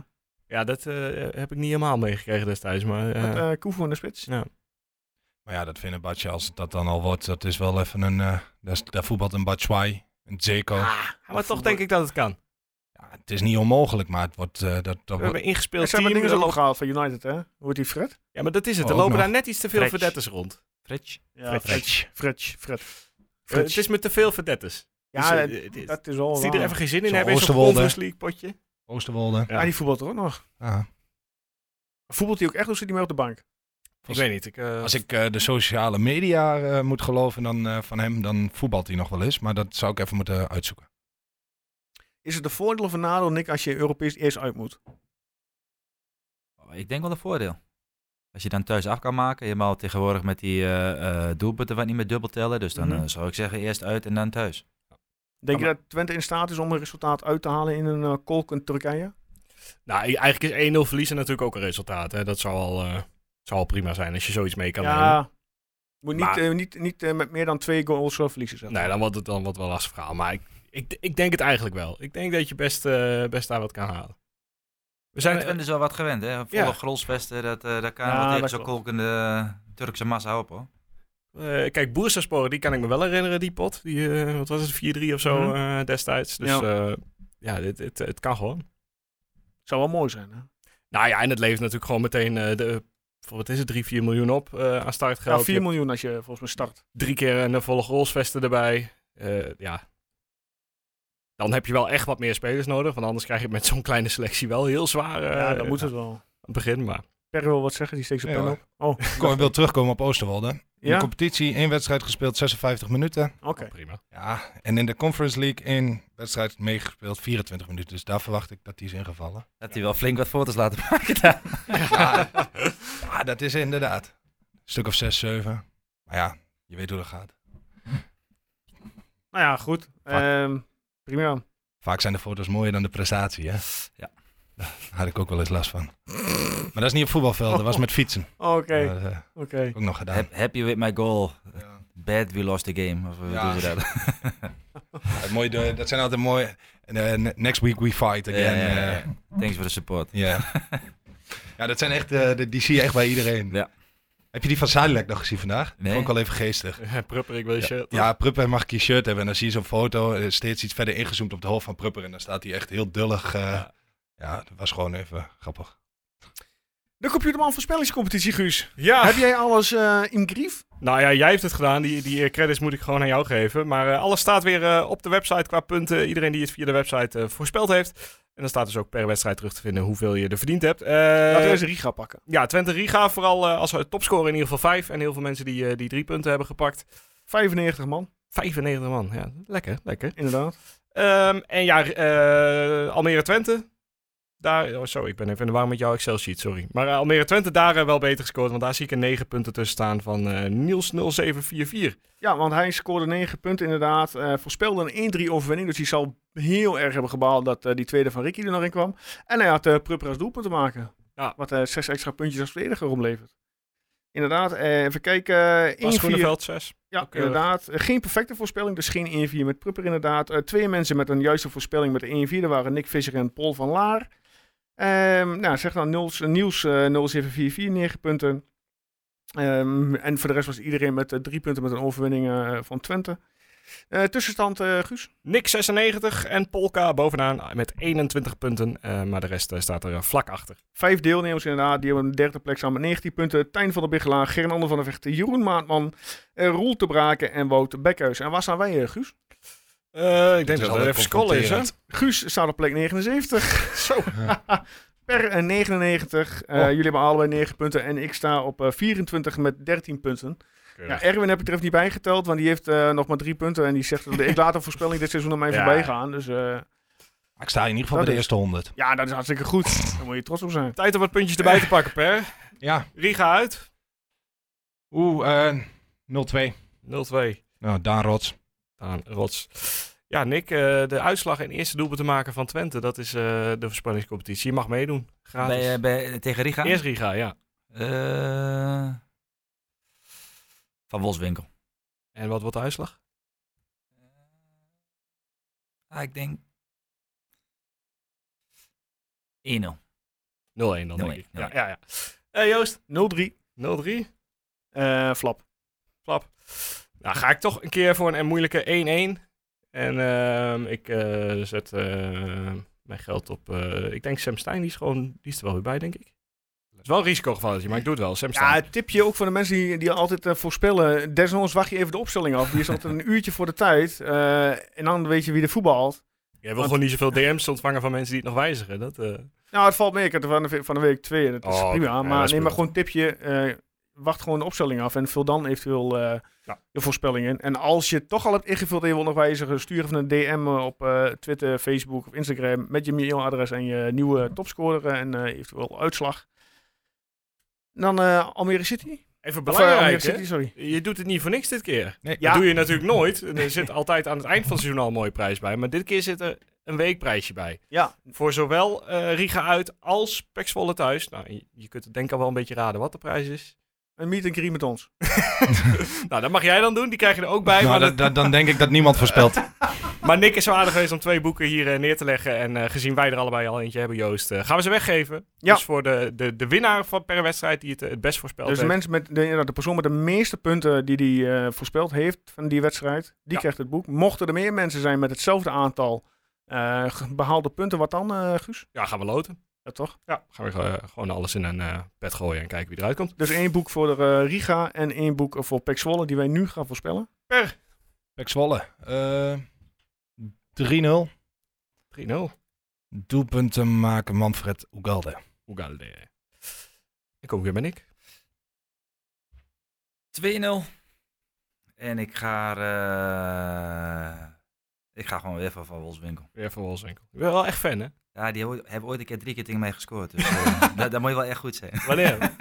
Speaker 4: Ja, dat eh, heb ik niet helemaal meegekregen destijds. Maar eh,
Speaker 1: Met eh Koevo in de spits.
Speaker 6: Maar ja, dat vinden Badje, als het dat dan al wordt, dat is wel even een... eh daar, is- daar voetbalt een Batshuayi, een
Speaker 1: Ah,
Speaker 6: Zeko.
Speaker 4: maar toch denk ik dat het kan.
Speaker 6: Ja, het is niet onmogelijk, maar het wordt... eh, dat, dat
Speaker 4: We
Speaker 6: wordt
Speaker 4: hebben ingespeeld
Speaker 1: Er zijn wat
Speaker 4: team,
Speaker 1: dingen
Speaker 4: er
Speaker 1: zo
Speaker 4: lopen-
Speaker 1: opgehaald van United, hè? Hoe heet die Fred?
Speaker 4: Ja, maar dat is het.
Speaker 6: Oh,
Speaker 4: Er
Speaker 6: ook
Speaker 4: lopen
Speaker 6: nog.
Speaker 4: daar net iets te veel
Speaker 5: Fretch.
Speaker 4: verdettes rond.
Speaker 5: Fritsch?
Speaker 1: Ja, Fred. Fred. Fred.
Speaker 4: Eh, het is met te veel verdettes. Dus,
Speaker 1: Ja,
Speaker 4: eh, het is-
Speaker 1: dat is al
Speaker 4: als die er even geen zin in
Speaker 6: Zo'n
Speaker 4: hebben, is een
Speaker 6: Oosterwolde.
Speaker 4: Conference League potje.
Speaker 6: Oosterwolde.
Speaker 1: Ja, die voetbalt er ook nog.
Speaker 6: Ah.
Speaker 1: Voetbalt hij ook echt of zit hij maar op de bank?
Speaker 4: Ik weet niet. Ik, eh,
Speaker 6: Als ik eh, de sociale media eh, moet geloven dan, eh, van hem, dan voetbalt hij nog wel eens. Maar dat zou ik even moeten uitzoeken.
Speaker 1: Is het een voordeel of een nadeel, Nick, als je Europees eerst uit moet?
Speaker 5: Oh, Ik denk wel een voordeel. Als je dan thuis af kan maken, helemaal tegenwoordig met die eh, eh, doelpunten wat niet meer dubbel tellen. Dus dan
Speaker 1: Mhm.
Speaker 5: eh, zou ik zeggen eerst uit en dan thuis.
Speaker 1: Denk
Speaker 4: Ja,
Speaker 1: je dat Twente in staat is om een resultaat uit te halen in een eh kolk in Turkije?
Speaker 4: Nou, i- eigenlijk is 1-0 verliezen natuurlijk ook een resultaat. Hè? Dat zou al, eh, zou al prima zijn als je zoiets mee kan nemen.
Speaker 1: ja, Moet niet,
Speaker 4: Maar-
Speaker 1: eh, niet, niet eh, met meer dan twee goals eh, verliezen. Zeg.
Speaker 4: Nee, dan wordt het dan wordt wel een lastig verhaal. Maar ik, ik, ik denk het eigenlijk wel. Ik denk dat je best, eh, best daar wat kan halen. We zijn,
Speaker 5: Twente is dus wel wat gewend, hè? Volle
Speaker 4: eh, Ja.
Speaker 5: grolsvesten, dat, eh, daar kan
Speaker 1: Ja,
Speaker 5: wel tegen
Speaker 1: dat
Speaker 5: zo'n
Speaker 1: klopt.
Speaker 5: kolkende eh, Turkse massa op, hoor.
Speaker 4: eh, eh, kijk, Boerstersporen, die kan ik me wel herinneren, die pot. Die, eh, wat was het, 4-3 of zo
Speaker 1: Mhm.
Speaker 4: eh, destijds. Dus
Speaker 1: Ja.
Speaker 4: ja, ja dit, het, het kan gewoon.
Speaker 1: Zou wel mooi zijn. Hè?
Speaker 4: Nou ja, en het levert natuurlijk gewoon meteen eh, de, voor wat is het, 3, 4 miljoen op eh, aan startgeld.
Speaker 1: Ja, 4
Speaker 4: Je hebt
Speaker 1: miljoen als je eh, volgens mij start.
Speaker 4: Drie keer een eh, volle goalsvesten erbij. Eh, ja. Dan heb je wel echt wat meer spelers nodig, want anders krijg je het met zo'n kleine selectie wel heel zwaar. eh,
Speaker 1: ja, dan moet het wel.
Speaker 4: aan het begin, maar...
Speaker 1: Per wil wat zeggen, die steekt zijn
Speaker 6: Ja,
Speaker 1: pen
Speaker 6: hoor.
Speaker 1: op. Oh,
Speaker 6: Ik wil terugkomen op Oosterwolde. In de
Speaker 1: ja?
Speaker 6: competitie één wedstrijd gespeeld, 56 minuten.
Speaker 1: Oké.
Speaker 4: Prima.
Speaker 6: Ja, en in de Conference League één wedstrijd meegespeeld, 24 minuten. Dus daar verwacht ik dat die is ingevallen.
Speaker 5: Dat hij wel flink wat foto's laten maken daar.
Speaker 6: Ja, ja, dat is inderdaad. Een stuk of 6, 7. Maar ja, je weet hoe dat gaat.
Speaker 1: Nou ja, goed. Ehm, prima.
Speaker 6: Vaak zijn de foto's mooier dan de prestatie, hè?
Speaker 5: Ja.
Speaker 6: Daar had ik ook wel eens last van. Maar dat is niet op voetbalveld, dat was met fietsen.
Speaker 1: Oké, oké.
Speaker 6: Dat eh, heb ik ook nog gedaan.
Speaker 5: Hap- Happy with my goal.
Speaker 6: Ja.
Speaker 5: Bad, we lost the game. Of eh, hoe
Speaker 6: Ja.
Speaker 5: doen ze dat?
Speaker 6: Ja, mooi, de- dat zijn altijd mooie... eh, ne- next week we fight
Speaker 5: Ja,
Speaker 6: again.
Speaker 5: ja, ja,
Speaker 6: eh,
Speaker 5: ja. Thanks voor de support.
Speaker 6: Ja. ja, dat zijn echt, eh, die- die zie je echt bij iedereen.
Speaker 5: Ja.
Speaker 6: Heb je die van Zadilek nog gezien vandaag?
Speaker 5: Nee.
Speaker 6: Ook al even geestig.
Speaker 4: Prupper, ik wil je shirt.
Speaker 6: Ja, Prupper mag een shirt hebben. En dan zie je zo'n foto, eh, steeds iets verder ingezoomd op de hoofd van Prupper. En dan staat hij echt heel dullig. eh, ja. dat was gewoon even grappig.
Speaker 1: De Computerman Voorspellingscompetitie, Guus.
Speaker 4: Ja.
Speaker 1: Heb jij alles eh, in grief?
Speaker 4: Nou ja, jij hebt het gedaan. Die, die eh, credits moet ik gewoon aan jou geven. Maar eh, alles staat weer eh, op de website qua punten. Iedereen die het via de website eh, voorspeld heeft. En dan staat dus ook per wedstrijd terug te vinden hoeveel je er verdiend hebt. Eh,
Speaker 1: Laten we eens Riga pakken.
Speaker 4: Ja, Twente Riga vooral eh, als topscorer in ieder geval vijf. En heel veel mensen die, eh, die drie punten hebben gepakt.
Speaker 1: 95 man,
Speaker 4: 95 man, ja. Lekker, lekker.
Speaker 1: inderdaad.
Speaker 4: Ehm, en ja, eh, Almere Twente. Daar, oh, zo, ik ben even in de war met jouw Excel-sheet, sorry. Maar eh, Almere Twente, daar eh, wel beter gescoord. Want daar zie ik een 9 punten tussen staan van eh, Niels 0744.
Speaker 1: Ja, want hij scoorde 9 punten inderdaad. Eh, voorspelde een 1-3 overwinning. Dus hij zal heel erg hebben gebaald dat eh, die tweede van Ricky er nog in kwam. En hij had eh Prupper als doelpunt te maken.
Speaker 4: Ja.
Speaker 1: Wat eh zes extra puntjes als verdediger omlevert. Inderdaad, eh, even kijken.
Speaker 4: Bas
Speaker 1: 1-4.
Speaker 4: Groeneveld 6.
Speaker 1: Ja,
Speaker 4: Ook, eh,
Speaker 1: inderdaad. Eh, Geen perfecte voorspelling, dus geen 1-4 met Prupper inderdaad. Eh, twee mensen met een juiste voorspelling met 1-4. Dat waren Nick Visser en Paul van Laar. Ehm, nou, zeg dan Niels, Niels eh 0744, 9 punten. Ehm, en voor de rest was iedereen met eh, drie punten met een overwinning eh, van Twente. Eh, tussenstand, eh, Guus?
Speaker 4: Nick 96 en Polka bovenaan eh, met 21 punten. Eh, maar de rest eh, staat er eh, vlak achter.
Speaker 1: Vijf deelnemers inderdaad, die hebben een derde plek samen met 19 punten. Tijn van der Bigelaar, Gernander van der Vecht, Jeroen Maatman, eh, Roel te Braken en Wout Bekhuis. En waar staan wij, eh, Guus?
Speaker 4: Eh, ik
Speaker 6: Dit
Speaker 4: denk
Speaker 6: is
Speaker 4: dat
Speaker 6: wel
Speaker 4: het even scrollen is, hè?
Speaker 6: confronterend.
Speaker 1: Guus staat op plek 79. Zo. per eh, 99. Eh,
Speaker 6: Oh.
Speaker 1: Jullie hebben allebei 9 punten. En ik sta op eh, 24 met 13 punten. Ja, Erwin heb ik er even niet bijgeteld, want die heeft eh, nog maar 3 punten. En die zegt, dat ik laat een voorspelling dit seizoen aan mij
Speaker 4: Ja.
Speaker 1: voorbij gaan. Dus eh,
Speaker 6: Maar Ik sta in ieder geval
Speaker 1: Dat
Speaker 6: bij de
Speaker 1: is-
Speaker 6: eerste 100.
Speaker 1: ja, dat is hartstikke goed. Daar moet je trots op zijn.
Speaker 4: Tijd om wat puntjes erbij te pakken, Per.
Speaker 6: Ja,
Speaker 4: Riga uit.
Speaker 6: oeh, eh, 0-2.
Speaker 4: 0-2.
Speaker 6: Nou, Daan Rots.
Speaker 4: aan Rots. Ja, Nick, eh, de uitslag en eerste doelpunt te maken van Twente, dat is eh, de voorspellingscompetitie. Je mag meedoen. Gratis.
Speaker 5: Bij, eh, bij, tegen Riga?
Speaker 4: Eerst Riga, ja.
Speaker 5: Eh, van Wolfswinkel.
Speaker 4: En wat wordt de uitslag?
Speaker 5: Ah, ik denk... 1-0.
Speaker 4: 0-1 dan, denk
Speaker 5: 0-1,
Speaker 4: ik.
Speaker 5: 0-1.
Speaker 4: Ja, ja, ja. Eh, Joost,
Speaker 1: 0-3.
Speaker 4: 0-3.
Speaker 1: eh, flap.
Speaker 4: Flap. Nou, ga ik toch een keer voor een moeilijke 1-1. En ehm, ik eh, zet eh, mijn geld op... eh, ik denk Sam Stein, die is, gewoon, die is er wel weer bij, denk ik. Het is wel een risicogevalletje, maar ik doe het wel. Sam
Speaker 1: Ja,
Speaker 4: Stein.
Speaker 1: het tipje ook voor de mensen die, die altijd eh, voorspellen. Desondanks wacht je even de opstelling af. Die is altijd een uurtje voor de tijd. eh, en dan weet je wie er voetbalt.
Speaker 4: Jij wil gewoon niet zoveel DM's ontvangen van mensen die het nog wijzigen. Dat, eh,
Speaker 1: Nou, het valt mee. Ik had er van de, ve- van de week twee. en Dat is
Speaker 4: Oh, oké.
Speaker 1: prima.
Speaker 4: Ja,
Speaker 1: Maar
Speaker 4: dat is
Speaker 1: neem maar gewoon
Speaker 4: prima.
Speaker 1: een tipje. eh, wacht gewoon de opstelling af. En vul dan eventueel eh,
Speaker 4: Ja.
Speaker 1: je voorspelling in. En als je het toch al hebt ingevuld en je wil nog wijzigen, stuur even een DM op eh, Twitter, Facebook of Instagram. Met je mailadres en je nieuwe topscorer en eh, eventueel uitslag. En Dan eh, Almere City.
Speaker 4: even
Speaker 1: Of, eh, Almere
Speaker 4: belangrijk, hè?
Speaker 1: City, sorry.
Speaker 4: Je doet het niet voor niks dit keer.
Speaker 6: Nee.
Speaker 4: Dat doe je natuurlijk nooit. Er zit altijd aan het eind van het seizoen al een mooie prijs bij. Maar dit keer zit er een weekprijsje bij.
Speaker 1: Ja,
Speaker 4: Voor zowel eh, Riga uit als Pexvolle thuis. Nou, je- je kunt het denk ik al wel een beetje raden wat de prijs is.
Speaker 1: Een meet and greet met ons.
Speaker 4: Nou, dat mag jij dan doen. Die krijg je er ook bij.
Speaker 6: Nou,
Speaker 4: maar,
Speaker 6: dat-
Speaker 4: dat-
Speaker 6: dat- dan denk ik dat niemand voorspelt.
Speaker 4: maar Nick is zo aardig geweest om twee boeken hier eh, neer te leggen. En eh, gezien wij er allebei al eentje hebben, Joost, eh, gaan we ze weggeven.
Speaker 1: Ja.
Speaker 4: Dus voor de, de, de winnaar van per wedstrijd die het eh, het best voorspelt
Speaker 1: Dus de,
Speaker 4: heeft.
Speaker 1: mensen met, de, inderdaad, de persoon met de meeste punten die die eh, voorspeld heeft van die wedstrijd, die
Speaker 4: Ja.
Speaker 1: krijgt het boek. Mochten er meer mensen zijn met hetzelfde aantal eh, ge- behaalde punten, wat dan, eh, Guus?
Speaker 4: Ja, gaan we loten.
Speaker 1: Ja, toch?
Speaker 4: Ja, gaan we eh, gewoon alles in een eh pet gooien en kijken wie eruit komt.
Speaker 1: Dus één boek voor de eh, Riga en één boek voor Pek Zwolle, die wij nu gaan voorspellen.
Speaker 6: Pek Zwolle. eh, 3-0.
Speaker 4: 3-0.
Speaker 6: Doelpunten maken Manfred Ugalde.
Speaker 4: Ugalde. Ik kom weer met Nick.
Speaker 5: 2-0. En ik ga, er, eh, ik ga gewoon weer van Van Wolfswinkel.
Speaker 4: Weer voor Wolfswinkel. Ik ben wel echt fan, hè?
Speaker 5: Ja, die hebben ooit- hebben ooit een keer drie keer tegen mij gescoord. Dus eh, dat, dat moet je wel echt goed zijn.
Speaker 4: Wanneer?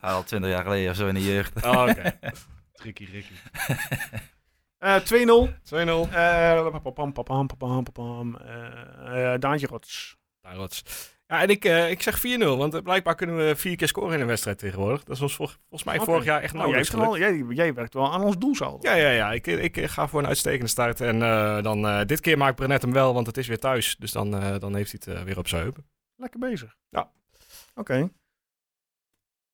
Speaker 5: Al twintig jaar geleden of zo in de jeugd.
Speaker 4: oh, oké.
Speaker 6: Tricky Ricky.
Speaker 1: Eh 2-0.
Speaker 4: 2-0.
Speaker 1: Eh, papam, papam, papam, papam. Eh, eh, Daantje Rots.
Speaker 4: Ja, rots. Ja, en ik, eh, ik zeg 4-0, want eh, blijkbaar kunnen we vier keer scoren in een wedstrijd tegenwoordig. Dat is ons vol- volgens mij
Speaker 1: Oké.
Speaker 4: vorig jaar echt
Speaker 1: Nou, jij,
Speaker 4: nauwelijks
Speaker 1: hebt er
Speaker 4: gelukt.
Speaker 1: wel, jij, jij werkt wel aan ons doelsaldo.
Speaker 4: Ja, ja, ja. Ik, ik eh, ga voor een uitstekende start. En eh, dan, eh, dit keer maakt Brenet hem wel, want het is weer thuis. Dus dan, eh, dan heeft hij het eh, weer op zijn heupen.
Speaker 1: Lekker bezig.
Speaker 4: Ja.
Speaker 1: Oké.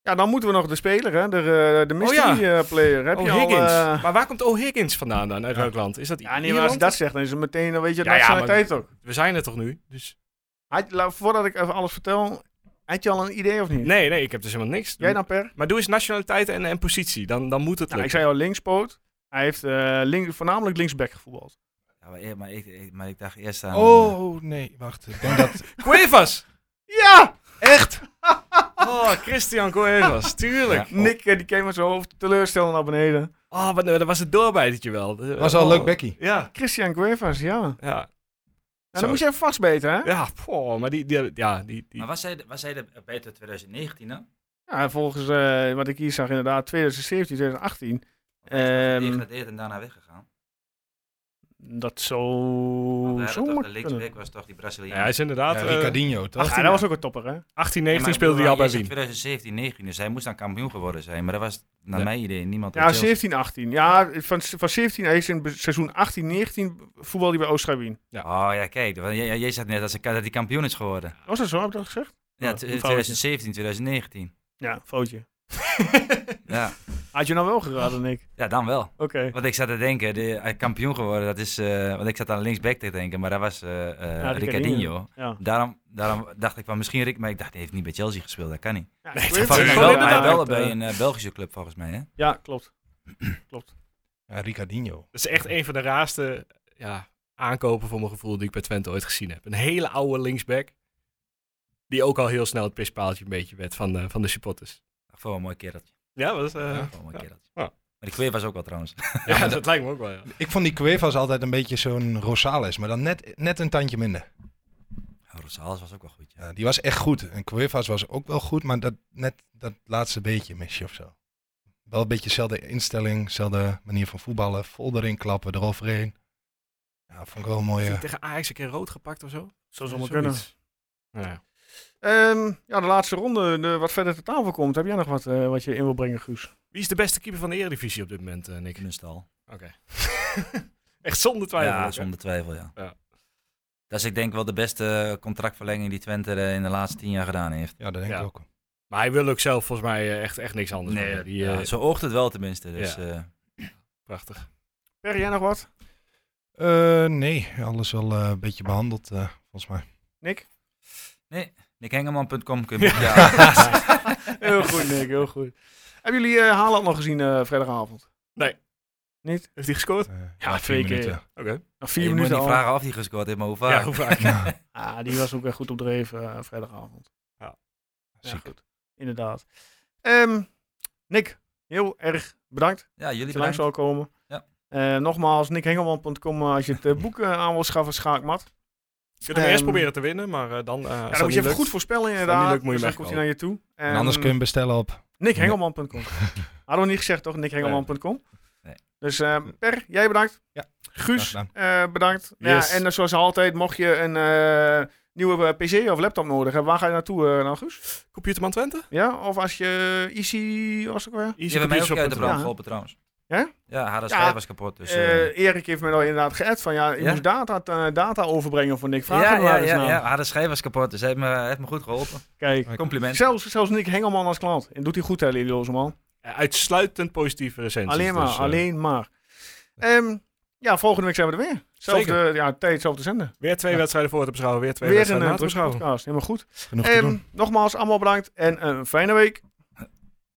Speaker 1: Ja, dan moeten we nog de speler, hè? De, eh, de mystery
Speaker 4: Oh
Speaker 1: eh, player. Heb je al,
Speaker 4: O'Higgins.
Speaker 1: eh,
Speaker 4: Maar waar komt O'Higgins vandaan dan? Uit welk land? Is dat
Speaker 1: Ja, nee, maar als
Speaker 4: Ierland?
Speaker 1: je dat zegt, dan is het meteen, dan weet je,
Speaker 4: Ja,
Speaker 1: dat
Speaker 4: ja,
Speaker 1: is
Speaker 4: maar-
Speaker 1: tijd ook.
Speaker 4: We zijn er toch nu? Dus...
Speaker 1: Had, la- voordat ik even alles vertel, had je al een idee of niet?
Speaker 4: Nee, nee, ik heb dus helemaal niks.
Speaker 1: Jij dan, Per?
Speaker 4: Maar doe eens nationaliteit en, en positie. Dan, dan moet het
Speaker 1: Nou, ik
Speaker 4: lukken.
Speaker 1: zei al linkspoot. Hij heeft eh, link, voornamelijk linksback gevoetbald.
Speaker 5: Ja, maar, eer- maar, ik, ik- maar ik dacht eerst aan... eh,
Speaker 6: Oh, nee. Wacht. Ik denk dat...
Speaker 4: Cuevas!
Speaker 1: Ja!
Speaker 6: Echt?
Speaker 4: Oh, Christian Cuevas. Tuurlijk.
Speaker 5: ja.
Speaker 1: Nick, eh, die keek met zijn hoofd teleurstellend naar beneden.
Speaker 4: Oh, wat, dat was het doorbijtertje wel. Dat
Speaker 6: Was al leuk, Becky.
Speaker 4: Ja,
Speaker 1: Christian Cuevas, ja. Nou,
Speaker 4: ja. Zo.
Speaker 1: dan moet je even vastbeten, hè?
Speaker 4: Ja, poh, maar die, die, ja, die, die
Speaker 5: Maar was hij, de- was hij de beter 2019 dan?
Speaker 1: Ja, volgens eh, wat ik hier zag, inderdaad, 2017, 2018. Ehm
Speaker 5: Gedegradeerd en daarna weggegaan.
Speaker 1: dat zou
Speaker 5: Daar toch de
Speaker 1: zomaar kunnen.
Speaker 5: linksback was toch die
Speaker 4: ja,
Speaker 5: Braziliaan.
Speaker 4: hij is inderdaad...
Speaker 6: Ja,
Speaker 4: eh,
Speaker 6: Ricardinho, toch?
Speaker 1: 18, dat was ook een topper, hè?
Speaker 4: 18,
Speaker 5: Ja,
Speaker 4: 19
Speaker 5: maar ik
Speaker 4: speelde
Speaker 5: bedoel,
Speaker 4: hij al bij
Speaker 5: is in
Speaker 4: Wien.
Speaker 5: 2017, 19, dus hij moest dan kampioen geworden zijn. Maar dat was naar
Speaker 4: Ja.
Speaker 5: mijn idee niemand.
Speaker 1: Ja, 17, 18. Ja, van, van 17 hij is in be- seizoen 18, 19 voetbal die bij Oostenrijk Wien.
Speaker 5: Oh ja, kijk, want jij, jij zei net dat, ze, dat hij kampioen is geworden.
Speaker 1: Was dat zo, heb ik dat gezegd?
Speaker 5: Ja,
Speaker 1: Ja,
Speaker 5: t-
Speaker 1: een foutje.
Speaker 5: 2017, 2019.
Speaker 1: Ja, foutje.
Speaker 5: Ja.
Speaker 1: Had je nou wel geraden, Nick?
Speaker 5: ja, dan wel.
Speaker 1: Oké.
Speaker 5: Want ik zat te denken, de, hij kampioen geworden, dat is... eh, want ik zat aan linksback te denken, maar dat was eh eh,
Speaker 1: Ricardinho.
Speaker 5: Ricardinho.
Speaker 1: Ja.
Speaker 5: Daarom, daarom dacht ik van misschien Rick, maar ik dacht, hij heeft niet bij Chelsea gespeeld, dat kan niet.
Speaker 1: Ja,
Speaker 5: Hij
Speaker 1: Cuevas
Speaker 5: had
Speaker 1: is
Speaker 4: Gewoon
Speaker 5: wel,
Speaker 1: wel
Speaker 5: hij had wel
Speaker 1: uit, eh,
Speaker 5: bij een eh, Belgische club volgens mij, hè?
Speaker 1: Ja, klopt.
Speaker 6: Ja, Ricardinho.
Speaker 4: Dat is echt een van de raarste ja, aankopen voor mijn gevoel die ik bij Twente ooit gezien heb. Een hele oude linksback. Die ook al heel snel het pispaaltje een beetje werd van de, van de supporters.
Speaker 5: Voor een mooi kereltje.
Speaker 4: Ja, dat, is, eh,
Speaker 5: Ja,
Speaker 4: ja.
Speaker 5: voor een mooi kereltje.
Speaker 4: Ja.
Speaker 5: Maar die Queer was ook wel trouwens.
Speaker 4: dat, lijkt me ook wel. Ja.
Speaker 6: Ik vond die Cuevas altijd een beetje zo'n Rosales, maar dan net, net een tandje minder.
Speaker 5: Rosales was ook wel goed, ja.
Speaker 6: Ja, die was echt goed. En Cuevas was ook wel goed, maar dat, net dat laatste beetje mis je of zo. Wel een beetje dezelfde instelling, dezelfde manier van voetballen. Vol erin klappen, eroverheen. Ja, vond ik wel een
Speaker 4: Is
Speaker 6: mooie...
Speaker 4: hij tegen Ajax een keer rood gepakt of zo?
Speaker 1: Zou zomaar
Speaker 4: Zoiets.
Speaker 1: kunnen.
Speaker 4: Ja.
Speaker 1: Ehm, ja, de laatste ronde, de, wat verder te tafel komt. Heb jij nog wat, eh, wat je in wil brengen, Guus?
Speaker 4: Wie is de beste keeper van de Eredivisie op dit moment, eh, Nick?
Speaker 5: Kunstal.
Speaker 4: Oké. echt zonder twijfel. ook,
Speaker 5: Ja,
Speaker 4: hè?
Speaker 5: zonder twijfel, ja.
Speaker 4: Ja.
Speaker 5: Dat is ik denk wel de beste contractverlenging die Twente eh, in de laatste tien jaar gedaan heeft.
Speaker 6: Ja, dat denk
Speaker 4: Ja.
Speaker 6: ik ook.
Speaker 4: Maar hij wil ook zelf volgens mij eh, echt, echt niks anders. meer. die, eh,
Speaker 5: ja, zo oogt het wel tenminste. Dus,
Speaker 4: Ja.
Speaker 5: eh,
Speaker 4: Prachtig.
Speaker 1: Per, jij nog wat?
Speaker 6: Eh, nee, alles wel eh, een beetje behandeld, eh, volgens mij.
Speaker 1: Nick?
Speaker 5: nickhengeman.com kun je... Ja.
Speaker 1: Heel goed, Nick, heel goed. Hebben jullie eh Haaland nog gezien eh, vrijdagavond?
Speaker 4: Heeft hij gescoord?
Speaker 6: Eh,
Speaker 1: Ja,
Speaker 6: na vier
Speaker 1: twee keer.
Speaker 6: minuten.
Speaker 4: Oké.
Speaker 1: Nog vier
Speaker 5: Je moet niet
Speaker 1: minuten al.
Speaker 5: vragen of hij gescoord heeft, maar hoe vaak.
Speaker 4: Ja, hoe vaak?
Speaker 6: Ja,
Speaker 1: Ah, die was ook echt goed op dreef eh, vrijdagavond.
Speaker 4: Ja.
Speaker 1: Ja,
Speaker 6: Ziek.
Speaker 1: goed. Inderdaad. Ehm, Nick, heel erg bedankt
Speaker 5: Ja, jullie
Speaker 1: dat je langs
Speaker 5: bedankt.
Speaker 1: zal komen.
Speaker 5: Ja.
Speaker 1: Eh, nogmaals, nickhengelman.com als je het eh, boek eh, aan wil schaffen, schaakmat.
Speaker 4: Je kunt hem eerst
Speaker 1: Ehm,
Speaker 4: proberen te winnen, maar eh, dan... eh,
Speaker 1: Ja,
Speaker 4: als
Speaker 1: dan
Speaker 4: dat
Speaker 1: moet
Speaker 4: niet
Speaker 1: je even
Speaker 4: lukt-
Speaker 1: goed voorspellen
Speaker 4: niet
Speaker 1: inderdaad.
Speaker 4: lukt, moet
Speaker 1: dus
Speaker 4: je
Speaker 1: dan
Speaker 4: hem
Speaker 1: komt hij naar je toe. Ehm,
Speaker 6: En anders kun je hem bestellen op...
Speaker 1: nickhengelman.com. Hadden we niet gezegd toch, nickhengelman.com?
Speaker 5: Nee.
Speaker 1: Dus eh, Per, jij bedankt.
Speaker 6: Ja,
Speaker 1: Guus,
Speaker 6: graag
Speaker 1: eh, bedankt.
Speaker 4: Yes.
Speaker 1: Ja, en eh, zoals altijd, mocht je een eh, nieuwe eh, PC of laptop nodig hebt, waar ga je naartoe eh nou, Guus?
Speaker 4: Computerman Twente?
Speaker 1: Ja? Of als je IC was het ook weer?
Speaker 5: Die hebben mij ook uit de brand
Speaker 1: Ja.
Speaker 5: geholpen trouwens.
Speaker 1: Ja?
Speaker 5: Ja, haar
Speaker 1: Ja.
Speaker 5: schijf was kapot. Dus, eh,
Speaker 1: Eh, Erik heeft me al inderdaad geappt van ja, je
Speaker 5: Ja?
Speaker 1: moest data, eh, data overbrengen voor Nick. Vraag
Speaker 5: ja,
Speaker 1: hem maar
Speaker 5: ja,
Speaker 1: eens nou
Speaker 5: ja,
Speaker 1: naar.
Speaker 5: ja, haar schijf was kapot, dus hij heeft me, hij heeft me goed geholpen.
Speaker 1: Kijk,
Speaker 5: Compliment.
Speaker 1: zelfs, zelfs Nick Hengelman als klant. En doet hij goed hè, Lilioze man.
Speaker 4: Eh, Uitsluitend positieve recensies.
Speaker 1: Alleen maar,
Speaker 4: dus, eh,
Speaker 1: alleen maar. Ehm, ja, volgende week zijn we er weer. Zelfde, ja, tijd, zelfde zender.
Speaker 4: Weer twee wedstrijden voor te beschouwen, weer twee
Speaker 1: Weer een
Speaker 4: wedstrijden
Speaker 1: eh,
Speaker 4: na te beschouwen.
Speaker 1: podcast. Helemaal goed.
Speaker 6: Genoeg te
Speaker 1: Ehm,
Speaker 6: doen.
Speaker 1: nogmaals, allemaal bedankt en een fijne week.